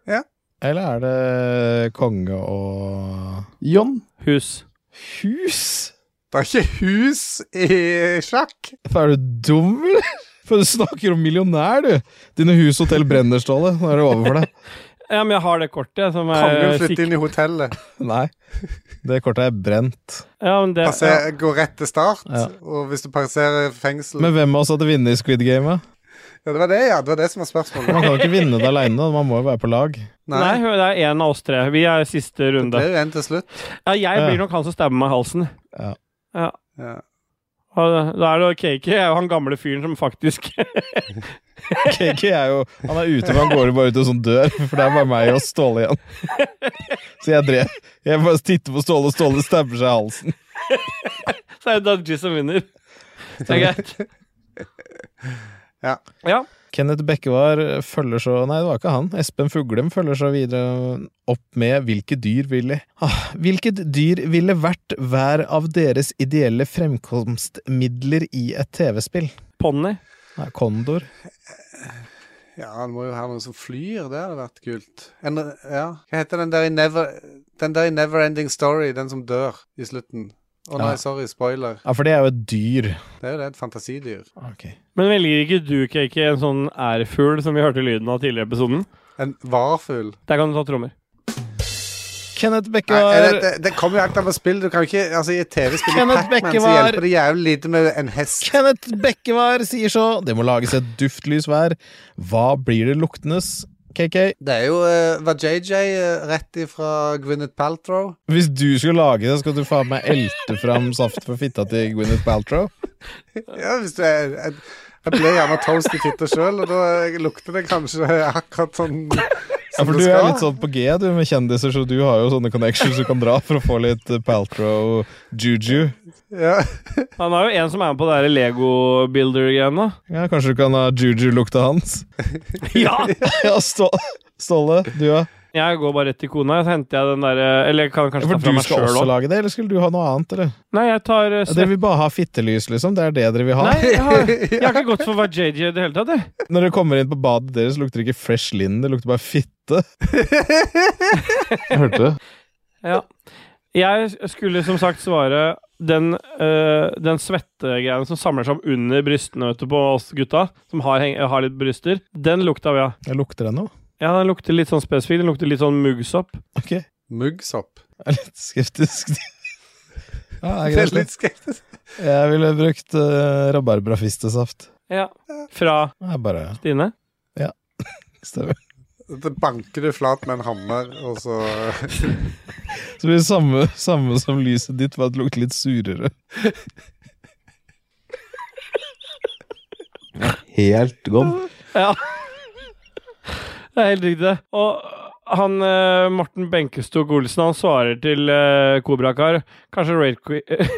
Speaker 4: Eller er det konge og
Speaker 12: John?
Speaker 2: Hus.
Speaker 4: Hus?
Speaker 3: Det er ikke hus i sjakk!
Speaker 4: Er du dum, eller? For du snakker om millionær, du! Dine hus, hotell brenner, Ståle. Nå er det over for deg.
Speaker 2: Ja, men jeg har det kortet, jeg, som er
Speaker 3: Kongen flytter
Speaker 2: sikk-
Speaker 3: inn i hotellet.
Speaker 4: Nei. Det kortet er brent.
Speaker 2: Ja, men det,
Speaker 3: Passer, Går rett til start,
Speaker 4: Ja.
Speaker 3: og hvis du passerer fengsel
Speaker 4: Men hvem av oss hadde vunnet i Squid Game? da?
Speaker 3: Ja, det var det, ja. Det var det som var spørsmålet.
Speaker 4: Man kan jo ikke vinne det aleine, man må jo være på lag.
Speaker 2: Nei. det er én av oss tre. Vi er siste runde.
Speaker 3: Det er jo en til slutt.
Speaker 2: Ja, jeg
Speaker 4: Ja.
Speaker 2: blir nok han som stabber meg i halsen.
Speaker 4: Ja.
Speaker 2: Ja.
Speaker 3: Ja.
Speaker 2: Og Da er det KK, jeg er jo han gamle fyren som faktisk <laughs>
Speaker 4: KK er jo Han er ute, men han går jo bare ut en sånn dør, for det er bare meg og Ståle igjen. Så jeg drev Jeg bare titter på Ståle, og Ståle stabber seg i halsen.
Speaker 2: Så er det Dudgy som vinner. Det er greit.
Speaker 3: <laughs> Ja.
Speaker 2: Ja.
Speaker 4: Kenneth Bekkevar følger så Nei, det var ikke han. Espen Fuglem følger så videre opp med hvilke dyr ville ah, Hvilket dyr ville vært hver av deres ideelle fremkomstmidler i et TV-spill?
Speaker 2: Ponni.
Speaker 4: Nei, Kondor.
Speaker 3: Ja, han må jo ha noen som flyr. Det hadde vært kult. En, ja. Hva heter den der i Never Den der i Neverending Story, den som dør i slutten? Å nei,
Speaker 4: Ja.
Speaker 3: sorry, spoiler.
Speaker 4: Ja, for det er jo et dyr.
Speaker 3: Det er jo det, et fantasidyr.
Speaker 2: Men velger ikke du, KK, en sånn ærfugl som vi hørte lyden av tidligere i episoden?
Speaker 3: En varfugl.
Speaker 2: Der kan du ta trommer.
Speaker 4: Kenneth
Speaker 3: Nei,
Speaker 4: Bekkevar
Speaker 3: det, det, det kommer jo helt an på spill. Du kan jo ikke Altså, i TV-spill i
Speaker 4: Kenneth
Speaker 3: Pac-Man så
Speaker 4: Bekkevar.
Speaker 3: hjelper det jævlig lite med en hest.
Speaker 4: Kenneth Bekkevar sier så Det må lages et duftlys hver Hva blir det luktendes? KK,
Speaker 3: Det er jo uh, var JJ eh, rett ifra Gwyneth Paltrow.
Speaker 4: hvis du skulle lage det Skal du faen meg elte fram saft for fitta til Gwyneth Paltrow
Speaker 3: <laughs> Ja, hvis du er jeg, jeg ble gjerne toast i fitta sjøl, og da eh, lukter det kanskje akkurat sånn
Speaker 4: <laughs> Ja,
Speaker 3: som
Speaker 4: for
Speaker 3: det
Speaker 4: du er
Speaker 3: skal.
Speaker 4: litt sånn på G du med kjendiser Så du har jo sånne connections du kan dra For å få litt eh, Paltrow-juju <laughs>
Speaker 3: Ja.
Speaker 2: Han har jo en som er med på det der Lego-builder-greiene.
Speaker 4: Ja, kanskje du kan ha juju-lukta hans
Speaker 2: Ja!
Speaker 4: <laughs> Ja, Stå- Ståle, du ja
Speaker 2: Jeg går bare rett til kona, så henter jeg den derre Eller jeg kan
Speaker 4: Ja,
Speaker 2: kanskje
Speaker 4: For
Speaker 2: ta fra
Speaker 4: du
Speaker 2: meg
Speaker 4: skal
Speaker 2: sjøl
Speaker 4: også
Speaker 2: òg.
Speaker 4: lage det, eller skulle du ha noe annet? Eller?
Speaker 2: Nei, jeg tar eh,
Speaker 4: Ja, dere vil bare ha fittelys liksom, det er det dere vil ha
Speaker 2: Nei, jeg har, jeg har ikke gått for å være JJ i det hele tatt, jeg.
Speaker 4: Når dere kommer inn på badet deres, lukter det ikke fresh linen, det lukter bare fitte.
Speaker 13: Jeg hørte det.
Speaker 2: Ja. Jeg skulle som sagt svare den, øh, den svettegreien som samler seg opp under brystene vet du, på oss gutta, som har, heng har litt bryster, den lukta vi av.
Speaker 4: Jeg lukter det nå.
Speaker 2: Ja, den lukter litt sånn spesifikk. Den lukter litt sånn muggsopp.
Speaker 4: Ok, jeg
Speaker 3: Muggsopp.
Speaker 4: er litt <laughs> skeptisk. ja, det
Speaker 3: Det
Speaker 4: er
Speaker 3: er
Speaker 4: greit.
Speaker 3: litt skeptisk.
Speaker 4: Jeg ville brukt uh, rabarbrafistesaft.
Speaker 2: Ja. Fra
Speaker 4: Jeg bare
Speaker 2: Stine.
Speaker 4: stemmer.
Speaker 3: Da banker du flat med en hammer, og så
Speaker 4: Så blir det samme, samme som lyset ditt, bare at det lukter litt surere.
Speaker 13: Helt gone.
Speaker 2: Ja. Det er helt riktig, det. Og han eh, Morten Benkestok Olsen han svarer til eh, Kobra Kar Kanskje <laughs>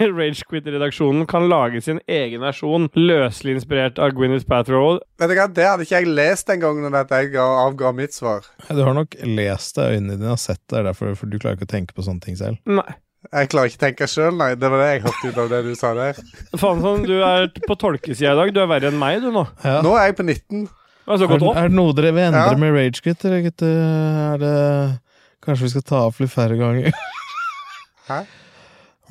Speaker 2: Ragequit-redaksjonen kan lage sin egen versjon, løselig inspirert av Gwyneth Paltrow.
Speaker 3: Vet du hva, det hadde ikke jeg lest engang når dette jeg ga, avga mitt svar.
Speaker 4: Du har nok lest det, øynene dine har sett det, er derfor for du klarer ikke å tenke på sånne ting selv.
Speaker 2: Nei.
Speaker 3: Jeg klarer ikke å tenke sjøl, nei. Det var det jeg hørte ut av det du sa der.
Speaker 2: Faen sånn, du er på tolkesida i dag. Du er verre enn meg, du nå.
Speaker 4: Ja.
Speaker 3: Nå er jeg på 19.
Speaker 2: var så
Speaker 4: Er,
Speaker 2: godt opp.
Speaker 4: er det noe dere vil endre
Speaker 2: Ja.
Speaker 4: med Ragequit, eller gutter? Er det Kanskje vi skal ta opp litt færre ganger?
Speaker 3: Hæ?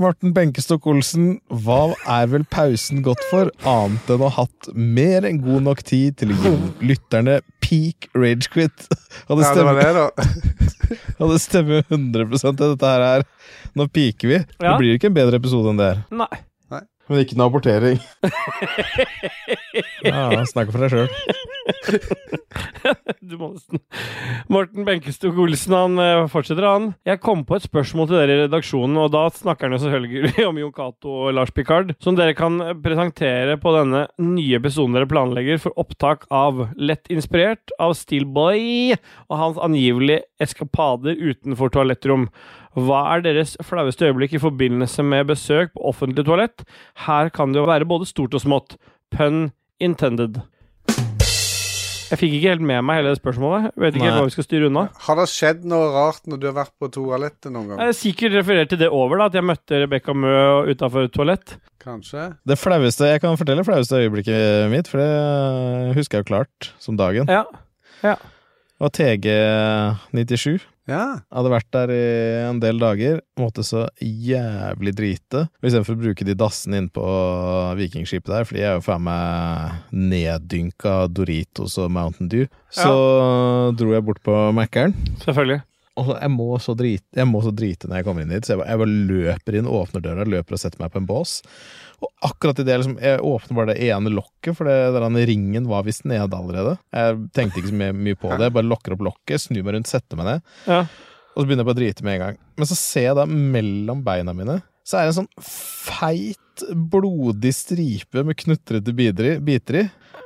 Speaker 4: Morten Benkestok Olsen, hva er vel pausen godt for, annet enn å ha hatt mer enn god nok tid til å gi lytterne peak ragequit? Og
Speaker 3: Ja, det var det, da.
Speaker 4: Ja, det stemmer jo 100 til dette her. er- Nå peaker vi.
Speaker 2: Ja.
Speaker 4: Det blir ikke en bedre episode enn det her.
Speaker 2: Nei.
Speaker 4: Men ikke noe abortering. ja, snakk for deg sjøl.
Speaker 2: <laughs> du må nesten Morten Benkestok Olsen han eh, fortsetter, han. Jeg kom på et spørsmål til dere i redaksjonen, og da snakker han jo selvfølgelig <laughs> om Jon Cato og Lars Picard, som dere kan eh, presentere på denne nye episoden dere planlegger for opptak av Lett inspirert av Steelboy og hans angivelige eskapader utenfor toalettrom. Hva er deres flaueste øyeblikk i forbindelse med besøk på offentlig toalett? Her kan det jo være både stort og smått. Pun intended. Jeg fikk ikke helt med meg hele det spørsmålet. Jeg Vet ikke helt
Speaker 3: Nei.
Speaker 2: hva vi skal styre unna.
Speaker 3: Har det skjedd noe rart når du har vært på toalettet noen gang?
Speaker 2: Jeg er sikkert referert til Eh, det over, da, at jeg møtte Rebekka Mø utafor et toalett.
Speaker 3: Kanskje?
Speaker 4: Det flaueste, Jeg kan fortelle det flaueste øyeblikket mitt, for det husker jeg jo klart som dagen.
Speaker 2: Ja, ja.
Speaker 4: Og TG97 hadde vært der i en del dager. Måtte så jævlig drite. Og Istedenfor å bruke de dassene innpå vikingskipet der, fordi jeg er jo faen meg neddynka Doritos og Mountain Dew, så dro jeg bort på Mækkern.
Speaker 2: Selvfølgelig.
Speaker 4: Og så- jeg må, så drite, jeg må så drite når jeg kommer inn hit, så jeg bare, jeg bare løper inn, åpner døra, løper og setter meg på en bås. Og akkurat idet jeg liksom Jeg åpner bare det ene lokket, for det, den ringen var visst nede allerede. Jeg tenkte ikke så mye, mye på det. Jeg bare lokker opp lokket, snur meg rundt, setter meg ned.
Speaker 2: Ja.
Speaker 4: Og så begynner jeg bare å drite med en gang. Men så ser jeg da mellom beina mine Så er det en sånn feit, blodig stripe med knutrete bidri- biter i.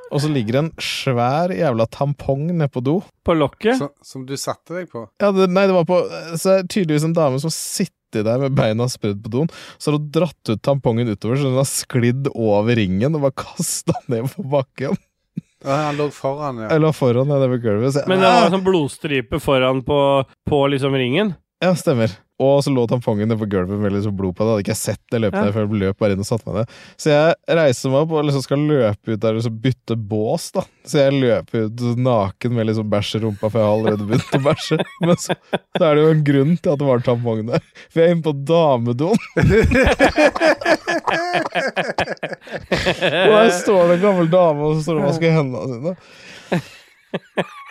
Speaker 4: Og så ligger det en svær jævla tampong nede på do.
Speaker 2: På lokket?
Speaker 3: Så, som du satte deg på?
Speaker 4: Ja, det, nei, det var på Så er det tydeligvis en dame som sitter der med beina spredd på doen. Så har hun dratt ut tampongen utover, så den har sklidd over ringen og bare kasta ned på bakken.
Speaker 3: Ja, han lå foran,
Speaker 2: Eh,
Speaker 3: ja.
Speaker 4: Eller foran, ja, det var gulvet. Så jeg-
Speaker 2: Men det
Speaker 3: Ah.
Speaker 2: var en sånn blodstripe foran på, på liksom ringen.
Speaker 4: Ja, stemmer. Og så lå tampongen nede på gulvet med litt sånn blod på det. Hadde ikke jeg sett det løpet
Speaker 2: Ja.
Speaker 4: der, for jeg løp bare inn og satte meg ned. Så jeg reiser meg opp og liksom skal løpe ut der og så bytte bås, da. Så jeg løper ut naken med liksom bæsj i rumpa, for jeg har allerede begynt å bæsje. Men så, så er det jo en grunn til at det var tampong der. For jeg er inne på damedoen. og der står det en gammel dame og så står det og vasker hendene sine.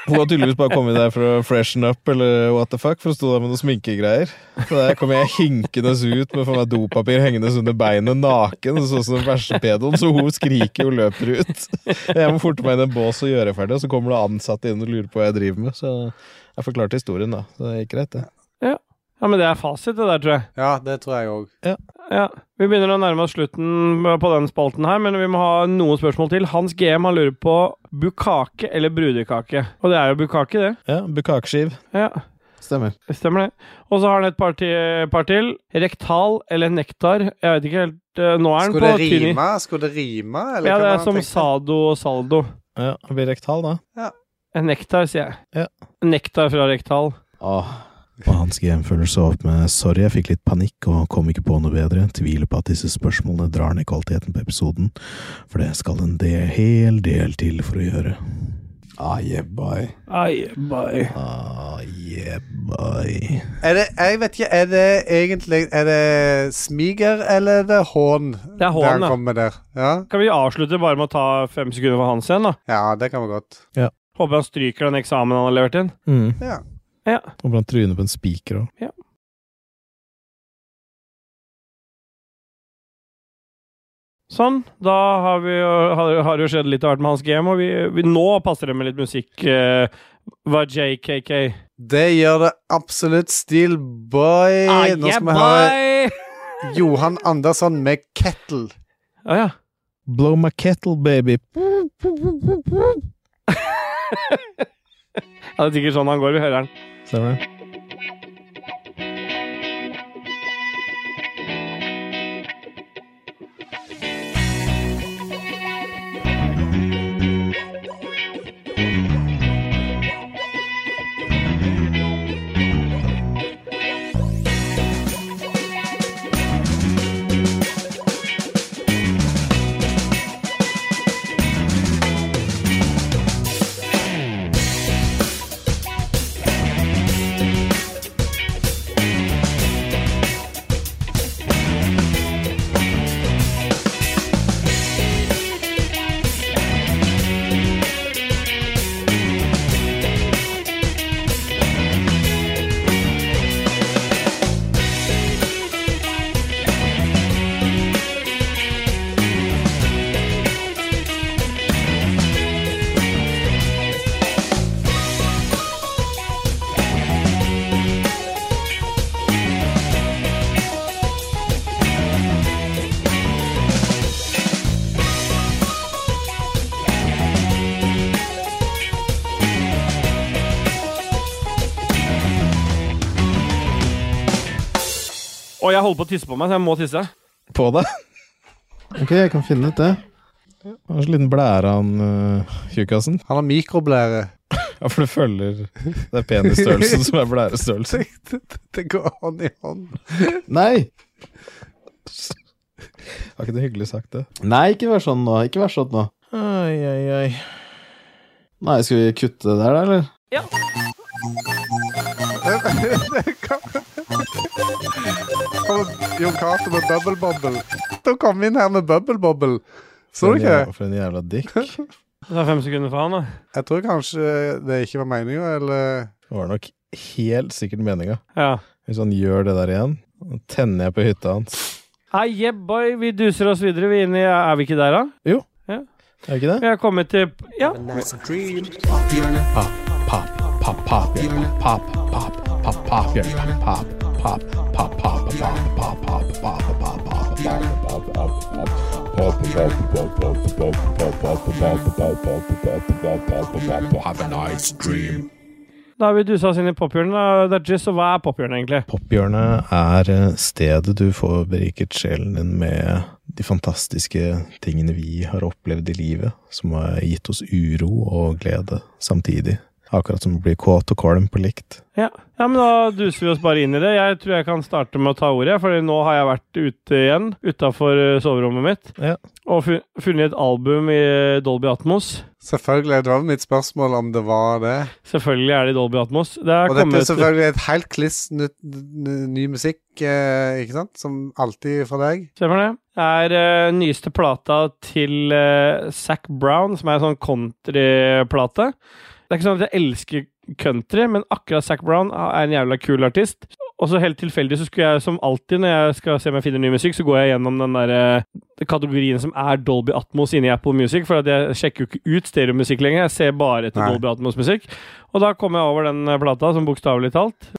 Speaker 4: Hun har tydeligvis bare kommet der for å freshen up eller what the fuck, for hun sto der med noen sminkegreier. Så der kom jeg hinkende ut med for meg dopapir hengende under beinet, naken, sånn som en bæsjepedoen, så hun skriker og løper ut. Jeg må forte meg inn i en bås og gjøre ferdig, og så kommer det ansatte inn og lurer på hva jeg driver med. Så jeg forklarte historien, da. Så det gikk greit, det.
Speaker 2: Ja. ja, men det er fasit, det der, tror jeg.
Speaker 3: Ja, det tror jeg òg.
Speaker 4: Ja.
Speaker 2: Vi begynner å nærme oss slutten på den spalten her, men vi må ha noen spørsmål til. Hans GM han lurer på bukake eller brudekake. Og det er jo bukake, det.
Speaker 4: Ja, bukakeskiv.
Speaker 2: Ja.
Speaker 4: Stemmer.
Speaker 2: Stemmer det. Og så har han et par, ti par til. Rektal eller nektar. Jeg vet ikke helt eh, Nå er han
Speaker 3: Skulle
Speaker 2: på
Speaker 3: det
Speaker 2: tynn i-
Speaker 3: rime? Skulle det rime? Eller
Speaker 2: Ja,
Speaker 3: hva
Speaker 2: det
Speaker 3: var
Speaker 2: er som
Speaker 3: tenkte?
Speaker 2: sado og saldo.
Speaker 4: Ja, det blir rektal, da.
Speaker 3: Ja.
Speaker 2: En nektar, sier jeg. Nektar fra rektal.
Speaker 4: Åh. Og hans GM følger seg opp med 'sorry, jeg fikk litt panikk og kom ikke på noe bedre'. Tviler på at disse spørsmålene drar ned kvaliteten på episoden, for det skal en del, hel del til for å gjøre. Ah, yeah, boy.
Speaker 2: Ai, bye.
Speaker 4: Ah, yeah, boy.
Speaker 3: Er det, jeg vet ikke, er det egentlig Er det smiger, eller er det hån?
Speaker 2: Det er hån,
Speaker 3: der han
Speaker 2: ja.
Speaker 3: kommer der? Ja?
Speaker 2: Kan vi avslutte bare med å ta fem sekunder for hans igjen, da?
Speaker 3: ja, det kan vi godt.
Speaker 4: Ja.
Speaker 2: Håper han stryker den eksamen han har levert inn.
Speaker 4: Mm.
Speaker 3: Ja.
Speaker 2: Ja.
Speaker 4: Og blant trynet på en spiker òg.
Speaker 2: Sånn. Da har, vi, jo- har, har det jo skjedd litt av hvert med hans game, og vi, vi, nå passer det med litt musikk. eh, Hva JKK?
Speaker 3: Det gjør det absolutt. Steel boy.
Speaker 2: Ah,
Speaker 3: Eh, Nå
Speaker 2: yeah,
Speaker 3: skal vi høre Johan Andersson med Kettle.
Speaker 2: Å ja.
Speaker 4: Blow my kettle, baby.
Speaker 2: ja. Det er sikkert sånn han går. Vi hører den.
Speaker 4: Stemmer det?
Speaker 14: Hey,
Speaker 2: Og jeg holder på å tisse på meg, så jeg må tisse.
Speaker 1: På deg?
Speaker 4: Ok, jeg kan finne ut det.
Speaker 1: Han har så liten blære, han
Speaker 4: eh,
Speaker 1: uh, tjukkasen.
Speaker 3: Han har mikroblære.
Speaker 1: ja, for det følger Det er penisstørrelsen som er blærestørrelsen.
Speaker 3: <laughs> Det går hånd i hånd.
Speaker 1: Nei! Var ikke det hyggelig sagt, det?
Speaker 4: Nei, ikke vær sånn nå. Ikke vær sånn nå.
Speaker 1: Oi, oi, oi.
Speaker 4: Nei, skal vi kutte det der, da, eller?
Speaker 2: Ja.
Speaker 3: Og Jon Cato med Bubble Bobble. Da kom vi inn her med Bubble Bobble. Så du
Speaker 1: For en
Speaker 3: ikke?
Speaker 1: jævla- For en jævla dick.
Speaker 2: Det er fem sekunder for han, da.
Speaker 3: Jeg tror kanskje det ikke var meninga, eller
Speaker 1: Det var nok helt sikkert meninga.
Speaker 2: Ja.
Speaker 1: Hvis han gjør det der igjen, da tenner jeg på hytta hans.
Speaker 2: Hei, yeah, boy, vi duser oss videre. Vi er, inne i, er vi ikke der, da?
Speaker 1: Jo.
Speaker 2: Ja.
Speaker 1: Er vi ikke det?
Speaker 2: Vi er kommet til Ja.
Speaker 1: Pop, pop, pop, pop, pop, pop, pop, pop, pop, pop, pop, pop, pop, pop, pop, pop, pop, pop, pop.
Speaker 6: Have a nice dream.
Speaker 2: Da har vi dusa oss inn i pophjørnet. da, Dajis, og hva er pophjørnet, egentlig?
Speaker 1: Pophjørnet er eh, stedet du får beriket sjelen din med de fantastiske tingene vi har opplevd i livet, som har gitt oss uro og glede samtidig. Akkurat som å bli kåt og kvalm på likt.
Speaker 2: Ja. ja, men da duser vi oss bare inn i det. Jeg tror jeg kan starte med å ta ordet, for nå har jeg vært ute igjen, utafor soverommet mitt,
Speaker 1: Ja.
Speaker 2: og fu- funnet et album i eh, Dolby Atmos.
Speaker 3: Selvfølgelig. Det var mitt spørsmål om det var det.
Speaker 2: Selvfølgelig er det i Dolby Atmos. Det er
Speaker 3: Og dette er
Speaker 2: kommet
Speaker 3: selvfølgelig et helt kliss ny, ny musikk, eh, ikke sant? Som alltid fra deg.
Speaker 2: Stemmer det. Det er eh, nyeste plata til uh, Zac Brown, som er en sånn countryplate. Det er ikke sånn at jeg elsker country, men akkurat Zac Brown er en jævla kul artist. Og så helt tilfeldig så skulle jeg som alltid når jeg skal se om jeg finner ny musikk, så går jeg gjennom den der eh, kategorien som er Dolby Atmos inni Apple Music, for at jeg sjekker jo ikke ut stereomusikk lenger. Jeg ser bare etter
Speaker 3: Nei.
Speaker 2: Dolby Atmos-musikk. Og da kom jeg over den eh, plata, som bokstavelig talt.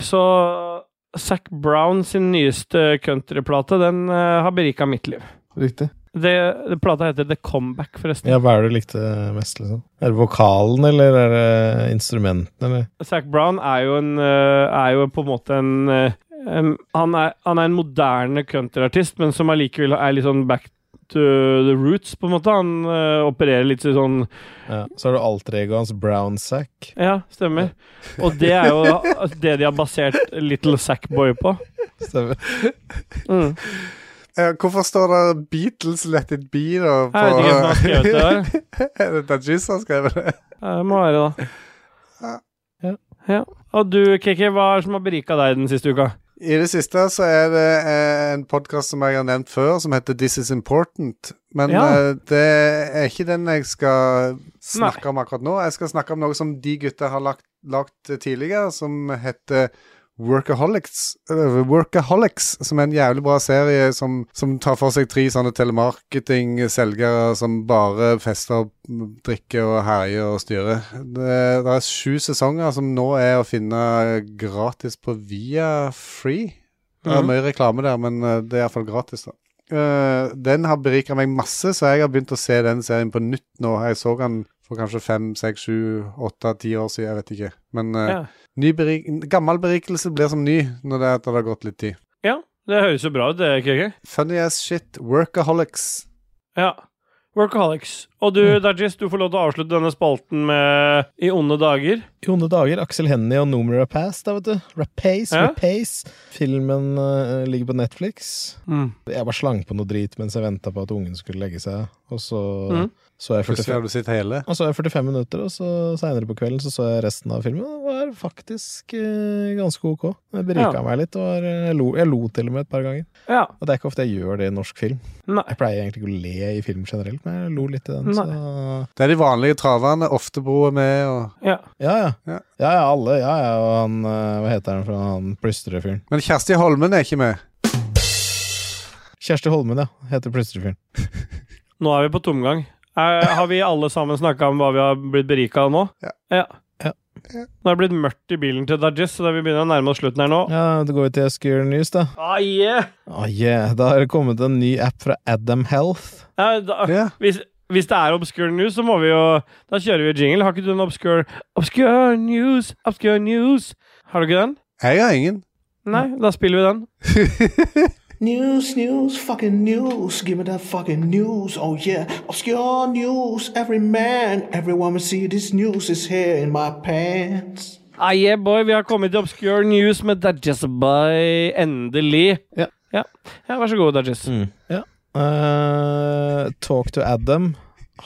Speaker 2: Så Zac Brown sin nyeste countryplate, den eh, har berika mitt liv.
Speaker 4: Riktig.
Speaker 2: Det, det plata heter The Comeback, forresten.
Speaker 1: Ja, hva er det du likte mest, liksom? Er det vokalen, eller er det instrumentene, eller?
Speaker 2: Zac Brown er jo en eh, Er jo på en måte en eh, em, han, er, han er en moderne countryartist, men som allikevel er litt sånn back to the roots, på en måte. Han eh, opererer litt sånn
Speaker 1: Ja. Så er det alter egoet hans, Brown Sack.
Speaker 2: Ja, stemmer. Og det er <laughs> jo det de har basert Little Sackboy på.
Speaker 1: Stemmer.
Speaker 2: Mm.
Speaker 3: Eh, Hvorfor står det Beatles Let It Be da?
Speaker 2: Jeg vet ikke hvem som har skrevet det
Speaker 3: <laughs>
Speaker 2: <laughs>
Speaker 3: er det Dajis som har skrevet det?
Speaker 2: Ja, Det må være, da. Ja. ja. Og du, KK, hva er det som har berika deg den siste uka?
Speaker 3: I det siste så er det eh, en podkast som jeg har nevnt før, som heter This Is Important. Men
Speaker 2: Ja.
Speaker 3: eh, det er ikke den jeg skal snakke om akkurat nå. Jeg skal snakke om noe som de gutta har lagt, lagt tidligere, som heter Workaholics, eh, Workaholics, som er en jævlig bra serie som, som tar for seg tre sånne telemarketing-selgere som bare fester, drikker og herjer og styrer. Det, det er sju sesonger som nå er å finne gratis på Via Free. Det er
Speaker 6: Mhm.
Speaker 3: mye reklame der, men eh, det er iallfall gratis, da. Eh, den har berika meg masse, så jeg har begynt å se den serien på nytt nå. Jeg så den for kanskje fem, seks, sju, åtte, ti år siden, jeg vet ikke. Men eh,
Speaker 2: Ja.
Speaker 3: ny berik gammel berikelse blir som ny når det, er at det har gått litt tid.
Speaker 2: Ja, det høres jo bra ut, det, KK.
Speaker 3: Funny as shit, workaholics.
Speaker 2: Ja. Workaholics. Og du, Dajis, du får lov til å avslutte denne spalten med I onde dager.
Speaker 1: I onde dager, Aksel Hennie og Noomi Rapace, da, vet du. Rapace,
Speaker 2: Ja.
Speaker 1: Rapace. Filmen eh, ligger på Netflix.
Speaker 2: Mm.
Speaker 1: Jeg bare slang på noe drit mens jeg venta på at ungen skulle legge seg, og så
Speaker 2: Mhm.
Speaker 1: så jeg
Speaker 3: Plutselig
Speaker 1: 45
Speaker 3: har du sett hele.
Speaker 1: Og så er jeg 45 minutter, og så seinere på kvelden så så jeg resten av filmen. og Det var faktisk eh, ganske ok. Det berika
Speaker 2: Ja.
Speaker 1: meg litt. Det var, eh, jeg, lo, jeg lo til og med et par ganger.
Speaker 2: Ja.
Speaker 1: Og det er ikke ofte jeg gjør det i norsk film.
Speaker 2: Nei.
Speaker 1: Jeg pleier egentlig ikke å le i film generelt, men jeg lo litt i den. Så.
Speaker 3: Det er de vanlige traverne, Oftebro er med, og
Speaker 2: Ja.
Speaker 1: Ja, ja. ja, ja, alle. Ja, ja, og han eh, Hva heter han fra han plystrefyren?
Speaker 3: Men Kjersti Holmen er ikke med.
Speaker 1: Kjersti Holmen, ja. Heter plystrefyren.
Speaker 2: Nå er vi på tomgang. Er, har vi alle sammen snakka om hva vi har blitt berika av nå? Ja. Nå er det blitt mørkt i bilen til Dajis, så da vi begynner å nærme oss slutten her nå.
Speaker 1: Ja, Da går vi til Skear News, da.
Speaker 2: Ah, yeah.
Speaker 1: Oh, yeah. Da har det kommet en ny app fra Adam Health.
Speaker 2: Nei, da, hvis, hvis det er obscure news, så må vi jo Da kjører vi jingle. Har ikke du en obscure Obscure news, obscure news? Har du ikke den?
Speaker 3: Jeg har ingen.
Speaker 2: Nei, da spiller vi den.
Speaker 10: News, news, fucking news. Give me that fucking news. Oh yeah, obscure news. Every man, every woman see this news is here in my pants.
Speaker 2: Ah, yeah, boy, vi har kommet til Obscure News med Dajess by endelig.
Speaker 4: Ja.
Speaker 2: Ja,
Speaker 4: Mm.
Speaker 2: Vær så god, Dajess.
Speaker 4: Ja. Eh, Talk to Adam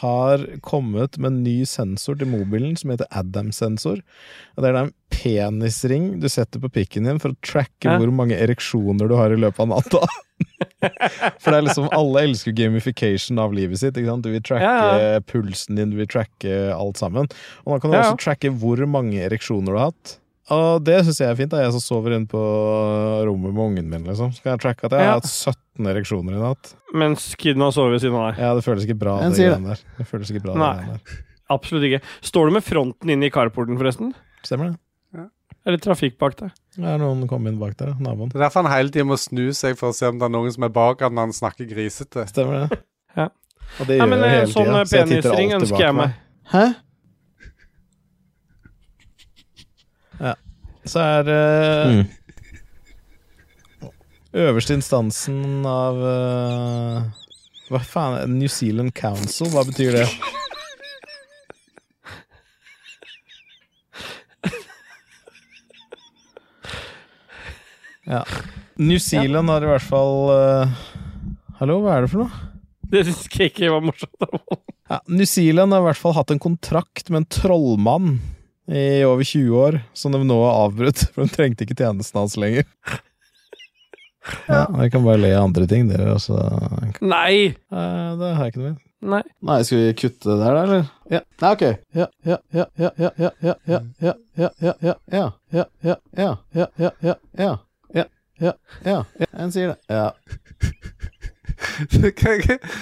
Speaker 4: har kommet med en ny sensor til mobilen som heter Adam-sensor. Og Det er da en penisring du setter på pikken din for å tracke
Speaker 2: Hæ?
Speaker 4: hvor mange ereksjoner du har i løpet av
Speaker 2: <laughs>
Speaker 4: natta. For det er liksom alle elsker gamification av livet sitt. Ikke sant? Du vil tracke
Speaker 2: Ja,
Speaker 4: pulsen din, du vil tracke alt sammen. Og da kan du
Speaker 2: Ja, ja.
Speaker 4: også tracke hvor mange ereksjoner du har hatt. Og det syns jeg er fint. da Jeg som sover inne på rommet med ungen min, liksom. Så kan jeg tracke at jeg
Speaker 2: Ja.
Speaker 4: har hatt 17 ereksjoner i natt.
Speaker 2: Mens kiden har sovet ved siden av deg.
Speaker 4: Ja, det føles ikke bra,
Speaker 2: Den
Speaker 4: det
Speaker 2: sier
Speaker 4: greiene der. Det føles ikke bra, det
Speaker 2: Nei.
Speaker 4: greiene der.
Speaker 2: Absolutt ikke. Står du med fronten inne i carporten, forresten?
Speaker 4: Stemmer det.
Speaker 2: Eller trafikk bak deg?
Speaker 4: Det er noen som kom inn bak der, da, naboen.
Speaker 3: Det er derfor han hele tiden må snu seg for å se om det er noen som er bak han når han snakker grisete. <laughs>
Speaker 4: Stemmer det.
Speaker 2: <laughs> Ja.
Speaker 4: Og det
Speaker 2: Nei,
Speaker 4: gjør
Speaker 2: men,
Speaker 4: jeg
Speaker 2: eh,
Speaker 4: hele
Speaker 2: sånn
Speaker 4: tiden, så jeg titter
Speaker 2: penisring
Speaker 4: alltid
Speaker 2: ønsker
Speaker 4: bak
Speaker 2: jeg meg.
Speaker 15: Hæ?
Speaker 4: Ja. Så er eh, Øverste instansen av eh, Hva faen? New Zealand Council? Hva betyr det? Ja. New Zealand har i hvert fall eh, Hallo, hva er det for noe?
Speaker 2: <laughs> Det syns jeg ikke var morsomt.
Speaker 4: Ja, New Zealand har i hvert fall hatt en kontrakt med en trollmann i over 20 år, som de nå har avbrutt, for de trengte ikke tjenesten hans lenger. Ja, Dere kan bare le av andre ting, dere. Altså.
Speaker 2: Nei!
Speaker 4: det har jeg ikke noe med.
Speaker 2: Nei.
Speaker 15: Nei, skal vi kutte det der, da, eller? Ja. Nei, ok. Ja, ja, ja, ja, ja, ja, ja, ja, ja, ja, ja, ja, ja, ja, ja, ja, ja, ja, ja, ja, ja, ja, ja, ja, en sier det. Ja.
Speaker 3: Det kan jeg ikke-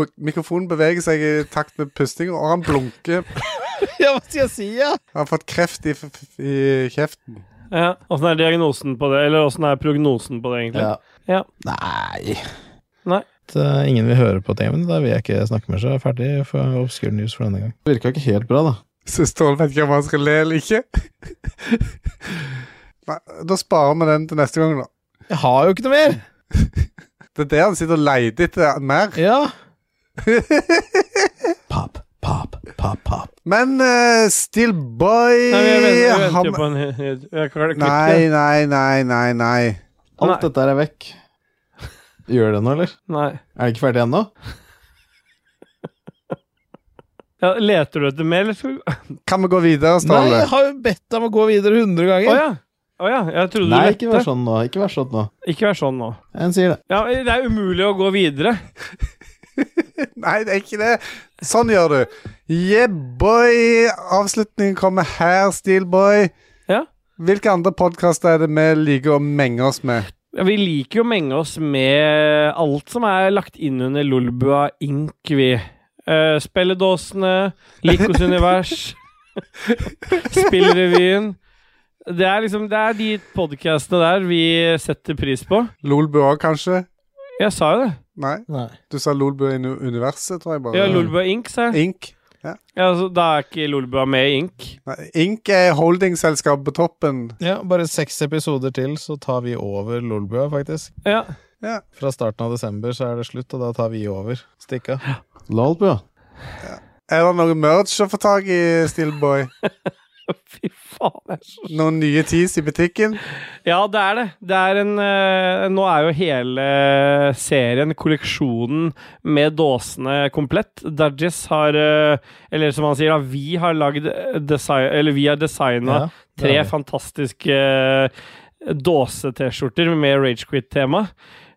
Speaker 3: Mik- Mikrofonen beveger seg i takt med pustinga, og han blunker.
Speaker 4: ja, hva skal jeg si, ja?
Speaker 3: Han har fått kreft i, f- f- i kjeften.
Speaker 2: Ja. Åssen er diagnosen på det? Eller åssen er prognosen på det, egentlig?
Speaker 4: Ja.
Speaker 2: Ja.
Speaker 4: Nei.
Speaker 2: Nei.
Speaker 4: At eh, ingen vil høre på tingene, da vil jeg ikke snakke med seg. Ferdig for Obscure News for denne gang.
Speaker 15: Det virka ikke helt bra, da.
Speaker 3: Syns Ståle vet ikke om han skal le eller ikke. <laughs> Nei, da sparer vi den til neste gang, da.
Speaker 4: Jeg har jo ikke noe mer!
Speaker 3: Det er det han sitter og leter etter mer.
Speaker 4: <laughs> Ja.
Speaker 3: pop, pop, pop, pop. Men eh, Still Boy
Speaker 2: Nei, vi venter, vi
Speaker 3: han-
Speaker 2: venter jo på en jeg kan klippe
Speaker 3: Nei,
Speaker 2: det.
Speaker 3: nei, nei, nei, nei.
Speaker 15: Alt dette er vekk. Gjør det nå, eller?
Speaker 2: Nei.
Speaker 15: Er det ikke ferdig ennå?
Speaker 2: Ja, leter du etter mer, eller skal vi
Speaker 3: Kan vi gå videre,
Speaker 4: Nei, jeg har jo bedt deg om å gå videre 100
Speaker 2: Å
Speaker 4: ganger.
Speaker 2: ja. Å ja. Jeg trodde
Speaker 15: Nei,
Speaker 2: du
Speaker 15: ikke vær sånn nå. Ikke vær sånn nå.
Speaker 2: Ikke vær sånn nå.
Speaker 15: En sier det.
Speaker 2: Ja, det er umulig å gå videre.
Speaker 3: <laughs> Nei, det er ikke det. Sånn gjør du. Yeah, boy! Avslutningen kommer her, Steelboy.
Speaker 2: Ja.
Speaker 3: Hvilke andre podkaster er det vi liker å menge oss med?
Speaker 2: Ja, vi liker jo å menge oss med alt som er lagt inn under Lolbua Inc., vi. Eh, spilledåsene, Likos univers, Spillrevyen. Det er liksom Det er de podkastene der vi setter pris på.
Speaker 3: Lolbua, kanskje?
Speaker 2: Jeg sa jo det.
Speaker 3: Nei? Du sa Lolbua i nu- universet, tror jeg bare.
Speaker 2: Ja, Lolbua Inc., sa jeg.
Speaker 3: Ink. Ja.
Speaker 2: Ja, altså, da er ikke Lolbua med i Inc.
Speaker 3: Nei, Ink er holdingselskapet på toppen.
Speaker 4: Ja, bare seks episoder til, så tar vi over Lolbua, faktisk.
Speaker 2: Ja. <laughs>
Speaker 3: Ja.
Speaker 4: Fra starten av desember så er det slutt, og da tar vi over. Stikk av.
Speaker 15: Lolbua.
Speaker 3: Er det noe merch å få tak i, Steelboy?
Speaker 2: Fy faen, jeg
Speaker 3: Noen nye tees i butikken?
Speaker 2: Ja, det er det. Det er en eh, Nå er jo hele serien, kolleksjonen med dåsene, komplett. Dajis har eh, Eller som han sier, da, vi har lagd eh, design... Eller vi har designa
Speaker 4: Ja, <laughs> det
Speaker 2: tre
Speaker 4: har vi.
Speaker 2: fantastiske eh, dåse-T-skjorter med Ragequit-tema.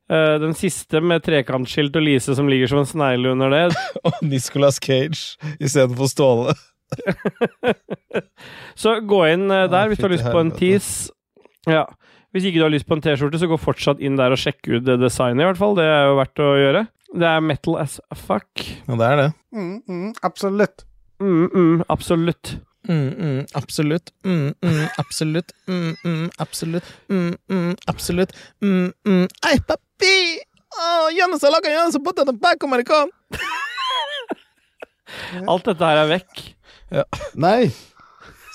Speaker 2: Eh, den siste med trekantskilt og Lise som ligger som en snegle under det.
Speaker 4: Og Nicolas Cage istedenfor Ståle.
Speaker 2: Så gå inn eh, der hvis du har
Speaker 4: fy til
Speaker 2: lyst på en
Speaker 4: helvete.
Speaker 2: tees. Ja. Hvis ikke du har lyst på en T-skjorte, så gå fortsatt inn der og sjekk ut det designet, i hvert fall. Det er jo verdt å gjøre. Det er metal as fuck.
Speaker 4: Ja, det er det.
Speaker 3: Mm, mm, absolutt.
Speaker 2: Mm, mm, absolutt.
Speaker 4: Mm, mm, absolutt. Mm, mm, absolutt. Mm, mm, absolutt. Mm, mm, absolutt. Mm, mm. Ei, papi! Oh, Jonas har laga Jonas og potet og bacon amerikan.
Speaker 2: Alt dette her er vekk.
Speaker 4: Ja.
Speaker 15: Nei!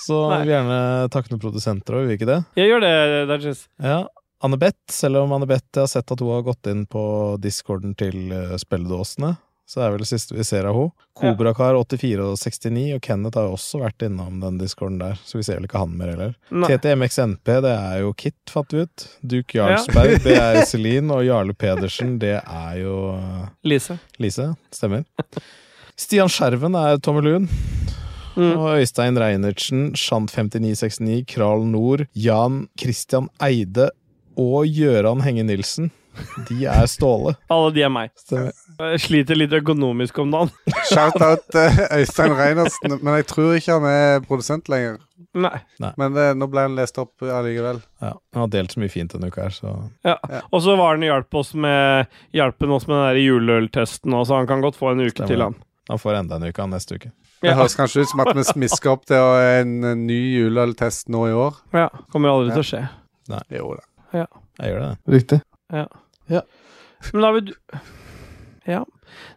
Speaker 4: Så vi vil gjerne takke noen produsenter òg, vil vi ikke det?
Speaker 2: Jeg gjør det, Dajis.
Speaker 4: Ja,
Speaker 1: Anne-Beth, selv om Anne-Beth har sett at hun har gått inn på discorden til eh, spilledåsene, så er vel det siste vi ser av henne. Kobrakar84 og 69, og Kenneth har jo også vært innom den discorden der, så vi ser vel ikke han mer heller.
Speaker 2: Nei.
Speaker 1: TTMXNP, det er jo Kit, fant vi ut. Duke Jarlsberg,
Speaker 2: Ja.
Speaker 1: det er Celine, og Jarle Pedersen, det er jo eh,
Speaker 2: Lise.
Speaker 1: Lise, stemmer. Stian Skjerven er Tommy Lund.
Speaker 2: Mm.
Speaker 1: Og Øystein Reinertsen, Shant5969, Kral Nord, Jan Christian Eide og Gøran Henge Nilsen. De er
Speaker 2: <laughs>
Speaker 1: Ståle.
Speaker 2: Alle de er meg.
Speaker 1: Stemmer.
Speaker 2: Jeg sliter litt økonomisk om dagen. <laughs>
Speaker 3: Shout-out eh, Øystein Reinertsen, men jeg tror ikke han er produsent lenger.
Speaker 2: Nei.
Speaker 3: Men eh, nå ble han lest opp allikevel.
Speaker 1: Ja, Han har delt så mye fint denne uka her, så
Speaker 2: Ja. Og så var han hjalp oss med hjelpen oss med den der juleøltesten òg, så han kan godt få en uke
Speaker 1: Stemmer.
Speaker 2: til, han.
Speaker 1: han får enda en uke han neste uke.
Speaker 3: Det høres kanskje ut som at vi smisker opp til eh, en ny juleøltest nå i år.
Speaker 2: Ja. Kommer aldri til å skje.
Speaker 1: Nei.
Speaker 3: Jo da.
Speaker 2: Ja.
Speaker 1: Jeg gjør det.
Speaker 4: Riktig.
Speaker 2: Ja. Men da har vi d- Ja.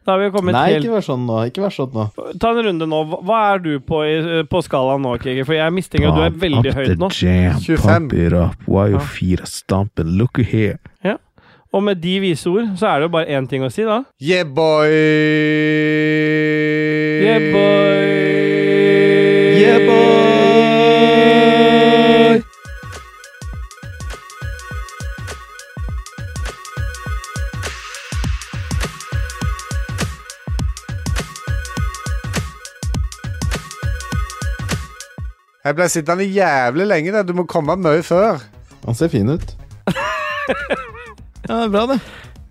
Speaker 2: Da har vi kommet
Speaker 4: Nei,
Speaker 2: helt
Speaker 4: ikke vær sånn nå. Ikke vær sånn nå.
Speaker 2: Ta en runde nå. Hva- Hva er du på, i, eh, på skalaen nå, Kiki? For jeg mistenker at du er veldig høyt nå.
Speaker 1: it up, why your feet are stomping, look here.
Speaker 2: Ja. Og med de vise ord så er det jo bare én ting å si, da.
Speaker 3: Yeah, boy!
Speaker 2: Yeah, boy!
Speaker 7: Yeah, boy!
Speaker 3: Jeg ble sittende jævlig lenge der. Du må komme mye før.
Speaker 4: Han ser fin ut.
Speaker 1: Ja, det er bra, det.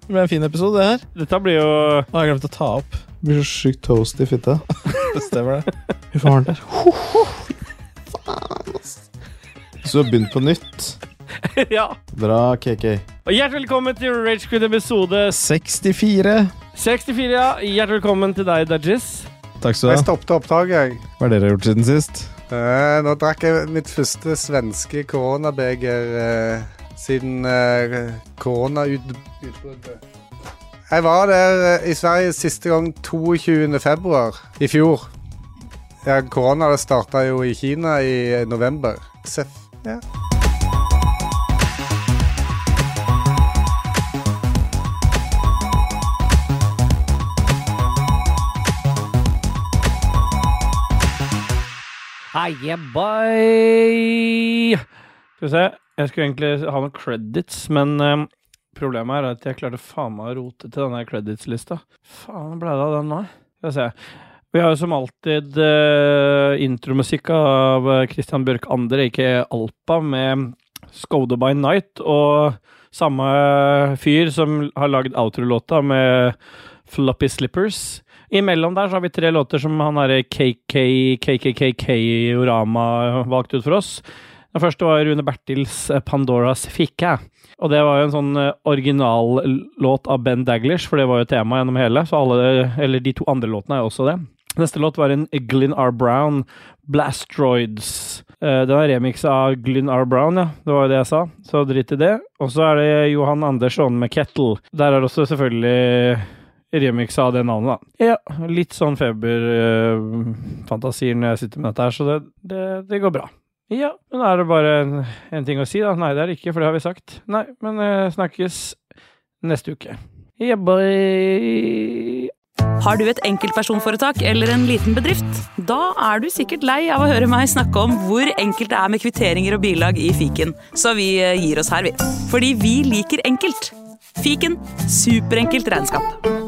Speaker 1: Det ble en fin episode, det her.
Speaker 2: Dette blir jo <laughs>
Speaker 1: Nå har jeg glemt å ta opp.
Speaker 4: Blir så sykt toast i fitta.
Speaker 1: <laughs> Det stemmer, det.
Speaker 4: Fy faen, der. Ho, ho. Faen, ass. Så du har begynt på nytt.
Speaker 2: ja.
Speaker 4: Bra, KK.
Speaker 2: Og hjertelig velkommen til Rage Quit episode
Speaker 1: 64.
Speaker 2: 64, ja. Hjertelig velkommen til deg, Dajis.
Speaker 1: Takk skal du
Speaker 3: Jeg
Speaker 1: ha.
Speaker 3: stoppet opptaket, jeg.
Speaker 1: Hva har dere gjort siden sist?
Speaker 3: Eh, nå drakk jeg mitt første svenske koronabeger eh, siden eh, koronautbruddet. Jeg var der eh, i Sverige siste gang 22. februar i fjor. Ja, korona det starta jo i Kina i november. Seff. Ja.
Speaker 2: Heie, bye! Skal vi se. Jeg skulle egentlig ha noen credits, men eh, problemet er at jeg klarte faen meg å rote til denne credits-lista. Faen, ble det av den nå? Skal vi se. Vi har jo som alltid eh, intromusikk av eh, Christian Bjørk Andre, ikke Alpa, med Skode by Night, og samme eh, fyr som har lagd outro-låta med Floppy Slippers. Imellom der så har vi tre låter som han eh, derre KK, KKKK-orama valgte ut for oss. Den første var Rune Bertils eh, 'Pandoras fikke'. Og det var jo en sånn eh, originallåt av Ben Daglish, for det var jo tema gjennom hele. Så alle, eller de to andre låtene er jo også det. Neste låt var en Glyn R. Brown, 'Blastroids'. Eh, Det var remix av Glyn R. Brown, ja. Det var jo det jeg sa, så drit i det. Og så er det Johan Andersson med 'Kettle'. Der er det også selvfølgelig remix av det navnet, da. Ja, litt sånn feberfantasier når jeg sitter med dette her, så det, det, det går bra. Ja, men er det bare en, en ting å si, da? Nei, det er det ikke, for det har vi sagt. Nei, men eh, snakkes neste uke. Yeah, boy.
Speaker 16: Har du et enkeltpersonforetak eller en liten bedrift? Da er du sikkert lei av å høre meg snakke om hvor enkelt det er med kvitteringer og bilag i fiken, så vi eh, gir oss her, vi. Fordi vi liker enkelt. Fiken superenkelt regnskap.